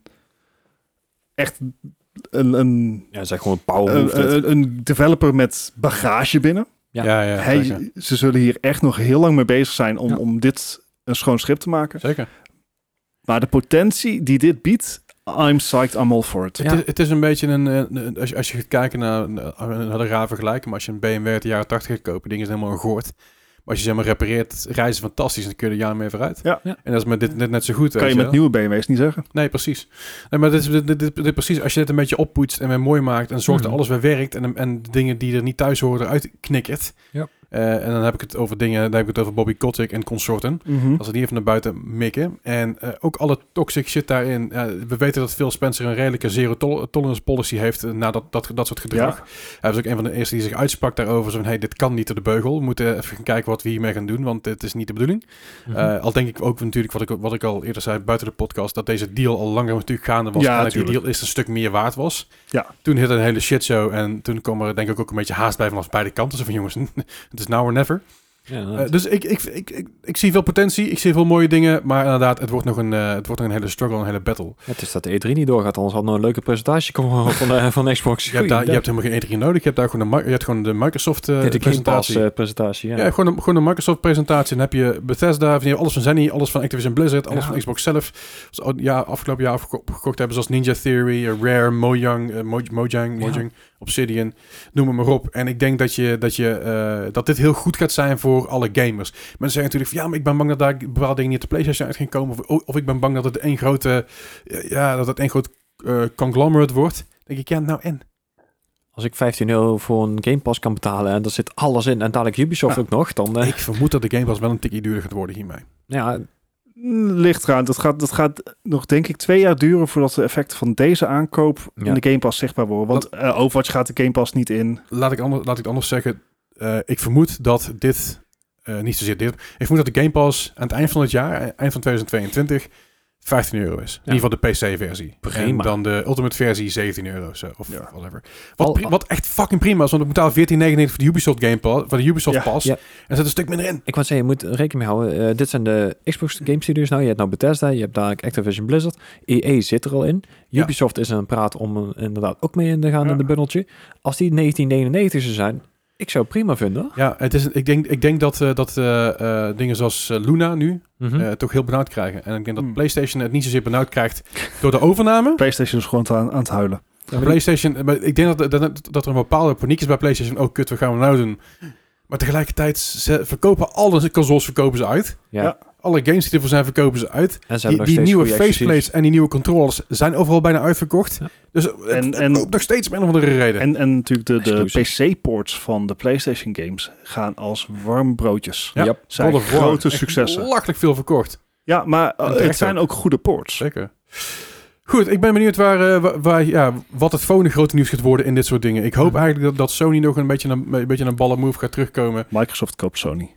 S3: echt een, een,
S2: Ja, zeg gewoon power move dit.
S3: een, een, een developer met bagage binnen.
S1: Ja,
S2: Ja.
S1: ja,
S3: Hij,
S1: zeker.
S3: ze zullen hier echt nog heel lang mee bezig zijn om,
S2: Ja.
S3: om dit een schoon schip te maken.
S1: Zeker.
S3: Maar de potentie die dit biedt, I'm psyched, I'm all for it.
S2: Ja.
S1: Het, is, het is een beetje een... eh, een- als, je, als je gaat kijken naar... een- een een raar vergelijking, maar als je een BMW uit de jaren 80 gaat kopen, ding is helemaal een goord. Maar als je ze maar repareert, rijden ze fantastisch en dan kun je er jaren mee vooruit.
S3: Ja.
S2: Ja.
S1: En dat is met dit net, net zo goed.
S3: kan
S1: weet
S3: je
S1: je
S3: met
S1: wel.
S3: nieuwe BMW's niet zeggen.
S1: Nee, precies. Nee, maar dit, is- dit, dit, dit, dit precies. Als je dit een beetje oppoetst en weer mooi maakt en zorgt dat
S2: Mhm.
S1: alles weer werkt en, en de dingen die er niet thuis horen eruit knikkert.
S2: Ja.
S1: Eh, en dan heb ik het over dingen, dan heb ik het over Bobby Kotick en consorten.
S2: Mhm.
S3: Hm?
S1: Als ze die even naar buiten mikken. En eh, ook alle toxic shit daarin. Eh, we weten dat Phil Spencer een redelijke zero tol- tolerance policy heeft eh, na dat, dat, dat soort gedrag. Hij was ook een van de eerste die zich uitsprak daarover. Zo van, hey, dit kan niet door de beugel. We moeten even gaan kijken wat we hiermee gaan doen, want dit is niet de bedoeling.
S3: Mhm.
S1: Eh, al denk ik ook natuurlijk, wat ik, wat ik al eerder zei buiten de podcast, dat deze deal al langer natuurlijk gaande was.
S3: Ja,
S1: en dat die
S3: tuurlijk.
S1: deal eerst een stuk meer waard was.
S3: Ja.
S1: Toen hit een hele shit show en toen kwam er denk ik ook een beetje haast bij vanaf beide kanten. Zo van jongens, *laughs* het is now or never.
S2: Ja,
S1: Eh,
S2: inderdaad.
S1: dus ik, ik, ik, ik, ik zie veel potentie, ik zie veel mooie dingen, maar inderdaad, het wordt nog een, eh, het wordt nog een hele struggle, een hele battle.
S2: Het is dat de E3 niet doorgaat, anders had nog een leuke presentatie komen *laughs* van, de, van Xbox.
S1: Je hebt, daar, je hebt helemaal geen E3 nodig, je hebt daar gewoon, een, mi- je hebt gewoon de Microsoft eh,
S2: de Game Pass
S1: presentatie.
S2: eh, presentatie, ja.
S1: Ja, gewoon een, gewoon een Microsoft-presentatie. Dan heb je Bethesda, van- je hebt alles van Zenny, alles van Activision Blizzard, alles
S2: Ja.
S1: van Xbox zelf. Dus, oh, ja, afgelopen jaar afgeko- opgekocht hebben, zoals Ninja Theory, eh, Rare, Mojang, eh, Moj- Mojang,
S2: Ja.
S1: Mojang Obsidian, noem het maar op. En ik denk dat, je, dat, je, eh, dat dit heel goed gaat zijn voor alle gamers. Mensen zeggen natuurlijk van, ja, maar ik ben bang dat daar bepaalde dingen niet op de PlayStation uit gaan komen. Of, oh, of ik ben bang dat het één grote, eh, ja, dat het één groot eh, conglomerate wordt. Dan denk ik, ja, nou
S2: *laughs*
S1: en?
S2: Als ik 15 euro voor een Game Pass kan betalen en daar zit alles in en dadelijk Ubisoft ook nog, dan... eh,
S1: Ik vermoed dat de Game Pass wel een tikje duurder gaat worden hiermee.
S2: Ja,
S3: Ligt eraan. Dat gaat, dat gaat nog denk ik twee jaar duren voordat de effecten van deze aankoop
S2: Ja.
S3: in de Game Pass zichtbaar worden. Want eh, Overwatch gaat de Game Pass niet in.
S1: Laat ik, anders, laat ik het anders zeggen. Eh, ik vermoed dat dit, eh, niet zozeer dit, ik vermoed dat de Game Pass aan het eind van het jaar, eh, eind van 2022, 15 euro is.
S2: Ja.
S1: In ieder geval de PC-versie. En
S2: Prima.
S1: dan de Ultimate versie 17 euro zo, of
S3: Ja.
S1: whatever. Wat,
S2: Al-
S1: pri- wat echt fucking prima is, want ik betaal 14,99 voor de Ubisoft Game Pass, voor de Ubisoft
S3: Ja.
S1: Pass.
S2: Ja.
S1: En zet een stuk minder in.
S2: ik wou zeggen, je moet rekening mee houden. Eh, dit zijn de Xbox Game Studios. Nou, je hebt nou Bethesda, je hebt dadelijk Activision Blizzard. EA zit er al in.
S1: Ja.
S2: Ubisoft is aan het praten om er inderdaad ook mee in te gaan in de bundeltje. Als die 1999 zou zijn, ik zou het prima vinden.
S1: Ja, het is, ik, denk, ik denk dat, eh, dat eh, eh, dingen zoals eh, Luna nu
S2: Mhm.
S1: eh, toch heel benauwd krijgen. En ik denk dat
S3: Hmm.
S1: PlayStation het niet zozeer benauwd krijgt door de overname.
S3: PlayStation is gewoon aan, aan het huilen.
S2: Ja, maar die-
S1: PlayStation, maar ik denk dat, dat, dat er een bepaalde paniek is bij PlayStation. Oh, kut, wat gaan we nou doen? Maar tegelijkertijd, ze verkopen alle consoles verkopen ze uit.
S2: ja.
S3: Ja.
S1: Alle games die ervoor zijn, verkopen ze uit.
S2: En ze hebben
S1: Die,
S2: nog
S1: die
S2: steeds
S1: nieuwe
S2: goede exclusies.
S1: faceplates en die nieuwe controllers zijn overal bijna uitverkocht.
S2: Ja.
S1: Dus en,
S3: En-
S1: het,
S3: en-
S1: loopt nog steeds om een of andere reden.
S3: En, en natuurlijk de, de
S2: Exclusief.
S3: PC-ports van de PlayStation games gaan als warm broodjes.
S1: Ja.
S2: Ja.
S3: Zijn
S1: God of War,
S3: grote
S1: echt
S2: *laughs*
S3: successen.
S1: Belachelijk veel verkocht.
S3: Ja, maar eh,
S1: En terecht
S3: het zijn ook goede ports.
S1: Zeker. Goed, ik ben benieuwd waar, eh, wa- waar, ja, wat het volgende grote nieuws gaat worden in dit soort dingen. Ik hoop
S2: Ja.
S1: eigenlijk dat, dat Sony nog een beetje een, een beetje een ballen move gaat terugkomen.
S3: Microsoft koopt Sony.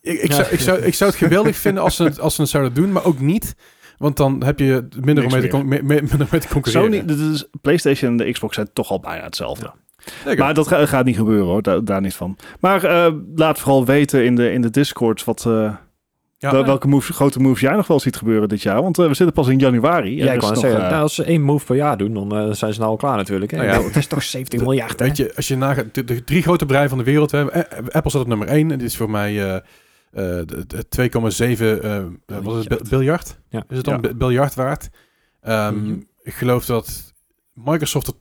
S1: Ik, ik,
S2: Ja.
S1: zou, ik, zou, ik zou het geweldig *laughs* vinden als ze het, als ze het zouden doen, maar ook niet. Want dan heb je minder, om
S3: Niks
S1: mee te, con- me- me- minder mee te concurreren.
S3: Sony, dit is, PlayStation en de Xbox zijn toch al bijna hetzelfde.
S1: Zeker.
S3: Maar dat ga- gaat niet gebeuren hoor, daar, daar niet van. Maar eh, laat vooral weten in de, in de Discord wat, eh,
S1: ja,
S3: wel- welke moves, grote moves jij nog wel ziet gebeuren dit jaar. Want eh, we zitten pas in januari. en
S2: Ja,
S3: er
S2: ik
S3: is
S2: wou net
S3: nog,
S2: zeggen,
S3: eh,
S2: nou, als ze één move per jaar doen, dan eh, zijn ze nou al klaar natuurlijk. Hè?
S1: Nou ja.
S2: Ik bedoel, het is toch 17
S1: *laughs*
S2: miljard, hè?
S1: Weet je, als je nagaat, de, de drie grote bedrijven van de wereld we hebben. eh, Apple staat op nummer 1. Dit is voor mij eh, eh, de- de 2,7 eh, eh, wat is het, bil- biljard.
S2: Ja.
S1: Is het dan
S3: Ja.
S1: bi- biljard waard? Ehm,
S2: Mhm.
S1: Ik geloof dat Microsoft op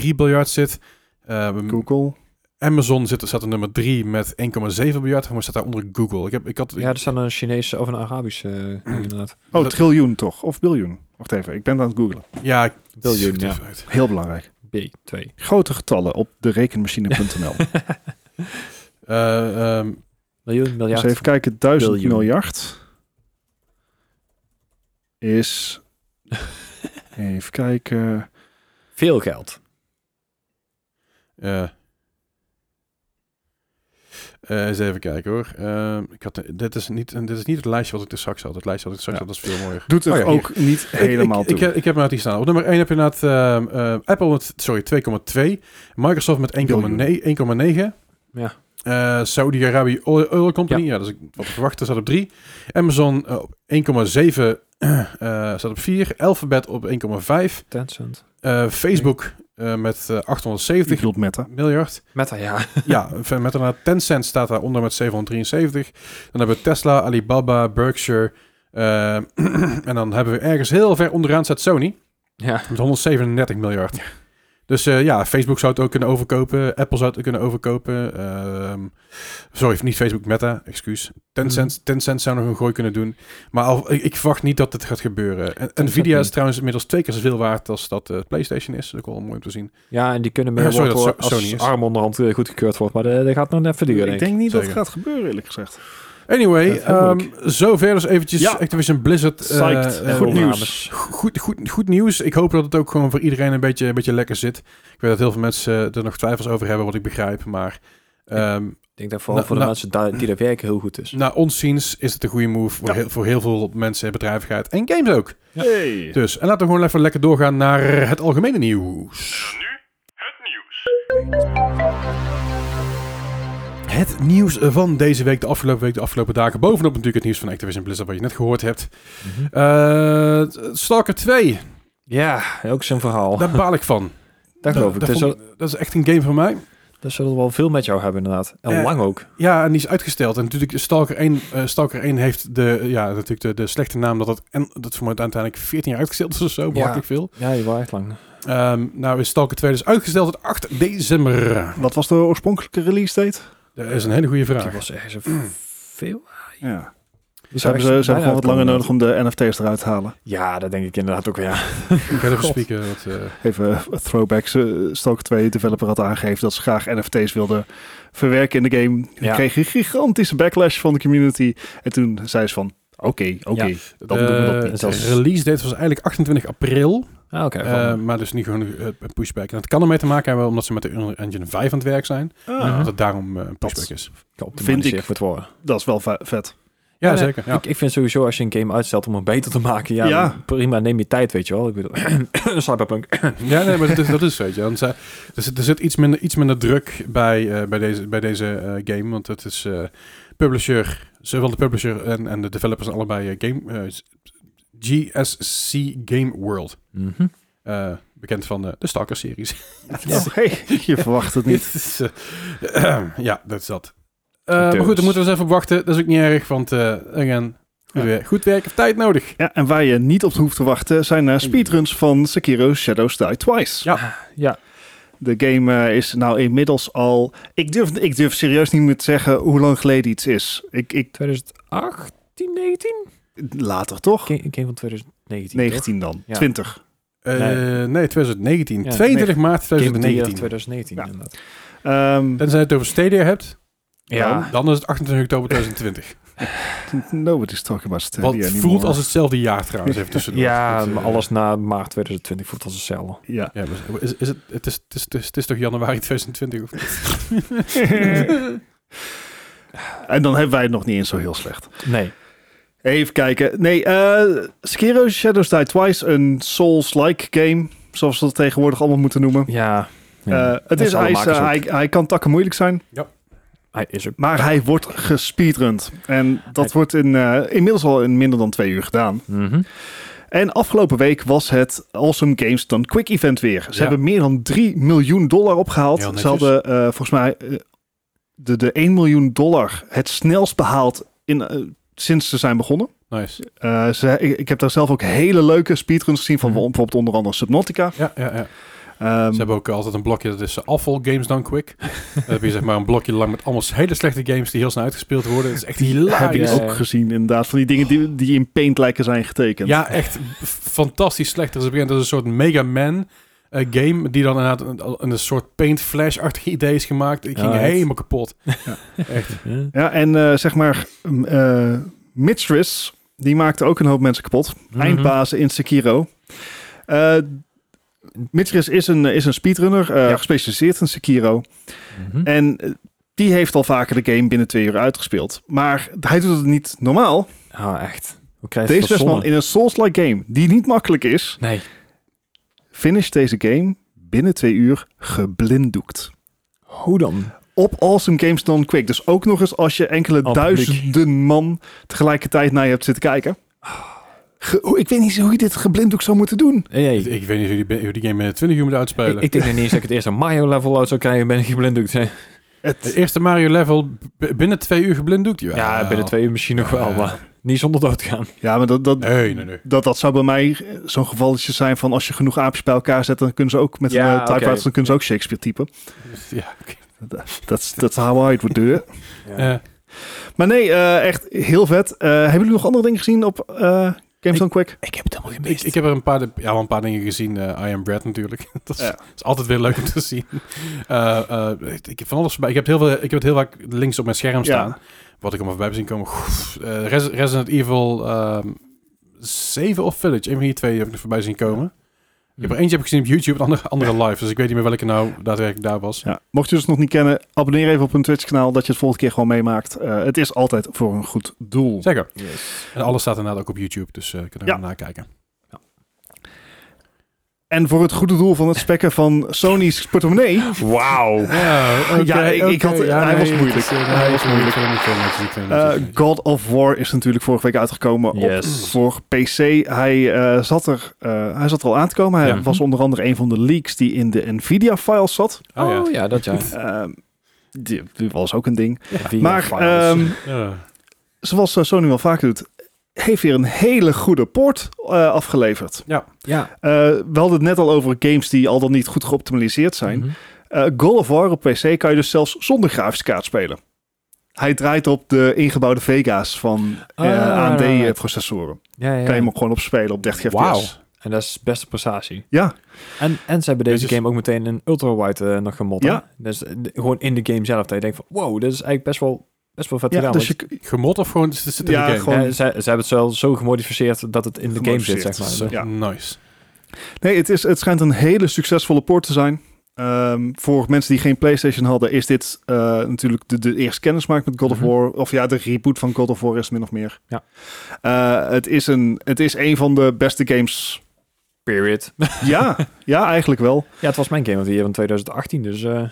S1: 2,3 biljard zit. Ehm,
S3: Google.
S1: Amazon zit, staat op nummer 3 met 1,7 biljard. Maar staat daar onder Google. Ik heb, ik had,
S2: Ja, er staan een Chinese of een Arabische eh, inderdaad.
S3: Oh,
S1: dat-
S3: triljoen toch? Of biljoen? Wacht even, ik ben het aan het googlen.
S1: Ja, ik-
S2: Biljoen,
S1: het is
S2: ja.
S1: goed uit.
S3: Heel belangrijk.
S2: B2.
S3: Grote getallen op de
S1: *laughs*
S3: rekenmachine.nl.
S1: Eh, ehm,
S2: Miljoen,
S3: dus
S2: miljard.
S3: even kijken, 1000
S2: Biljoen.
S3: miljard is... even kijken...
S2: Veel geld.
S1: ja. Eh, eens even kijken hoor. Ehm, ik had, dit, is niet, dit is niet het lijstje wat ik er straks had. Het lijstje wat ik straks
S3: Ja.
S1: had, dat is veel mooier.
S3: Doet er
S1: Oh ja, hier.
S3: ook niet *laughs* helemaal
S1: ik,
S3: toe.
S1: ik, ik, ik heb hem uit die staan. Op nummer 1 heb je inderdaad ehm, ehm, Apple met sorry, 2,2. Microsoft met 1,9. 1,9.
S2: Ja.
S1: Eh, Saudi-Arabië Oil Oil Company, ja. dat is wat ik verwachtte, staat op 3. Amazon eh, op 1,7 eh, staat op 4. Alphabet op 1,5.
S2: Tencent.
S1: Eh, Facebook eh, met eh,
S3: Ik
S1: 870
S3: bedoel Meta.
S1: miljard.
S2: Meta, ja. *laughs*
S1: ja, ver- met daarna Tencent staat daaronder met 773. Dan hebben we Tesla, Alibaba, Berkshire. eh, *clears throat* en dan hebben we ergens heel ver onderaan staat Sony
S2: ja.
S1: met 137 miljard. Dus eh, ja, Facebook zou het ook kunnen overkopen. Apple zou het kunnen overkopen. ehm, sorry, niet Facebook, Meta, excuus. Tencent, Tencent zou nog een gooi kunnen doen. Maar al, ik, ik verwacht niet dat dit gaat gebeuren. En, Nvidia is
S2: niet.
S1: trouwens inmiddels twee keer zoveel waard als dat eh, PlayStation is. Dat is ook wel mooi om te zien.
S2: ja, en die kunnen
S1: Ja,
S2: meer
S1: sorry
S2: worden
S1: dat
S2: hoor,
S1: Sony
S2: als
S1: is.
S2: arm onderhand eh, goedgekeurd wordt. Maar dat dat gaat nog net even duren,
S3: ik
S2: denk ik.
S3: denk niet dat
S1: Zeker.
S3: het gaat gebeuren, eerlijk gezegd.
S1: Anyway,
S2: Dat is heel
S1: ehm,
S2: moeilijk.
S1: zover dus eventjes
S3: Ja.
S1: Activision Blizzard. eh,
S3: Psyched.
S1: eh,
S3: Goed nieuws.
S2: Overnames.
S1: Goed, goed, goed nieuws. Ik hoop dat het ook gewoon voor iedereen een beetje, een beetje lekker zit. Ik weet dat heel veel mensen eh, er nog twijfels over hebben, wat ik begrijp. Maar ehm,
S2: Ik denk dat vooral
S1: Nou,
S2: voor de
S1: nou-
S2: mensen da- die daar werken heel
S1: *laughs*
S2: goed is.
S1: naar ons ziens is het een goede move voor,
S3: Ja.
S1: heel, voor heel veel mensen, bedrijvigheid en games ook.
S2: Ja.
S3: Hey.
S1: Dus, en laten we gewoon even lekker doorgaan naar het algemene nieuws. Het nieuws van deze week, de afgelopen week, de afgelopen dagen. Bovenop natuurlijk het nieuws van Activision Blizzard, wat je net gehoord hebt.
S2: Mhm.
S1: Eh Stalker 2,
S2: Ja, ook zo'n verhaal.
S1: daar baal ik van.
S2: Oh. *laughs* Daar geloof ik.
S1: Nou, dat,
S2: Dat
S1: vond-
S2: zullen-
S1: dat is echt een game van mij.
S2: daar zullen we wel veel met jou hebben, inderdaad. En
S1: Eh,
S2: lang ook.
S1: Ja, en die is uitgesteld. En natuurlijk, Stalker 1, eh, Stalker 1 heeft de, ja, natuurlijk de, de slechte naam dat het, en, dat voor mij uiteindelijk 14 jaar uitgesteld is of zo, belachelijk veel.
S2: Ja, je waait lang.
S1: Ehm, nou is Stalker 2 dus uitgesteld tot 8 december.
S3: Wat was de oorspronkelijke release date?
S1: Dat is een hele goede
S2: Die
S1: vraag. Mm.
S2: was ergens een veel.
S3: Ja.
S2: Die
S3: Ze hebben, ze, ze
S2: zou
S3: hebben gewoon wat
S2: echt
S3: langer
S2: bijna
S3: nodig om de NFT's eruit te halen.
S2: uitkomen. Ja, dat denk ik inderdaad ook, ja.
S1: Ik ga even
S2: God.
S1: spieken. Wat, eh,
S3: Even eh, throwbacks. eh, Stalker 2 developer had aangegeven dat ze graag NFT's wilden verwerken in de game. Ze
S2: Ja.
S3: kregen een gigantische backlash van de community. En toen zei ze van, Oké, oké.
S2: Ja.
S3: Dan doen we dat
S1: Eh,
S3: niet.
S2: Zelfs-
S1: release date was eigenlijk 28 april,
S2: Ah, oké.
S1: eh,
S2: van-
S1: maar dus nu gewoon eh, een pushback. En dat kan ermee te maken hebben omdat ze met de Unreal Engine 5 aan het werk zijn,
S3: Ah,
S1: dat het daarom eh, een pushback is.
S2: geoptimaliseerd
S3: vind ik-
S2: voor het worden.
S3: Dat is wel ve- vet.
S1: Ja,
S2: Ja, nee,
S1: zeker. Ja.
S2: Ik, ik vind sowieso als je een game uitstelt om hem beter te maken, ja,
S3: Ja.
S2: dan prima, neem je tijd, weet je wel. Ik bedoel, *coughs* Cyberpunk.
S1: Ja, nee, maar dat is, dat is weet je. Want, eh, er, zit, er zit iets minder, iets minder druk bij, eh, bij deze, bij deze eh, game. Want het is eh, publisher, zowel de publisher en, en de developers zijn allebei eh, game, eh, GSC Game World.
S2: Mhm.
S1: Eh, bekend van eh, de
S2: *laughs*
S1: Stalker-series.
S2: Ja.
S3: Oh, hey, je verwacht het
S2: *laughs*
S3: niet.
S1: Dit is, eh, *clears throat* ja, dat is dat. Eh, maar
S2: Dus.
S1: goed, daar moeten we eens even op wachten. Dat is ook niet erg, want eh again, goed,
S3: Ja.
S1: weer- goed werk heeft tijd nodig.
S3: Ja, en waar je niet op hoeft te wachten zijn eh, speedruns van Sekiro Shadows Die Twice.
S2: Ja,
S3: De game eh, is nou inmiddels al... Ik durf, ik durf serieus niet meer te zeggen hoe lang geleden iets is. Ik, ik,
S2: 2018, 19?
S3: later toch?
S2: Game, game van 2019.
S3: 19 dan.
S2: Ja.
S3: 20.
S1: Eh,
S2: Nee.
S1: nee. 2019.
S2: Ja,
S1: 22 maart
S2: Game of the Year
S1: 2019.
S2: 2019.
S3: Ja.
S2: inderdaad.
S3: Ehm,
S1: Tenzij je het over Stadia hebt,
S3: Ja.
S1: dan is het 28 oktober 2020.
S3: *laughs* nobody's talking about Stadia
S1: Wat
S3: anymore.
S1: voelt als hetzelfde jaar trouwens, even tussendoor.
S2: Ja,
S1: Dat, eh,
S2: maar alles na maart 2020 voelt als een cel.
S3: Ja.
S1: Ja, maar is, is het, het, is, het, is, het, is, het is toch januari 2020? Of niet?
S3: en dan hebben wij het nog niet eens zo heel slecht.
S2: Nee.
S3: Even kijken. Nee, eh Sekiro Shadows Die Twice, een Souls-like game, zoals we dat tegenwoordig allemaal moeten noemen.
S2: Ja.
S3: Eh, het
S2: Dat
S3: is,
S2: zal
S3: hij, is,
S2: makers
S3: eh, hij, hij kan takken moeilijk zijn,
S2: Hij is er.
S3: maar hij wordt gespeedrund. En dat
S2: Hij-
S3: wordt in, eh, inmiddels al in minder dan twee uur gedaan.
S2: Mhm.
S3: En afgelopen week was het Awesome Games dan Quick Event weer. Ze
S1: Ja.
S3: hebben meer dan 3 miljoen dollar
S1: Heel
S3: opgehaald. Ze
S1: netjes.
S3: hadden eh, volgens mij eh, de, de 1 miljoen dollar het snelst behaald in, eh, sinds ze zijn begonnen.
S1: Nice.
S3: Eh, ze, ik, ik heb daar zelf ook hele leuke speedruns gezien van
S2: Mhm.
S3: bijvoorbeeld onder andere Subnautica.
S1: Ja, ja, ja.
S3: Ehm,
S1: Ze hebben ook altijd een blokje, dat is eh, afval games dan
S2: *laughs*
S1: quick. Dan heb je zeg maar een blokje lang met allemaal hele slechte games die heel snel uitgespeeld worden. Dat is echt
S3: heb ik
S1: hilarisch.
S2: ja,
S3: ook
S2: ja.
S3: gezien inderdaad. Van die dingen die, die in Paint lijken zijn getekend.
S1: Ja, echt f- fantastisch slecht. Er is op een gegeven moment een soort Mega Man eh, game die dan inderdaad een, een soort Paint Flash-achtig idee is gemaakt. Ik ging
S2: Ja, echt.
S1: helemaal kapot. Echt.
S2: Ja.
S3: Ja, en eh, zeg maar, m- eh Mistress, die maakte ook een hoop mensen kapot.
S2: Mhm.
S3: Eindbazen in Sekiro. Eh Mistress is een, is een speedrunner, eh,
S2: Ja.
S3: gespecialiseerd in Sekiro.
S2: Mhm.
S3: En eh, die heeft al vaker de game binnen twee uur uitgespeeld. Maar hij doet het niet normaal.
S2: Ah, echt. Hoe krijg je
S3: Deze
S2: dat
S3: Westman
S2: zonde?
S3: in een Souls-like game, die niet makkelijk is,
S2: Nee.
S3: finish deze game binnen twee uur geblinddoekt.
S2: Hoe dan?
S3: op Awesome Games Done Quick. Dus ook nog eens als je enkele
S2: Al publiek.
S3: duizenden man tegelijkertijd naar je hebt zitten kijken. Ge- oh, ik weet niet hoe je dit geblinddoek zou moeten doen.
S2: Hey,
S1: Ik, ik weet niet hoe die, hoe die game binnen 20 uur moet
S2: Ik,
S1: uitspelen.
S2: ik denk nog niet eens dat ik het eerste Mario-level uit zou krijgen, ben ik geblinddoekt. hè.
S1: Het
S3: Het,
S1: eerste Mario level b- binnen twee uur geblinddoekt. Jawel.
S2: Ja, binnen twee uur misschien nog wel,
S1: Ja.
S2: maar niet zonder doodgaan.
S3: ja, maar dat, dat,
S1: Nee, nee, nee.
S3: dat, dat zou bij mij zo'n gevalletje zijn van als je genoeg aapjes bij elkaar zet, dan kunnen ze ook met
S2: Ja,
S3: een eh,
S2: oké.
S3: typewriter, dan kunnen ze ook Shakespeare typen.
S1: Ja, oké.
S3: That's, that's how I would do it.
S1: Eh,
S3: Maar nee, eh, echt heel vet. Eh, hebben jullie nog andere dingen gezien op eh, Games
S1: Ik-
S3: Done Quick?
S2: ik heb het helemaal
S1: ik, ik heb er een paar, di- ja, wel een paar dingen gezien. eh, I Am Bread natuurlijk. *laughs* dat is,
S3: Ja.
S1: dat is altijd weer leuk om te zien. Eh, eh, ik, ik heb van alles voorbij. Ik heb, het heel veel, ik heb het heel vaak links op mijn scherm staan. Wat ik allemaal voorbij heb zien komen. Goef, eh, Res- Resident Evil ehm 7 of Village. Een van die twee heb ik er voorbij zien komen. Ik heb
S2: Mm.
S1: er eentje heb ik gezien op YouTube, het andere, andere live. Dus ik weet niet meer welke nou daadwerkelijk daar was.
S3: Ja, mocht je dus nog niet kennen, abonneer even op hun Twitch-kanaal, dat je het volgende keer gewoon meemaakt. Eh, het is altijd voor een goed doel.
S1: Zeker.
S2: Yes.
S1: En alles staat inderdaad ook op YouTube. Dus eh kunnen we
S3: Ja.
S1: nakijken.
S3: En voor het goede doel van het spekken van Sony's portemonnee. eh,
S2: Wauw.
S1: Ja, oké,
S3: Ja, ik- ik
S1: oké.
S3: had- hij was
S1: het
S3: moeilijk.
S1: is, eh,
S3: Hij was moeilijk.
S1: Ik vind het niet, ik vind het niet, ik vind het
S3: eh,
S1: niet.
S3: God of War is natuurlijk vorige week uitgekomen op,
S2: Yes.
S3: voor PC. Hij, eh, zat er, eh, hij zat er al aan te komen. Hij
S1: Ja.
S3: was onder andere een van de leaks die in de Nvidia-files zat.
S1: Oh, ja.
S2: Oh ja, dat *laughs* ja.
S3: Ehm, die, die was ook een ding.
S2: Via
S3: maar
S2: files.
S3: ehm,
S1: Ja.
S3: zoals eh, Sony wel vaker doet, heeft weer een hele goede port eh, afgeleverd.
S2: ja.
S3: Eh, we hadden het net al over games die al dan niet goed geoptimaliseerd zijn.
S2: Mhm.
S3: Eh, God of War op PC kan je dus zelfs zonder grafische kaart spelen. Hij draait op de ingebouwde Vega's van eh,
S2: Ah, right, right, right.
S3: AMD-processoren.
S2: Ja, ja.
S3: Kan je hem ook gewoon op spelen op 30 fps.
S1: Wauw.
S2: En dat is beste prestatie. Dus
S3: Ja,
S2: En, en ze hebben deze
S1: Dit is-
S2: game ook meteen een ultra-wide eh, nog gemod. hè?
S3: Ja.
S2: Dus eh, d- gewoon in de game zelf. Dat je denkt van, wow, dit is eigenlijk best wel Best wel vet
S3: Ja,
S2: gedaan.
S3: dus je,
S2: want-
S1: Gemod of gewoon zit in
S3: Ja,
S1: de game?
S3: gewoon-
S2: eh, zij, zij hebben het wel zo gemodificeerd dat het in de game zit,
S3: Gemodificeerd,
S2: zeg maar. Dus,
S3: zo. Ja.
S1: Nice.
S3: Nee, het, is, het schijnt een hele succesvolle port te zijn. Ehm, voor mensen die geen PlayStation hadden, is dit eh, natuurlijk de, de eerste kennismaking met God
S2: Mhm.
S3: of War. Of ja, de reboot van God of War is het min of meer.
S2: Ja.
S3: Eh, het, is een, het is een van de beste games.
S2: Period.
S3: ja, ja, eigenlijk wel.
S2: eh, *laughs* Ja, het was mijn game of the year van 2018, dus... eh,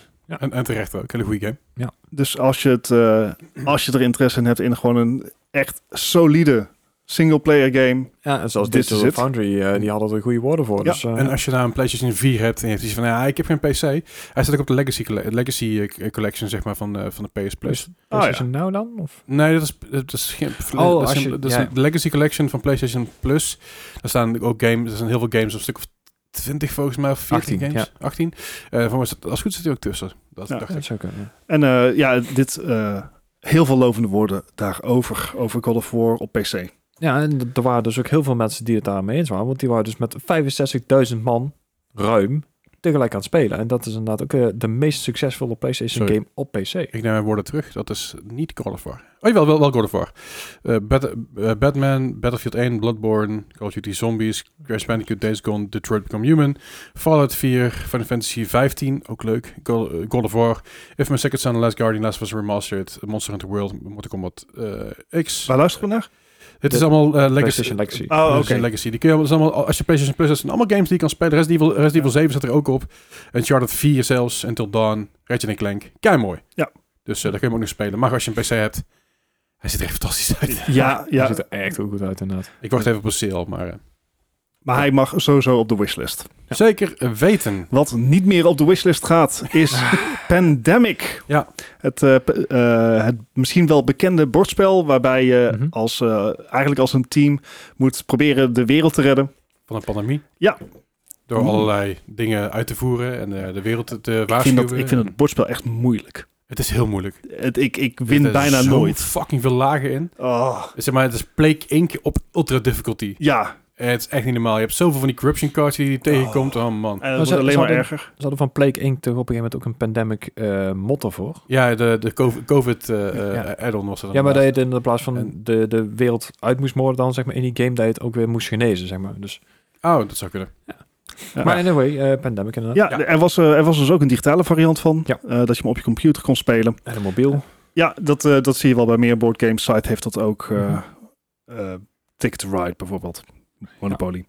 S1: En, en terecht ook. Hele goede game.
S3: Dus als je, het, eh, als je er interesse in hebt in gewoon een echt solide single-player game.
S2: ja, en zoals
S3: Dit is
S2: Digital
S3: het.
S2: Foundry, eh, die hadden er goede woorden voor.
S3: Ja,
S2: dus, eh,
S1: En als je nou een PlayStation 4 hebt en je hebt iets van, ja, ik heb geen PC. Hij staat ook op de Legacy, colle- legacy eh, Collection, zeg maar, van, eh, van de PS Plus.
S3: oh,
S2: PlayStation nou dan? Of?
S1: Nee, dat is, dat is geen...
S2: Oh,
S1: dat
S2: als
S1: is,
S2: je-
S1: een- dat is
S2: ja.
S1: een- de Legacy Collection van PlayStation Plus. Daar staan ook games, er zijn heel veel games, een stuk of 20 volgens mij, of 14
S2: 18,
S1: games. 18. Eh, voor mij zit- als het goed zit hij ook tussen. Dat
S3: Ja.
S1: dacht
S2: Ja,
S1: ik.
S2: dat zou kunnen. ja.
S3: En eh, ja, dit, eh, heel veel lovende woorden daarover. Over God of War op PC.
S2: Ja, en d- er waren dus ook heel veel mensen die het daarmee eens waren. Want die waren dus met 65.000 man, ruim, tegelijk aan het spelen. En dat is inderdaad ook eh, de meest succesvolle PlayStation
S1: Sorry.
S2: game op PC.
S1: Ik neem mijn woorden terug. Dat is niet God of War. Oh jawel, wel, wel God of War. Eh, Bat- eh, Batman, Battlefield 1, Bloodborne, Call of Duty Zombies, Crash Bandicoot, Days Gone, Detroit Become Human, Fallout 4, Final Fantasy 15, ook leuk, Go- eh, God of War, If My Second Son, The Last Guardian, Last of Us Remastered, Monster Hunter World, Mortal Kombat eh, X.
S3: Waar luisteren we naar?
S1: Dit is
S2: de-
S1: allemaal eh, Legacy.
S2: PlayStation Legacy.
S3: Oh, oké.
S1: PlayStation Legacy. Die kun je dat is allemaal, als je PlayStation Plus hebt, zijn allemaal games die je kan spelen. Resident Evil, Resident Evil 7 staat er ook op. Uncharted 4 zelfs, Until Dawn, Ratchet Clank. Kei mooi.
S3: Ja.
S1: Dus eh, daar kun je hem ook nog spelen. Maar als je een PC hebt, hij ziet er echt fantastisch uit.
S3: Ja,
S2: Die
S3: ja.
S2: ziet er echt heel goed uit inderdaad.
S1: Ik wacht even op een sale, maar eh,
S3: Maar hij mag sowieso op de wishlist.
S1: zeker weten.
S3: Wat niet meer op de wishlist gaat, is Pandemic.
S1: Ja.
S3: Het, eh, p- eh, het misschien wel bekende bordspel waarbij je
S2: Mhm.
S3: als, eh, eigenlijk als een team moet proberen de wereld te redden.
S1: Van een pandemie.
S3: Ja.
S1: Door
S3: Mm.
S1: allerlei dingen uit te voeren en eh, de wereld te, te
S3: Ik
S1: waarschuwen.
S3: vind, dat, ik vind het bordspel echt moeilijk.
S1: Het is heel moeilijk.
S3: Het, ik, ik
S1: Er
S3: win
S1: zitten
S3: bijna
S1: zo
S3: nooit.
S1: fucking veel lagen in.
S3: Oh,
S1: Zeg maar, het is Plague Inc. op ultra difficulty.
S3: ja,
S1: Eh, het is echt niet normaal. Je hebt zoveel van die corruption cards die je tegenkomt. Oh man.
S3: en
S2: Maar
S3: het
S2: ze-
S3: wordt alleen
S2: ze
S3: maar
S2: hadden-
S3: erger.
S2: Ze hadden van Plague Inc. toch op een gegeven moment ook een pandemic eh motto voor.
S1: Ja, de, de COVID- COVID eh, eh,
S2: Ja.
S1: add-on was dat.
S2: Ja, maar dat je
S1: inderdaad.
S2: het in de plaats van
S1: En-
S2: de, de wereld uit moest moorden dan, zeg maar, in die game, dat je het ook weer moest genezen, zeg maar. Dus,
S1: Oh, dat zou kunnen.
S3: Ja.
S2: Maar anyway, eh, pandemic inderdaad.
S3: Ja,
S1: Ja.
S3: Er, was, eh, er was dus ook een digitale variant van,
S2: Ja.
S3: eh, dat je hem op je computer kon spelen.
S2: En een mobiel.
S3: Ja, dat, eh, dat zie je wel bij meer boardgames. Site heeft dat ook. eh
S2: Mhm.
S3: eh, Ticket to Ride bijvoorbeeld. Monopoly.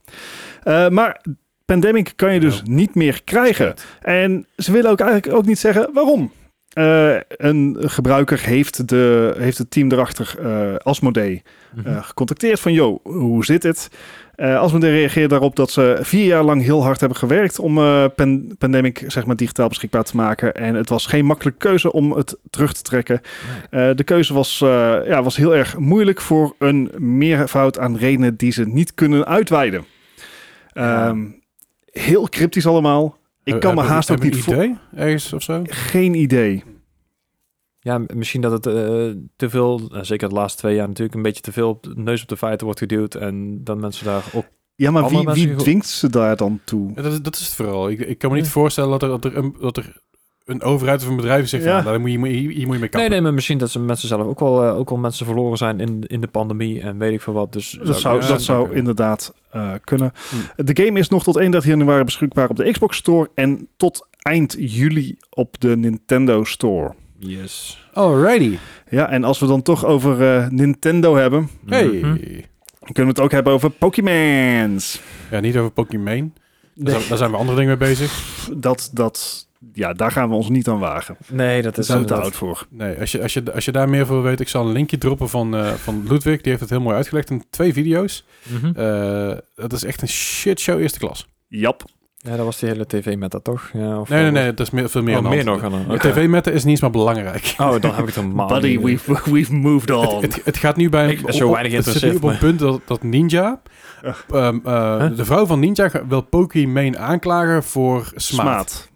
S3: Eh, maar Pandemic kan je dus
S1: Ja.
S3: niet meer krijgen. En ze willen ook eigenlijk ook niet zeggen waarom. Eh, een gebruiker heeft, de, heeft het team erachter, eh Asmodee,
S2: Mhm.
S3: eh, gecontacteerd van, yo, hoe zit het? Eh Asmodee reageert daarop dat ze vier jaar lang heel hard hebben gewerkt om eh, Pan- Pandemic zeg maar, digitaal beschikbaar te maken. En het was geen makkelijke keuze om het terug te trekken. Eh, de keuze was, eh, ja, was heel erg moeilijk voor een meervoud aan redenen die ze niet kunnen uitweiden.
S2: Ja.
S3: Ehm, Heel cryptisch allemaal. Ik kan me
S1: Eh, Hebben-
S3: haast ook
S1: hebben
S3: niet
S1: een
S3: voor...
S1: idee ergens of zo.
S3: Geen idee.
S2: Ja, m- misschien dat het eh, te veel, eh, zeker de laatste twee jaar natuurlijk, een beetje te veel op de- neus op de feiten wordt geduwd. En dan mensen daar ook...
S3: Ja, maar
S2: Allemaal
S3: wie, wie
S2: mensen die-
S3: dwingt ze daar dan toe?
S1: Ja, Dat is, dat is het vooral. Ik, ik kan me
S2: Ja.
S1: niet voorstellen dat er, dat er, een, dat er een overheid of een bedrijf zegt van,
S3: Ja.
S1: nou, daar moet je, hier, hier moet je mee
S2: Nee,
S1: kappen.
S2: nee, maar misschien dat ze mensen zelf ook wel, eh, ook wel mensen verloren zijn in, in de pandemie en weet ik veel wat. Dus
S3: Dat zou,
S1: ja,
S3: dat zou
S1: kunnen.
S3: inderdaad eh, kunnen. De game is nog tot 31 januari beschikbaar op de Xbox Store en tot eind juli op de Nintendo Store.
S2: Yes.
S1: Alrighty.
S3: Ja, en als we dan toch over eh, Nintendo hebben,
S1: Hey.
S2: Mhm.
S3: dan kunnen we het ook hebben over Pokémons.
S1: Ja, niet over Pokémon. Daar, zijn- daar zijn we andere dingen mee bezig.
S3: Dat, dat, ja, daar gaan we ons niet aan wagen.
S2: Nee, dat
S3: Daar
S2: is
S3: zijn we te
S2: inderdaad-
S3: oud voor.
S1: Nee, als je, als, je, als je daar meer voor weet, ik zal een linkje droppen van, eh, van Ludwig. Die heeft het heel mooi uitgelegd in twee video's.
S2: Mhm.
S1: Eh, dat is echt een shitshow eerste klas.
S3: Jap.
S2: Ja, dat was die hele tv met dat toch? Ja, of
S1: Nee, nee, nee, dat is meer, veel meer
S2: Meer,
S1: aan de
S2: Oh, meer
S1: hand.
S2: nog aan de-
S1: Maar
S2: oké.
S1: TV-metten is niet eens maar belangrijk.
S2: Oh, dan heb ik het helemaal
S3: Buddy,
S2: niet.
S3: we've, we've moved on.
S1: Het, het gaat nu bij
S2: Ik ben zo
S1: op-
S2: weinig
S1: het zit nu
S2: geïnteresseerd,
S1: op een
S2: maar-
S1: punt dat, dat Ninja, ehm, eh,
S2: Huh?
S1: de vrouw van Ninja, ga- wil Pokémon aanklagen voor smaad.
S3: Smaad.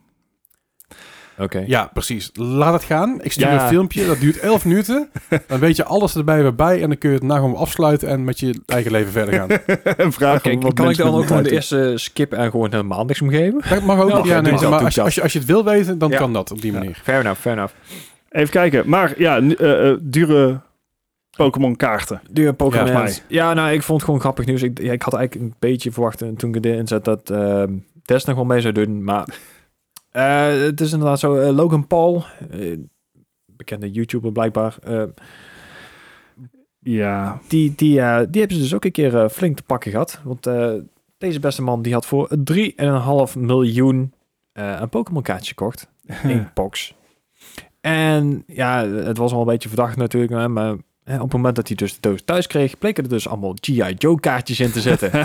S2: Oké.
S1: Ja, precies. Laat het gaan. Ik stuur
S2: Ja.
S1: een filmpje, dat duurt 11
S2: *laughs*
S1: minuten. Dan weet je alles erbij weer bij en dan kun je het na gewoon afsluiten en met je eigen leven verder
S2: *laughs*
S3: *laughs*
S1: gaan.
S3: en vragen
S2: Kijk,
S3: wat
S2: kan ik
S3: mensen
S2: dan
S3: met
S2: ook gewoon de
S3: tijd
S2: eerste skip en gewoon helemaal niks omgeven?
S1: Dat mag ook.
S2: Ja,
S1: Ja,
S2: doe
S1: nee,
S2: dat,
S1: maar
S2: doe
S1: als je,
S2: dat.
S1: als, je, als je het wil weten, dan
S2: Ja.
S1: kan dat op die manier.
S2: Fair enough, fair enough.
S3: doen. Even kijken. Maar ja, nu- eh, eh, dure Pokémon kaarten.
S2: Dure Pokémon.
S1: Ja,
S2: Ja,
S3: mij.
S2: nou, ik vond het gewoon grappig nieuws. Ik, ja, ik had eigenlijk een beetje verwacht eh, toen ik dit inzet dat ehm Tess nog wel mee zou doen. Maar eh, het is inderdaad zo. eh, Logan Paul, eh, bekende YouTuber blijkbaar, eh,
S3: Ja.
S2: die, die, eh, die hebben ze dus ook een keer eh, flink te pakken gehad. Want eh, deze beste man die had voor 3,5 miljoen eh, een Pokémon kaartje gekocht. *laughs* Inkbox. En ja, het was al een beetje verdacht natuurlijk, hè, maar hè, op het moment dat hij dus de doos thuis kreeg, bleken er dus allemaal G.I. Joe kaartjes in te *laughs* zetten. 3,5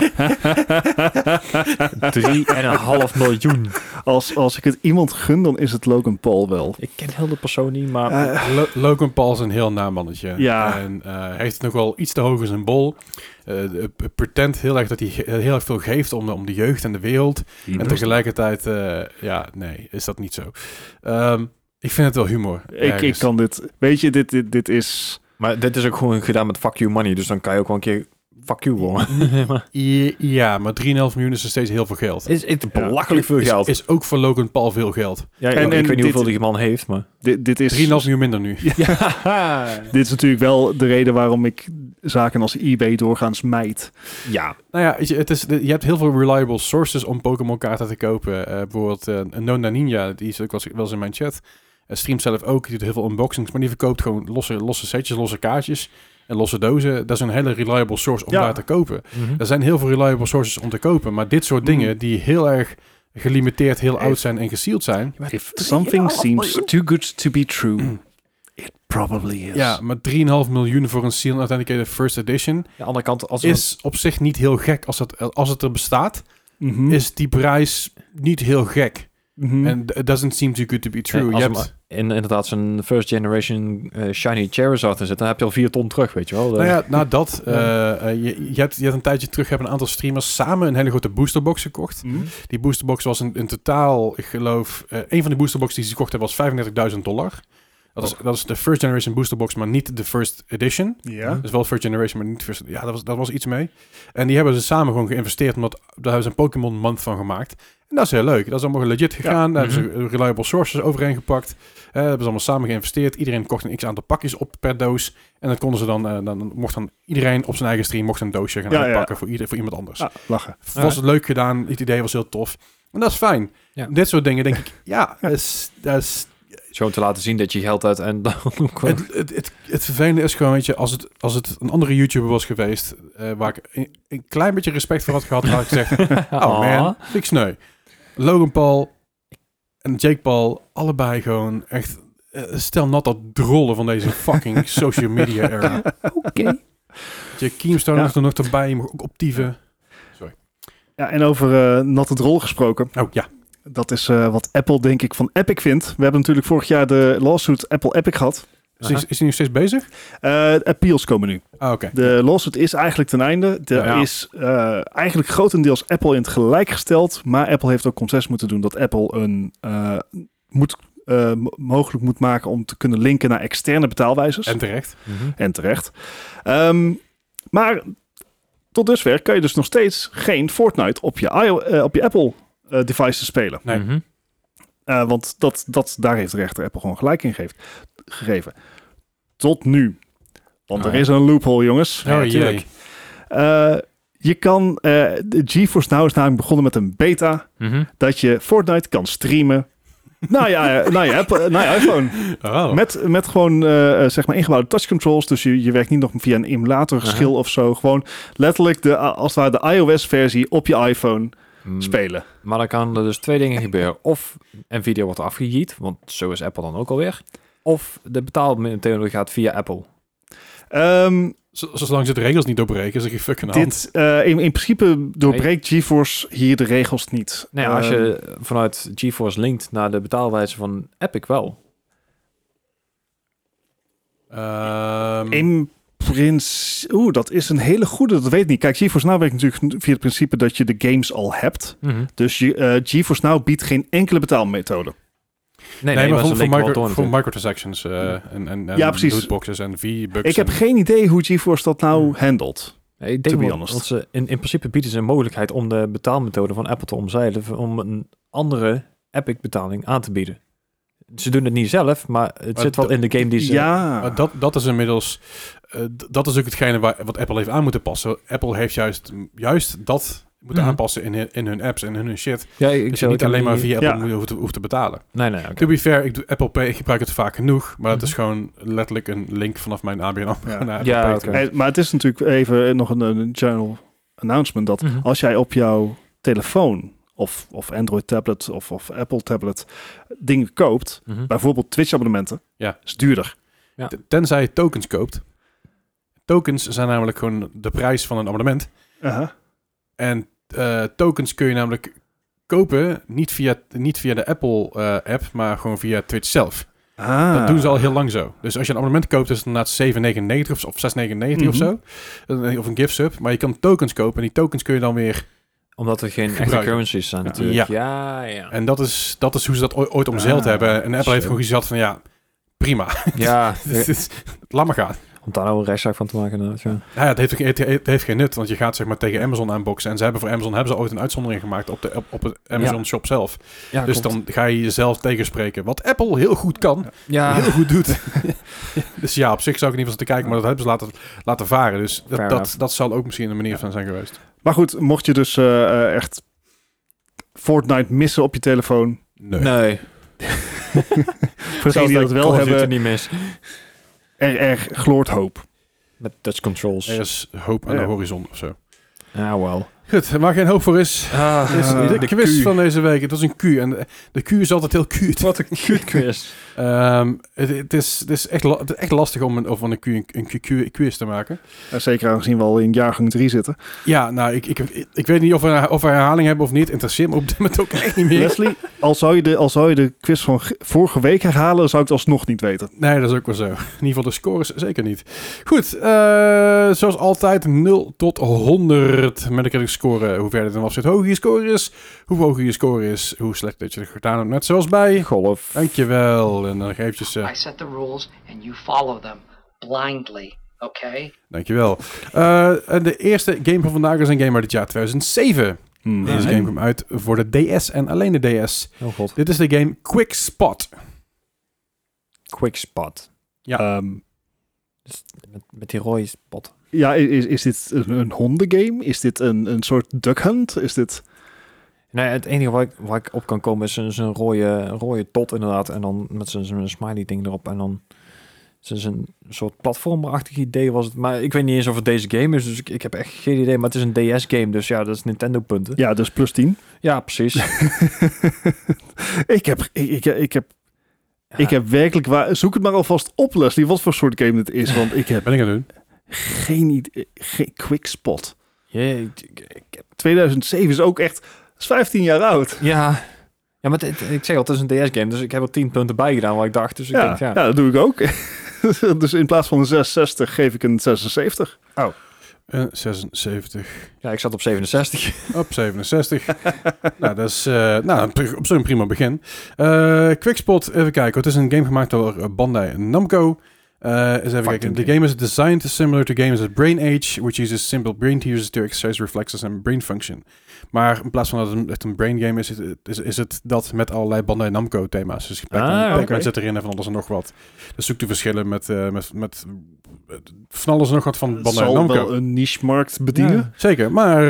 S2: miljoen.
S3: *laughs* als, als ik het iemand gun, dan is het Logan Paul wel. Eh,
S2: Ik ken heel de persoon niet, maar
S1: Lo- Logan Paul is een heel namannetje.
S3: Ja.
S1: En eh, hij heeft nog wel iets te hoog in zijn bol. Eh, eh, pretent heel erg dat hij ge- heel erg veel geeft om de, om de jeugd en de wereld. En tegelijkertijd, eh, ja, nee, is dat niet zo. Ehm, ik vind het wel humor.
S3: Ik, ik
S1: ergens.
S3: kan dit... Weet je, dit, dit, dit is...
S2: maar dit is ook gewoon gedaan met fuck you money, dus dan kan je ook wel een keer fuck you worden.
S1: I- Ja, maar 3,5 miljoen is nog steeds heel veel geld.
S2: is het belachelijk veel geld.
S1: Is ook voor Logan Paul veel geld. 3,5
S2: ja, ik,
S3: En-
S2: ik
S3: en
S2: weet niet
S3: dit-
S2: hoeveel die man heeft, maar...
S3: Dit, dit is...
S1: miljoen minder nu.
S2: Ja,
S3: Dit is natuurlijk wel de reden waarom ik zaken als eBay doorgaans mijd.
S2: *laughs* ja.
S1: Nou ja, weet je, het is, je hebt heel veel reliable sources om Pokémon kaarten te kopen. Eh, bijvoorbeeld eh, Nona Ninja, die is ook wel eens- wel eens in mijn chat. Eh, streamt zelf ook, die doet heel veel unboxings, maar die verkoopt gewoon losse, losse setjes, losse kaartjes en losse dozen. Dat is een hele reliable source om
S3: Ja.
S1: daar te kopen.
S2: Mhm.
S1: Er zijn heel veel reliable sources om te kopen, maar dit soort
S3: Mm.
S1: dingen die heel erg gelimiteerd, heel
S3: Even-
S1: oud zijn en gesealed zijn.
S3: If something seems too good to be true, it probably is.
S1: Ja, maar 3,5 miljoen voor een sealed authenticated first edition
S2: Aan de andere kant, als eh, er een-
S1: is op zich niet heel gek. Als het, als het er bestaat,
S3: Mhm. Mm.
S1: is die prijs niet heel gek. En it doesn't seem too good to be true.
S2: Ja,
S1: je
S2: als er
S1: hebt,
S2: maar in, inderdaad zo'n first generation eh, shiny Charizard in zit, dan heb je al vier ton terug, weet je wel. Eh,
S1: nou ja, na dat,
S2: Ja.
S1: eh, eh, je, je, hebt, je hebt een tijdje terug hebben een aantal streamers samen een hele grote boosterbox gekocht.
S3: Mhm.
S1: Die boosterbox was in, in totaal, ik geloof, eh een van de boosterboxen die ze gekocht hebben was 35.000 dollar. Dat
S3: Oh.
S1: is, dat is de first generation boosterbox, maar niet de first edition.
S3: Ja.
S1: Dus wel first generation, maar niet first. Ja, dat was, dat was iets mee. En die hebben ze samen gewoon geïnvesteerd, omdat daar hebben ze een Pokémon Month van gemaakt. En dat is heel leuk. Dat is allemaal legit gegaan. Daar
S3: Mhm.
S1: hebben ze reliable sources overheen gepakt. Eh, hebben ze allemaal samen geïnvesteerd. Iedereen kocht een x aantal pakjes op per doos. En dat konden ze dan, eh, dan mocht dan iedereen op zijn eigen stream mocht een doosje gaan
S3: Ja, ja.
S1: uitpakken Voor, ieder, voor iemand anders.
S3: Ah, lachen.
S1: Was het leuk gedaan. Het idee was heel tof. En dat is fijn.
S2: Ja.
S1: Dit soort dingen denk ik, ja, dat is, dat is
S2: Zo te laten zien dat je geld uit en *laughs* dan ook wel-
S1: het, het, het, het vervelende is gewoon, weet je, als het, als het een andere YouTuber was geweest, eh, waar ik een, een klein beetje respect voor had gehad, had ik
S2: *laughs*
S1: gezegd, oh
S2: Ah.
S1: man, vind ik sneu. Logan Paul en Jake Paul, allebei gewoon echt, eh, stel nat dat drollen van deze fucking social media
S3: *laughs*
S1: era.
S2: Oké.
S1: Je Keemstone
S3: Ja.
S1: was er nog erbij, je mag ook optieven.
S3: Ja, en over eh, natte drol gesproken.
S1: Oh ja,
S3: Dat is eh, wat Apple, denk ik, van Epic vindt. We hebben natuurlijk vorig jaar de lawsuit Apple Epic gehad.
S1: is,
S2: Aha.
S1: is hij nog steeds bezig?
S3: Eh, appeals komen nu.
S1: Ah, oké.
S3: De lawsuit is eigenlijk ten einde. Er
S1: Ja.
S3: is eh, eigenlijk grotendeels Apple in het gelijk gesteld. Maar Apple heeft ook concessies moeten doen dat Apple een eh, moet, eh, mo- mogelijk moet maken om te kunnen linken naar externe betaalwijzers.
S1: En terecht.
S3: En terecht. Ehm, maar tot dusver kan je dus nog steeds geen Fortnite op je, iO- eh, op je Apple eh, devices spelen.
S1: Nee.
S2: Mhm.
S3: Eh, want dat, dat, daar heeft de rechter Apple gewoon gelijk in geeft, gegeven. Tot nu. Want
S2: Oh.
S3: er is een loophole, jongens.
S1: Oh
S3: tuurlijk.
S1: jee.
S3: Eh, je kan... eh de GeForce Now is namelijk begonnen met een beta...
S2: Mhm.
S3: dat je Fortnite kan streamen... naar je, eh, naar je, Apple,
S1: *laughs*
S3: naar je iPhone.
S1: Oh.
S3: Met, met gewoon eh, eh, zeg maar ingebouwde touch controls. Dus je, je werkt niet nog via een emulatorgeschil of zo. Gewoon letterlijk de, als het ware de iOS-versie op je iPhone
S1: Hmm.
S2: Mm,
S3: spelen.
S2: Maar dan kan er dus twee dingen gebeuren. Of Nvidia wordt afgejiet, want zo is Apple dan ook alweer. Of de betaalmethode gaat via Apple.
S3: Ehm,
S1: Z- Zolang ze de regels niet doorbreken, is er geen fucking
S2: Nou,
S1: hand.
S3: dit, eh, in, in principe doorbreekt GeForce hier de regels niet.
S2: Nee, Nou als
S3: Ehm,
S2: je vanuit GeForce linkt naar de betaalwijze van Epic wel.
S1: Ehm,
S3: In principe... Oeh, dat is een hele goede, dat weet ik niet. Kijk, GeForce Now werkt natuurlijk via het principe dat je de games al hebt. Dus je, eh, GeForce Now biedt geen enkele betaalmethode.
S2: Nee,
S1: Nee, maar
S2: ze
S1: voor, voor,
S2: linken wel
S1: micro-
S2: door
S1: voor
S2: natuurlijk.
S1: microtransactions eh, en, en, en
S3: Ja, precies.
S1: lootboxes en V-bucks.
S3: Ik heb
S1: en-
S3: geen idee hoe GeForce dat
S2: Hmm.
S3: nou handelt.
S2: Nee, ik
S3: To
S2: denk
S3: be
S2: wel
S3: honest.
S2: dat ze in, in principe bieden ze een mogelijkheid om de betaalmethode van Apple te omzeilen v- om een andere Epic betaling aan te bieden. ze doen het niet zelf, maar het
S1: Maar
S2: zit wel
S1: dat-
S2: in de game die ze...
S3: ja.
S1: Maar dat, dat is inmiddels. eh, d- dat is ook hetgene waar, wat Apple heeft aan moeten passen. Apple heeft juist, juist dat moeten
S2: Mhm.
S1: aanpassen in, hun- in hun apps en in hun shit.
S2: Ja, ik
S1: Dus je
S2: zou-
S1: niet
S2: ik heb
S1: alleen maar
S2: die-
S1: via Apple
S3: Ja.
S1: moet- hoeft, te, hoeft te betalen.
S2: Nee, nee, oké.
S1: To be fair, ik doe Apple Pay, ik gebruik het vaak genoeg. Maar het is
S2: Mhm.
S1: gewoon letterlijk een link vanaf mijn ABN AMRO *laughs*
S3: Ja.
S1: naar Apple
S2: Ja,
S1: Pay.
S2: oké.
S3: Eh, maar het is natuurlijk even eh, nog een, een general announcement dat
S2: Mhm.
S1: Oh.
S3: als jij op jouw telefoon of, of Android tablet of, of Apple tablet dingen koopt,
S2: Mhm.
S3: bijvoorbeeld Twitch abonnementen,
S1: Ja.
S3: is duurder.
S1: T- Tenzij je tokens koopt. Tokens zijn namelijk gewoon de prijs van een abonnement. En eh, tokens kun je namelijk kopen niet via, niet via de Apple-app, maar gewoon via Twitch zelf.
S3: Ah.
S1: Dat doen ze al heel lang zo. Dus als je een abonnement koopt, is het inderdaad 7,99 of, of 6,99 of
S3: Mhm.
S1: zo. Eh, Of een gift sub. Maar je kan tokens kopen en die tokens kun je dan weer...
S2: Omdat er geen echte
S1: Gebruiken.
S2: currencies zijn
S3: Ja.
S2: natuurlijk. Ja, ja.
S1: En dat is, dat is hoe ze dat oo- ooit omzeild
S3: Ah,
S1: hebben. En Apple heeft
S2: zo.
S1: gewoon gezegd van ja, prima. *laughs*
S2: Ja,
S1: Dit is- Laat maar gaan.
S2: om daar nou een rechtszaak van te maken inderdaad, ja.
S1: Nou ja, het, heeft, het, het heeft geen nut, want je gaat zeg maar tegen Amazon aanboksen. En ze hebben voor Amazon hebben ze ooit een uitzondering gemaakt op, de, op, op het Amazon shop zelf.
S2: ja
S1: dus dan ga je jezelf tegenspreken. Wat Apple heel goed kan,
S2: Ja,
S1: heel goed *laughs* doet. dus ja, op zich zou ik niet van te kijken, maar dat hebben ze laten, laten varen. Dus
S2: Fair
S1: dat, dat,
S2: enough.
S1: dat zal ook misschien een manier van zijn geweest.
S3: Maar goed, mocht je dus eh, eh, echt Fortnite missen op je telefoon,
S1: Nee. *laughs*
S2: nee.
S3: voor degenen die dat wel hebben,
S2: niet mis.
S3: er, er gloort hoop.
S2: Met touch controls.
S1: Er is hoop aan
S3: Ja.
S1: de horizon of zo.
S2: Ah, wel.
S1: Goed, waar geen hoop voor is,
S2: Ah,
S1: is
S3: eh,
S1: de,
S3: de
S1: quiz
S3: Q.
S1: van deze week. Het was een Q en de, de Q is altijd heel cute.
S2: Wat een cute quiz.
S1: Ehm, het, het is, het is echt, la- het is echt lastig om een, of een, Q, een, Q- Q- quiz te maken.
S3: Eh, zeker aangezien we al in jaargang 3 zitten.
S1: Ja, nou, ik, ik, ik, ik weet niet of we, of we herhaling hebben of niet. Interesseert me op dit moment ook echt niet
S3: *laughs*
S1: meer.
S3: Leslie, al zou, je de, al zou je de quiz van g- vorige week herhalen, zou ik het alsnog niet weten.
S1: Nee, dat is ook wel zo. In ieder geval de scores zeker niet. Goed, eh, zoals altijd 0 tot 100 met een critic score. Hoe verder dan afzet hoger je score is, hoe hoger je score is, hoe slecht dat je het gedaan hebt. Net zoals bij...
S3: Hm.
S2: Golf.
S1: Dankjewel. En dan nog eventjes... eh,
S4: I set the rules and you follow them blindly, okay?
S1: Dankjewel. Eh, en de eerste game van vandaag is een game uit het jaar 2007.
S3: Hm.
S1: Deze game kwam uit voor de DS en alleen de DS.
S2: *laughs* Oh god.
S1: Dit is de game Quick Spot.
S2: Quick spot.
S3: Ehm,
S2: Met, met die rode spot.
S3: ja, i- is, is dit een, een hondengame? Is dit een, een soort duck hunt? Is dit...
S2: Nee, het enige waar ik, waar ik op kan komen is een- zo'n rode, rode tot inderdaad. En dan met zo'n zo'n smiley ding erop. En dan is het een soort platformerachtig idee was het. Maar ik weet niet eens of het deze game is. Dus ik, ik heb echt geen idee. Maar het is een DS game. Dus ja, dat is Nintendo punten.
S3: Ja, dus plus 10.
S2: Ja, precies. *laughs* Ja.
S3: Ik heb, ik, ik, ik heb, ik heb werkelijk waar... Zoek het maar alvast op, Leslie, wat voor soort game dit is. Want ik
S1: *laughs*
S3: heb
S1: Ben ik aan het doen?
S3: geen idee... Geen quick spot.
S2: Jee, ik- ik- ik-
S3: 2007 is ook echt... is 15 jaar oud.
S2: Ja. Ja, maar het- ik zeg al, het is een DS-game, dus ik heb er 10 punten bij gedaan, wat ik dacht. Dus ik
S3: Ja,
S2: denk, ja.
S3: ja, dat doe ik ook. *laughs* dus in plaats van een 660 geef ik een 76.
S1: Eh, 76.
S2: ja, ik zat op 67.
S1: Op 67. *laughs* nou, dat is eh, nou, een pri- op zo'n prima begin. Eh Quickspot, even kijken. Het is een game gemaakt door eh, Bandai Namco. Eh eens even kijken.
S3: Fucking
S1: The game is designed similar to games at Brain Age, which uses simple brain teasers to exercise reflexes and brain function. Maar in plaats van dat het een, echt een brain game is, is, het- is, is het dat met allerlei Bandai Namco thema's. Dus Pac-Man
S2: Ah, oké.
S1: Pac-Man zit erin en van alles en nog wat. Dus zoek de verschillen met, eh, met, met, met van alles en nog wat van
S3: Dat
S1: Bandai
S3: zal
S1: Namco.
S3: wel een niche-markt bedienen.
S1: Zeker, maar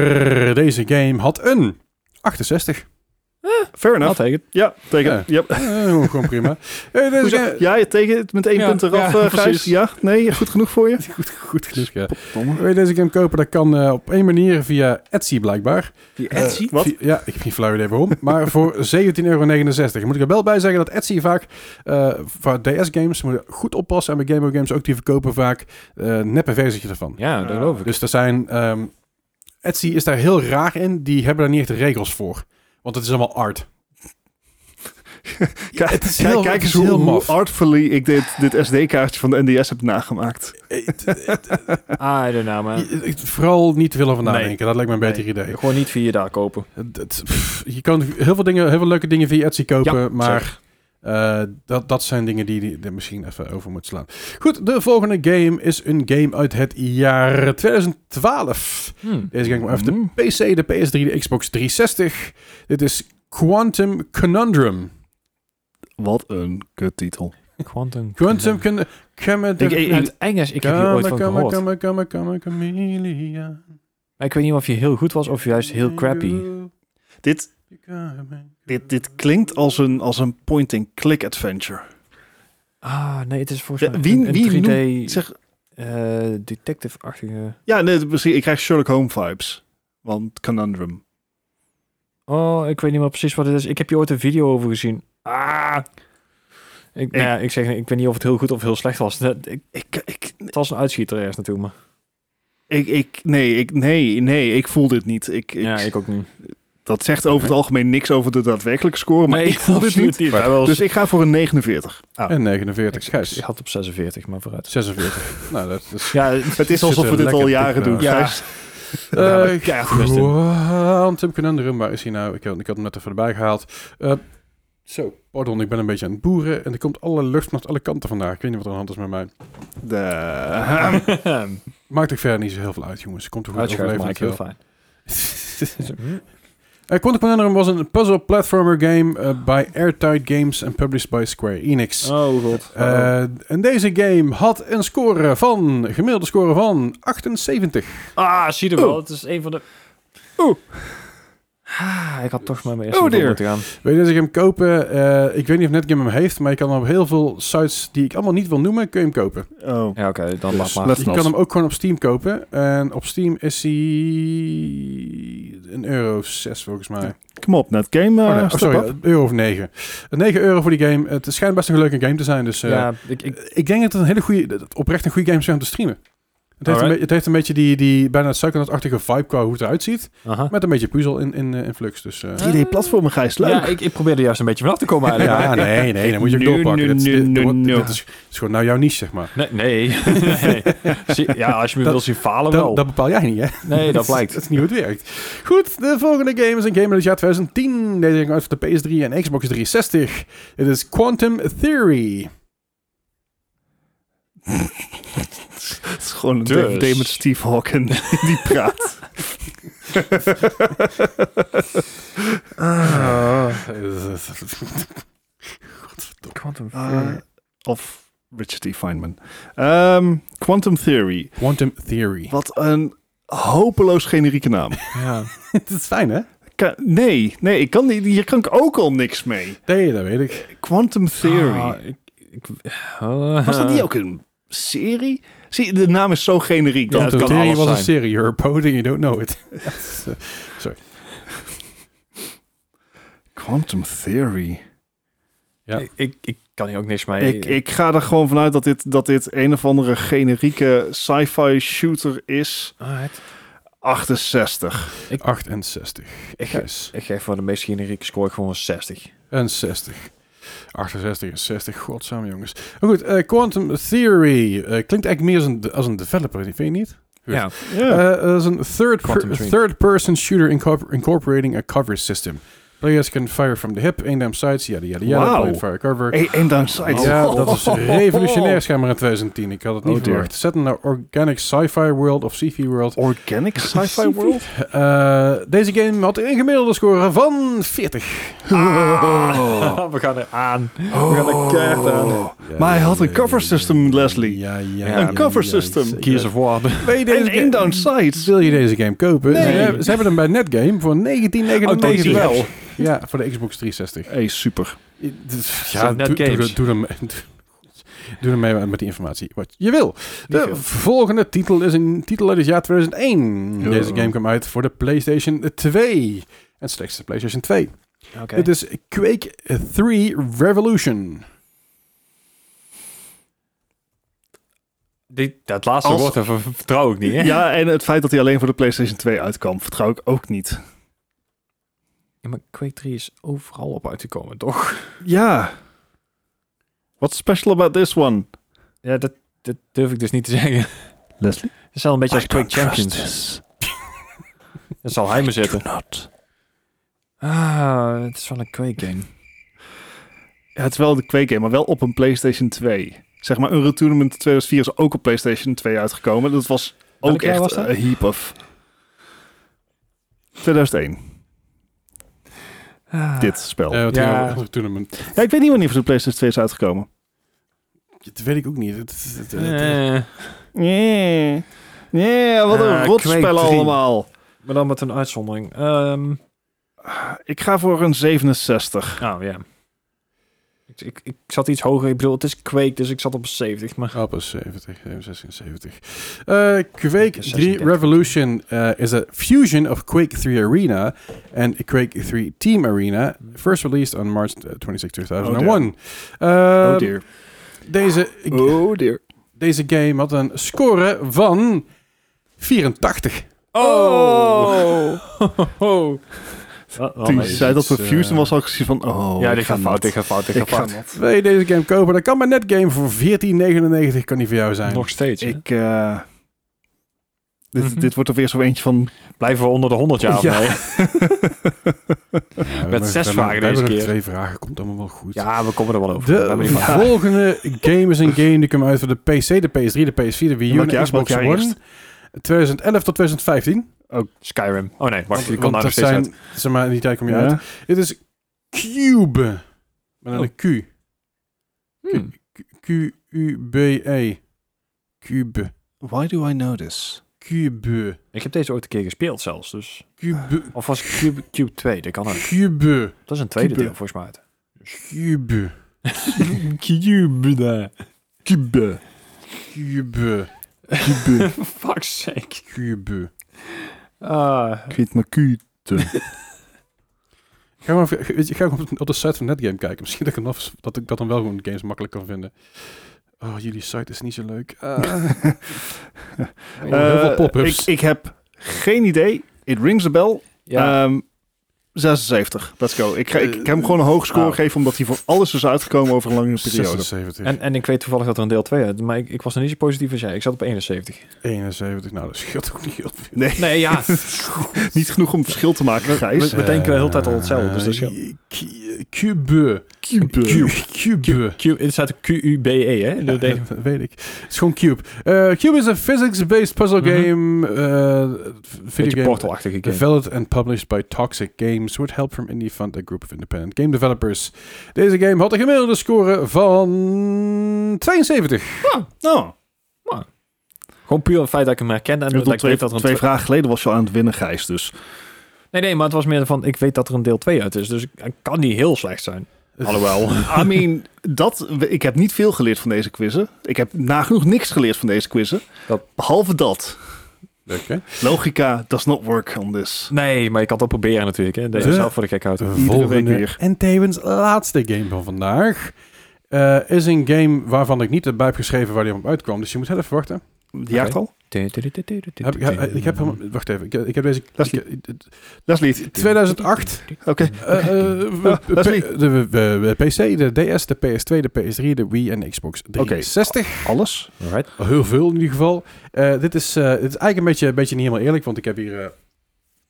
S1: deze game had een 68.
S3: Fair
S2: Nou,
S3: enough.
S2: tegen.
S3: Ja, tegen.
S1: Ja.
S3: Yep.
S1: Eh, gewoon
S3: *laughs*
S1: prima. Eh, deze
S3: Hoezo?
S1: game-
S3: Ja, je tegen het met één
S2: Ja,
S3: punt eraf,
S2: ja,
S3: eh, Gijs.
S2: precies.
S3: Ja, nee, goed genoeg voor je.
S1: Goed, goed genoeg, *laughs* ja. Wil je deze game kopen? Dat kan eh, op één manier via Etsy blijkbaar. Eh,
S3: Die
S2: Etsy?
S3: Eh, wat?
S1: Via- ja, ik heb geen flauw idee waarom. Maar voor
S3: *laughs*
S1: 17,69 euro. Moet ik er wel bij zeggen dat Etsy vaak eh, voor DS-games moet je goed oppassen. En bij Game Boy Games ook, die verkopen vaak eh neppe versietjes ervan.
S2: Ja, dat geloof ik.
S1: Dus er zijn... ehm, Etsy is daar heel raar in. Die hebben daar niet echt regels voor. Want het is allemaal art.
S3: *laughs* Kijk,
S1: het is
S3: Kijk,
S1: heel-
S3: kijk
S1: het
S3: eens
S1: is
S3: hoe,
S1: heel
S3: hoe
S1: maf.
S3: artfully ik dit, dit SD-kaartje van de NDS heb nagemaakt.
S1: Eh,
S2: Ah, I don't know, man.
S1: Je- ik- Vooral niet te willen van
S2: Nee.
S1: nadenken. Dat lijkt me een beter
S2: Nee.
S1: idee.
S2: Gewoon niet via daar kopen.
S1: Dat- pff, je kan heel veel, dingen, heel veel leuke dingen via Etsy kopen,
S2: Ja,
S1: maar eh, dat, dat zijn dingen die je er misschien even over moet slaan. Goed, de volgende game is een game uit het jaar 2012.
S2: Hm.
S1: Deze game kwam uit de PC, de PS3, de Xbox 360. Dit is Quantum Conundrum.
S3: Wat een kuttitel.
S2: Quantum.
S1: Quantum can... Come
S3: Ik- ik-
S2: In het Engels, ik heb hier ooit van gehoord.
S1: Come, come, come, Camellia.
S2: Maar ik weet niet of je heel goed was of juist heel crappy.
S3: Dit, dit, dit klinkt als een, als een point-and-click adventure.
S2: Ah, nee, het is volgens
S3: De-
S2: mij
S3: wie-
S2: een, een
S3: wie
S2: 3D
S3: Zeg,
S2: eh, detective-achtige...
S3: ja, nee, misschien, ik krijg Sherlock Holmes vibes. Want Conundrum.
S2: Oh, ik weet niet meer precies wat het is. Ik heb hier ooit een video over gezien. Ah! Ik, nou ja, ik, zeg, ik weet niet of het heel goed of heel slecht was. Dat- ik-
S3: Ik, ik,
S2: Het was een uitschieter ergens naartoe, maar...
S3: ik, ik, nee, ik, nee, nee, ik voel dit niet. Ik, ik,
S2: ja, ik ook niet.
S3: Dat zegt over het algemeen niks over de daadwerkelijke score, maar ik voel dit niet.
S2: Maar wel
S3: Dus ik ga voor een 49.
S1: En 49,
S2: ik
S1: Gijs.
S2: had op 46, maar vooruit.
S1: 46. nou, dat
S2: *laughs*
S1: is...
S2: Ja,
S3: *laughs* Het is
S1: Zit
S3: alsof
S1: er
S3: we dit
S1: lekker
S3: al
S1: diep,
S3: jaren doen.
S1: eh,
S2: ja. *laughs*
S3: Gijs.
S1: Eh,
S2: Ja, keihard best in.
S1: Quantum Conundrum, waar is hij nou? Ik, had- ik had hem net even erbij gehaald. Eh, zo, pardon, ik ben een beetje aan het boeren en er komt alle lucht naar alle kanten vandaag. Ik weet niet wat er aan de hand is met mij.
S3: De... *laughs*
S1: Maakt toch verder niet zo heel veel uit, jongens. Komt er goed
S2: Uitschuiven, maar ik heel
S1: overleven.
S2: fijn.
S1: *laughs* Eh, Quantum Conundrum was een puzzle platformer game eh, bij Airtight Games en published by Square Enix.
S2: Oh god.
S1: Eh, en deze game had een score van, gemiddelde score van 78.
S2: ah, zie je wel.
S3: Oeh.
S2: Het is een van de...
S3: Oeh.
S2: Ah, ik had toch maar mijn
S3: Oh,
S2: eerste oh,
S3: dear.
S2: moeten gaan.
S1: Wil je deze game kopen? Eh, ik weet niet of Netgame hem heeft, maar je kan hem op heel veel sites die ik allemaal niet wil noemen, kun je hem kopen.
S3: Oh.
S2: Ja, oké, dan
S3: Dus
S2: laat maar.
S3: let's
S1: Je
S3: not.
S1: kan hem ook gewoon op Steam kopen. En op Steam is hij een euro of zes volgens mij.
S3: Ja. Kom op, net game. eh,
S1: oh, nee, oh,
S3: step
S1: sorry,
S3: up.
S1: een euro of negen. Eh, Negen euro voor die game. Het schijnt best een leuke game te zijn. Dus eh,
S2: ja, ik, ik,
S1: ik denk dat het een hele goede, dat het oprecht een goede game is om te streamen. Het heeft, een,
S2: Alright.
S1: be- het heeft een beetje die, die bijna Psychonaut-achtige vibe qua hoe het eruit ziet.
S2: aha.
S1: Met een beetje puzzel in, in, eh, in flux. Dus, eh,
S3: 3D-platformen, Gijs, leuk.
S2: Ja, ik, ik probeerde juist een beetje vanaf te komen eigenlijk.
S1: *laughs* Ja, nee, nee, dan moet je ook
S3: Nu,
S1: doorpakken.
S3: nu,
S1: Dit, is- dit-
S3: nu,
S1: dit-
S3: nu,
S1: dit
S3: nu.
S1: is, is gewoon nou jouw niche, zeg maar.
S2: *laughs* Nee, nee. *laughs* nee. Zie- Ja, als je me
S1: Dat-
S2: wil zien falen wel.
S1: Dat, dat bepaal jij niet, hè?
S2: nee, dat
S1: *laughs*
S2: blijkt.
S1: Dat is niet hoe het werkt. Goed, de volgende game is een game uit het jaar 2010. Deze ging uit voor de PS3 en Xbox 360. Het is Quantum Theory.
S3: Het is gewoon een
S2: Dus.
S3: DVD met Steve Hawken *laughs* die praat.
S2: Ah,
S3: Eh, of Richard E. Feynman. Ehm, Quantum Theory.
S1: Quantum Theory.
S3: Wat een hopeloos generieke naam.
S2: Ja.
S1: *laughs* Het is fijn, hè?
S3: *laughs* Ka- nee, nee, ik kan, niet- hier kan ik ook al niks mee.
S1: Nee, dat weet ik.
S3: Quantum Theory.
S2: Ah, ik, ik, *laughs* ah.
S3: Was dat niet ook een serie? Zie, de naam is zo generiek. dat
S1: Quantum
S3: het kan
S1: Theory
S3: alles
S1: was een
S3: zijn.
S1: serie. You're a poet and you don't know it. Ja, dat is, eh,
S3: Quantum Theory.
S1: Ja.
S2: Ik, ik, ik kan hier ook niks mee.
S1: eh.
S3: Ik, ik ga er gewoon vanuit dat dit, dat dit een of andere generieke sci-fi shooter is.
S2: Alright.
S3: 68.
S1: 68.
S2: Ik,
S1: Gijs.
S2: ik geef voor de meest generieke score gewoon een 60.
S1: En 60. 68 en 60, godsamme jongens. Maar goed, eh, Quantum Theory eh, klinkt eigenlijk meer als een, als een developer, vind je niet? Goed.
S2: Ja.
S3: Ja.
S1: Uh, as a third
S2: Quantum
S1: per-
S2: Dream.
S1: third-person shooter incorpor- incorporating a cover system. Players can fire from the hip, aim down sights, yada yada yada.
S3: Wauw.
S1: Play fire cover.
S3: Hey, en downside.
S1: Ja, dat
S3: *laughs*
S1: is revolutionair schijnbaar in 2010. Ik had het niet
S3: Oh, dear.
S1: verwacht. Zet een organic sci-fi world of sci-fi world.
S3: Organic sci-fi world?
S1: Eh, deze game had een gemiddelde score van 40.
S2: *laughs* We gaan er aan. We gaan er keihard aan.
S3: Oh. Maar hij had een cover system, Leslie.
S1: Ja, ja,
S2: Een
S3: cover system.
S1: zeker.
S2: Gears of War.
S1: Wil je
S3: En
S1: deze
S3: één
S1: game-
S3: downside.
S1: Wil je deze game kopen?
S3: Nee. Oh,
S1: Ze, hebben, ze hebben hem bij Netgame voor 1999.
S2: Oh, dat wel.
S1: Ja, voor de Xbox 360.
S3: Hey, super.
S1: dus, Ja, doe, doe,
S2: Netgames.
S1: doe, *laughs* doe, hem- doe hem mee met die informatie wat je wil. De
S3: veel.
S1: volgende titel is een titel uit het jaar 2001.
S3: Ja.
S1: Deze game kwam uit voor de PlayStation 2. En slechts de PlayStation 2.
S2: Oké.
S1: Dit is Quake 3 Revolution.
S2: Dit- Dat laatste
S3: Als-
S2: woord daar ver- vertrouw ik niet. Hè?
S3: Ja, en het feit dat hij alleen voor de PlayStation 2 uitkwam, vertrouw ik ook niet.
S2: Ja, maar Quake 3 is overal op uitgekomen, toch?
S3: Ja. What's special about this one?
S2: Ja, dat, dat durf ik dus niet te zeggen. *laughs*
S3: Leslie?
S2: Het is wel een beetje als
S3: I don't
S2: Quake Champions.
S3: trust
S2: Dat zal hij me
S3: this. Do
S2: zetten.
S3: not.
S2: Ah, het is wel een Quake game.
S3: Ja, het is wel de Quake game, maar wel op een PlayStation 2. Zeg maar, Unreal Tournament 2004 is ook op PlayStation 2 uitgekomen. Dat was ook
S2: Welk jaar
S3: echt
S2: was dat?
S3: een heap of... 2001.
S2: Ah.
S3: Dit spel.
S1: Eh, wat
S2: Ja.
S1: ja. tournament.
S3: ja, ik weet niet wanneer voor de PlayStation 2 is uitgekomen.
S1: Dat weet ik ook niet. Het, het- het- het-
S2: Eh,
S3: Nee. Nee, wat een
S2: Eh, Quake
S3: rotspel
S2: 3.
S3: allemaal.
S2: maar dan met een uitzondering. Ehm
S3: Ik ga voor een 67.
S2: Nou ja. Ik, ik, ik zat iets hoger. Ik bedoel, het is Quake, dus ik zat op 70. Maar
S1: Appels 70, 67, 70. Uh, Quake 3
S2: 36.
S1: Revolution uh, is a fusion of Quake 3 Arena and Quake 3 Team Arena, first released on March uh, 26, 2001.
S3: oh
S1: Uh,
S3: dear.
S1: deze,
S3: Oh dear.
S1: deze game had een score van 84.
S2: Oh.
S3: *laughs* Toen je zei dat we Fusion was, al gezien van... Oh,
S2: ja,
S3: ik
S2: dit gaat
S3: ga
S2: fout,
S3: nat.
S2: dit gaat fout, dit
S3: Ik
S2: gaat
S3: ga
S2: fout.
S3: nat.
S1: Wil je deze game kopen? Dat kan bij Netgame voor 14,99. Kan die voor jou zijn.
S2: Nog steeds. hè?
S3: Ik... eh, dit,
S2: Mhm.
S3: dit wordt er weer zo eentje van...
S2: Blijven we onder de 100 jaar of
S3: Ja.
S2: nee?
S1: Ja, we
S2: Met
S1: hebben-
S2: zes
S1: we hebben-
S2: vragen
S1: we hebben
S2: deze
S1: nog
S2: keer.
S1: twee vragen. Komt allemaal wel goed.
S2: Ja, we komen er wel over. We hebben
S1: De
S2: die vraag.
S1: *laughs* volgende game is een game die kwam uit voor de PC, de PS3, de PS4, de Wii U
S3: Welk
S1: en de
S3: jaar?
S1: Xbox
S3: Welk jaar
S1: One. 2011 tot 2015.
S2: Skyrim. Oh nee, wacht, die
S1: Want-
S2: komt
S1: want
S2: daar nog
S1: er
S2: steeds
S1: zijn,
S2: uit.
S1: zeg maar, in die tijd kom je
S3: Ja.
S1: uit. Dit is Cube. Met
S2: Oh.
S1: een Q.
S2: Hmm.
S1: Q-U-B-E. E. Cube.
S3: Why do I know this?
S1: Cube.
S2: Ik heb deze ooit een keer gespeeld zelfs, dus...
S1: Cube.
S2: Of was het Cube, Cube 2, dat kan ook.
S1: Cube.
S2: Dat is een tweede
S3: Cube.
S2: deel volgens mij. uit.
S1: Cube.
S2: Cube. daar.
S3: Cube.
S1: Cube.
S2: *laughs*
S3: Cube.
S2: Fuck's sake.
S1: Cube.
S2: Ah,
S3: Ik weet mijn Q.
S1: Ga maar even- weet je, ga gewoon op, op de site van Netgame kijken. Misschien dat ik, hem af- dat ik dat dan wel gewoon games makkelijk kan vinden. Oh, jullie site is niet zo leuk.
S2: *laughs*
S1: Eh,
S2: Oh,
S1: heel veel
S3: Eh,
S1: pop-ups.
S3: Ik, ik heb geen idee. It rings a bell.
S2: ja.
S3: Ehm, 76. Let's go. Ik, ga, ik, ik heb hem
S1: Eh,
S3: gewoon een hoog score
S2: nou.
S3: gegeven omdat hij voor alles is uitgekomen over een langere periode.
S1: 76.
S2: en, en ik weet toevallig dat er een deel 2 uit, maar ik, ik was er niet zo positief als jij. Ik zat op 71.
S1: 71. Nou, dat scheelt ook niet heel veel.
S3: Nee,
S2: Nee, ja.
S3: *laughs* niet genoeg om verschil te maken,
S2: We,
S3: Gijs.
S2: we denken de hele tijd al hetzelfde. Dus dat scheelt.
S1: Eh, Cu- Cube.
S3: Cube.
S1: Cube. Cube.
S2: *laughs* Q, het staat Q-U-B-E, hè?
S1: Ja,
S2: Dat denk ik.
S1: dat weet ik. Het is gewoon Cube. Eh, Cube is een physics-based puzzle
S2: Mhm.
S1: game. eh,
S2: Beetje
S1: video game.
S2: portalachtige game.
S1: Developed and published by Toxic Games with help from Indie Fund, a group of independent game developers. Deze game had een gemiddelde score van 72.
S3: Oh,
S2: Gewoon puur het feit dat ik hem herkende en
S3: ik
S2: dat
S3: bedoel,
S2: ik
S3: twee,
S2: weet dat er een
S3: twee vragen geleden was je al aan het winnen, Gijs. Dus
S2: Nee, nee, maar het was meer van, ik weet dat er een deel 2 uit is, dus ik- ik kan niet heel slecht zijn. Alhoewel.
S3: *laughs* I mean, dat, ik heb niet veel geleerd van deze quizzen. Ik heb nagenoeg niks geleerd van deze quizzen.
S2: Dat-
S3: Behalve dat.
S1: Oké.
S3: Logica does not work on this.
S2: Nee, maar je kan het wel proberen natuurlijk, hè. Dat je
S1: De-
S2: zelf voor de gek houdt.
S1: De
S3: Iedere
S1: volgende
S3: week weer.
S1: en tevens laatste game van vandaag eh, is een game waarvan ik niet heb bijgeschreven waar die op uitkwam. Dus je moet heel even wachten.
S3: Jaartal?
S1: Heb, ik,
S2: eh,
S1: heb- ik heb hem... Wacht even. Ik, ik heb deze...
S3: Leslie.
S1: ik- eh,
S3: Leslie.
S1: 2008.
S3: Oké.
S1: eh, eh,
S3: *laughs* Ah,
S1: p-
S3: Leslie.
S1: de, de- de PC, de DS, de PS2, de PS3, de Wii en de Xbox 360.
S3: Alles?
S2: Alright.
S1: Heel veel in ieder geval. Eh, dit, is, eh, dit is eigenlijk een beetje, een beetje niet helemaal eerlijk, want ik heb hier eh,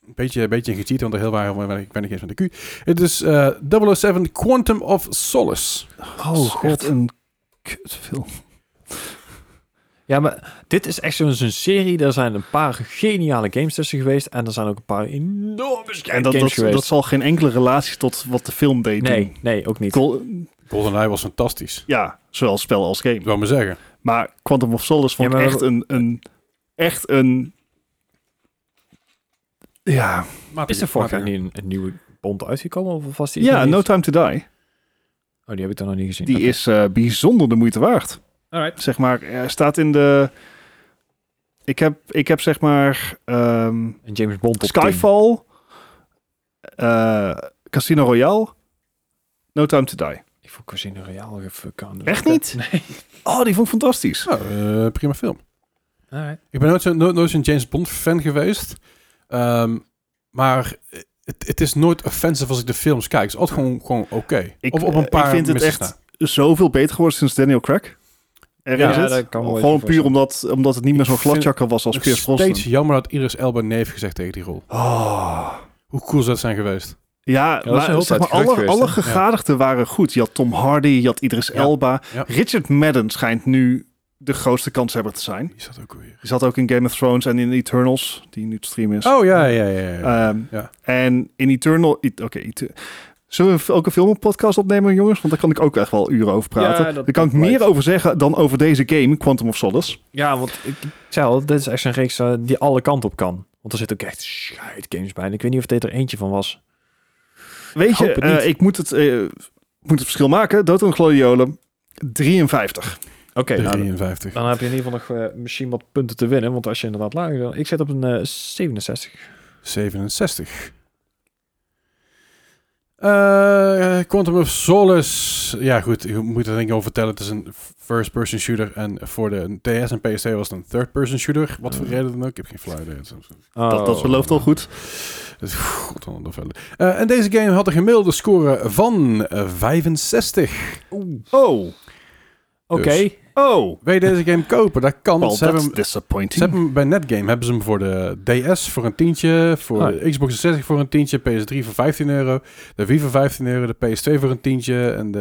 S1: een beetje, een beetje in gecheat, want er heel weinig, weinig, weinig is van de Q. Het is eh 007 Quantum of Solace.
S3: Oh, god. Een kutfilm.
S2: Ja, maar dit is echt zo'n zo'n serie, daar zijn een paar geniale games tussen geweest en er zijn ook een paar enorme
S3: En
S2: shit
S3: dat,
S2: games
S3: dat,
S2: geweest.
S3: dat zal geen enkele relatie tot wat de film deed
S2: nee,
S3: doen.
S2: nee, ook niet.
S3: Col-
S1: GoldenEye was fantastisch,
S3: Ja, zowel spel als game.
S1: zou ik maar zeggen.
S3: Maar Quantum of Solace vond
S2: Ja,
S3: ik
S2: maar-
S3: echt een, een... Echt een... Ja,
S2: Is er vorig jaar niet een, een nieuwe Bond uitgekomen of was die?
S3: ja
S2: nog
S3: No
S2: niet?
S3: Time to Die.
S2: Oh, die heb ik dan nog niet gezien.
S3: Die
S2: Oké.
S3: is eh, bijzonder de moeite waard.
S2: Alright.
S3: Zeg maar, er staat in de... Ik heb, ik heb zeg maar... ehm,
S2: Een James Bond top
S3: Skyfall. eh, Casino Royale. No Time to Die.
S2: 10. Ik vond Casino Royale even
S3: Echt niet?
S2: Nee.
S3: Oh, die vond ik fantastisch.
S1: Nou, eh, prima film.
S2: Alright.
S1: Ik ben nooit zo'n nooit- nooit zo'n James Bond fan geweest, Ehm, maar het, het is nooit offensive als ik de films kijk. Het is altijd gewoon, gewoon oké.
S3: Ik-
S1: Of op een
S3: eh,
S1: paar
S3: ik vind het echt-
S1: misses na.
S3: Zoveel beter geworden sinds Daniel Craig. Erin
S2: Ja,
S3: zit.
S2: dat kan me wel
S3: Gewoon
S2: even
S3: puur omdat, omdat het niet meer zo'n
S1: Ik vind
S3: gladjakker was als
S1: Nog
S3: Pierce Brosnan.
S1: steeds jammer dat Iris Elba nee heeft gezegd tegen die rol.
S3: Oh.
S1: Hoe cool zou dat zijn geweest?
S3: Ja,
S2: is een
S3: maar,
S2: heel
S3: zeg
S2: tijd
S3: maar
S2: gerucht
S3: alle,
S2: geweest,
S3: alle
S2: hè?
S3: gegadigden waren goed. Je had Tom Hardy, je had Idris Elba.
S1: Ja.
S3: Richard Madden schijnt nu de grootste kanshebber te zijn.
S1: Die zat ook weer.
S3: Die zat ook in Game of Thrones en in Eternals, die nu te streamen is.
S1: Oh ja, ja, ja. ja.
S3: Ehm,
S1: Ja.
S3: En in Eternal... E- Oké, Ete- Zullen we ook een film of podcast opnemen, jongens? Want daar kan ik ook echt wel uren over praten.
S2: Ja, dat-
S3: daar kan ik
S2: dat
S3: meer
S2: blijft.
S3: over zeggen dan over deze game, Quantum of Solace.
S2: Ja, want ik, ik zei al, dit is echt een reeks eh, die alle kanten op kan. Want er zitten ook echt shit games bij. En ik weet niet of dit er eentje van was.
S3: Weet je,
S2: Hoop het niet.
S3: eh, ik moet het, eh, moet het verschil maken. Dood en Gladiolen, 53.
S2: Oké, nou,
S1: 53.
S2: dan heb je in ieder geval nog eh, misschien wat punten te winnen. Want als je inderdaad lager dan Ik zit op een eh, 67.
S1: 67. Eh, Quantum of Solace. Ja, goed. Je moet er denk ik over vertellen. Het is een first-person shooter. En voor de TS en PST was het een third-person shooter. Wat voor reden dan ook. Ik heb geen flauw idee. Het is-
S3: Dat, dat
S2: Oh.
S3: belooft al goed.
S1: het is- God, wat een verder. Eh, en deze game had een gemiddelde score van eh, 65.
S3: Oh,
S2: Oké.
S1: Dus.
S3: oh.
S1: Wil je deze game kopen? Dat kan.
S3: Well,
S1: ze, hebben
S3: that's
S1: hem, ze
S3: disappointing.
S1: hebben hem bij Netgame. Hebben ze hem voor de DS voor een tientje. Voor
S2: Ah.
S1: de Xbox 60 voor een tientje. PS3 voor 15 euro. De Wii voor 15 euro. De PS2 voor een tientje. En de,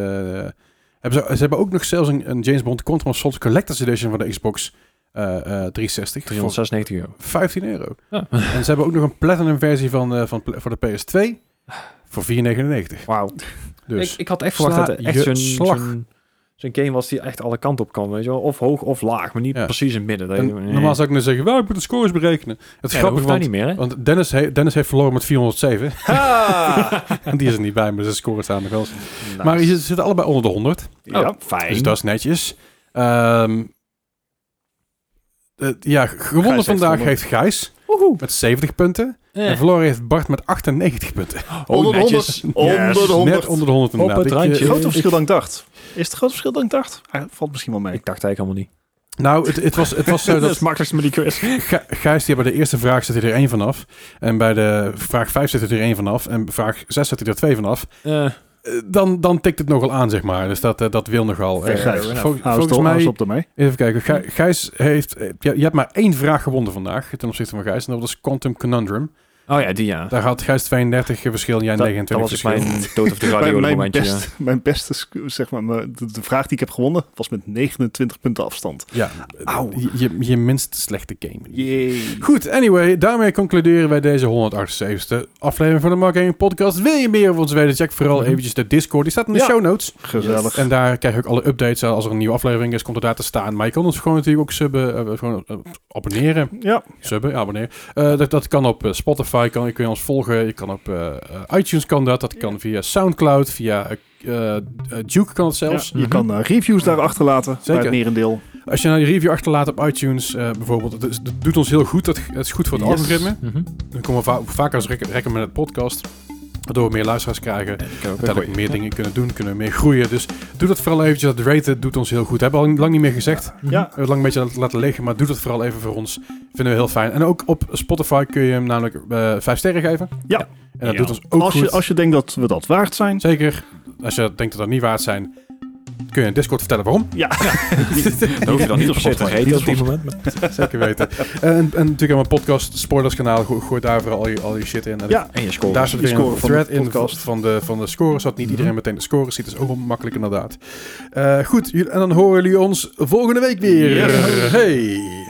S1: hebben ze, ze hebben ook nog zelfs een, een James Bond Quantum of Solace Collector's Edition voor de Xbox eh, eh, 360. voor
S2: 396 euro.
S1: 15 euro.
S2: Ja.
S1: En ze hebben ook nog een Platinum versie van, eh, van, pla- voor de PS2 voor 4,99.
S2: Wauw.
S1: Dus
S2: Ik, ik had echt verwacht dat het
S1: Sla
S2: echt
S1: je
S2: zo'n
S1: slag.
S2: zo'n- zo'n game was die echt alle kanten op kan. Weet je wel? Of hoog of laag, maar niet
S1: Ja.
S2: precies in het midden. Dat
S1: en
S2: je- nee.
S1: normaal zou ik nu zeggen, wel, ik moet de scores berekenen. Het is
S2: ja, dat
S1: grappig,
S2: hoeft nou
S1: want,
S2: niet meer, hè?
S1: want Dennis, he- Dennis heeft verloren met 407. *laughs* En die is er niet bij, maar de score staat nog wel. eens.
S2: Nice.
S1: Maar ze zitten allebei onder de 100.
S3: ja.
S2: Oh, fijn.
S1: Dus dat is netjes. Ehm, eh, ja, gewonnen
S3: heeft
S1: vandaag
S3: gewonnen.
S1: heeft Gijs
S2: Woehoe.
S1: met 70 punten. En verloren heeft Bart met 98 punten.
S3: onder de
S2: netjes.
S3: 100. Onder de
S1: Yes,
S3: 100.
S1: Net onder de 100 inderdaad.
S2: Op het
S1: Ik, eh,
S2: randje.
S3: Groter verschil dan ik dacht. Is het groot verschil dan ik dacht? Ah, valt misschien wel mee.
S2: Ik dacht eigenlijk helemaal niet.
S1: Nou, het, het, was, het was zo
S3: *laughs*
S1: dat
S2: makkelijkst met die quiz.
S1: Gij- Gijs, die bij de eerste vraag zit hij er één vanaf. En bij de vraag 5 zit hij er één vanaf. En vraag 6 zit hij er twee vanaf. Eh, Dan, dan tikt het nogal aan, zeg maar. Dus dat, eh, dat wil nogal. Eh,
S3: Fair enough.
S1: vol-
S3: Hou
S1: volgens mij,
S3: op ermee.
S1: even kijken. Gij- Gijs heeft, eh, je, je hebt maar één vraag gewonnen vandaag ten opzichte van Gijs. En dat was Quantum Conundrum.
S2: Oh ja, die ja.
S1: Daar had Gijs 32 verschil en jij
S2: Dat, dat
S1: 29
S2: was dus
S1: verschil.
S2: mijn dood of de radio
S3: *laughs* Mijn, mijn,
S2: momentje.
S3: best, mijn beste, sc- zeg maar, mijn- de, de vraag die ik heb gewonnen was met 29 punten afstand.
S1: Ja,
S3: Auw.
S1: je, je, je minst slechte game.
S3: Jee.
S1: Goed, anyway, daarmee concluderen wij deze 178e aflevering van de Mark Gaming Podcast. Wil je meer over ons weten, check vooral
S2: Mhm.
S1: eventjes de Discord. Die staat in de
S3: Ja.
S1: show notes.
S3: Gezellig.
S1: En daar krijg je ook alle updates. eh, Als er een nieuwe aflevering is, komt het daar te staan. Maar je kan ons gewoon natuurlijk ook subben, eh, gewoon, eh, abonneren.
S3: Ja,
S1: Subben, ja, abonneren. Eh, dat, dat kan op eh, Spotify, kan, je kun je ons volgen. Je kan op eh, eh, iTunes kan dat. Dat kan via Soundcloud, via eh, eh, eh, Duke kan het zelfs.
S3: je kan eh, reviews daar achterlaten. Bij
S1: Mhm. Zeker.
S3: het merendeel.
S1: Als je nou die review achterlaat op iTunes eh, bijvoorbeeld, dat, is- dat doet ons heel goed. Dat, dat is goed voor het
S3: Yes.
S1: algoritme.
S2: Mhm.
S1: Dan komen we va- vaker als rec- recommended podcast. Waardoor we meer luisteraars krijgen. Uiteindelijk meer dingen kunnen doen. Kunnen we meer groeien. Dus doe dat vooral eventjes. Dat raten doet ons heel goed. Hebben we al lang niet meer gezegd. We
S3: Ja,
S1: hebben het lang een beetje laten liggen. Maar doe dat vooral even voor ons. Vinden we heel fijn. En ook op Spotify kun je hem namelijk eh, vijf sterren geven.
S3: Ja.
S1: En dat
S2: Ja.
S1: doet ons ook
S3: als
S1: goed.
S3: je, als je denkt dat we dat waard zijn,
S1: Zeker. Als je denkt dat dat niet waard zijn. Kun je in Discord vertellen
S3: *laughs*
S1: waarom.
S2: Dat hoef je dan niet op zitten te heten op dit moment. maar-
S1: Zeker weten. en, en natuurlijk aan mijn podcast Spoilers kanaal. Gooi, gooi daar vooral al je, al je shit in. En
S3: Ja.
S2: En je score.
S1: Daar zit
S3: Die
S1: weer een
S3: score van de
S1: thread in van-
S3: podcast. Mhm.
S1: van de, van de scores, zodat niet iedereen meteen de scores ziet. Dat is ook wel makkelijk inderdaad. Eh, goed, jullie- en dan horen jullie ons volgende week weer.
S3: Yes.
S1: Hey!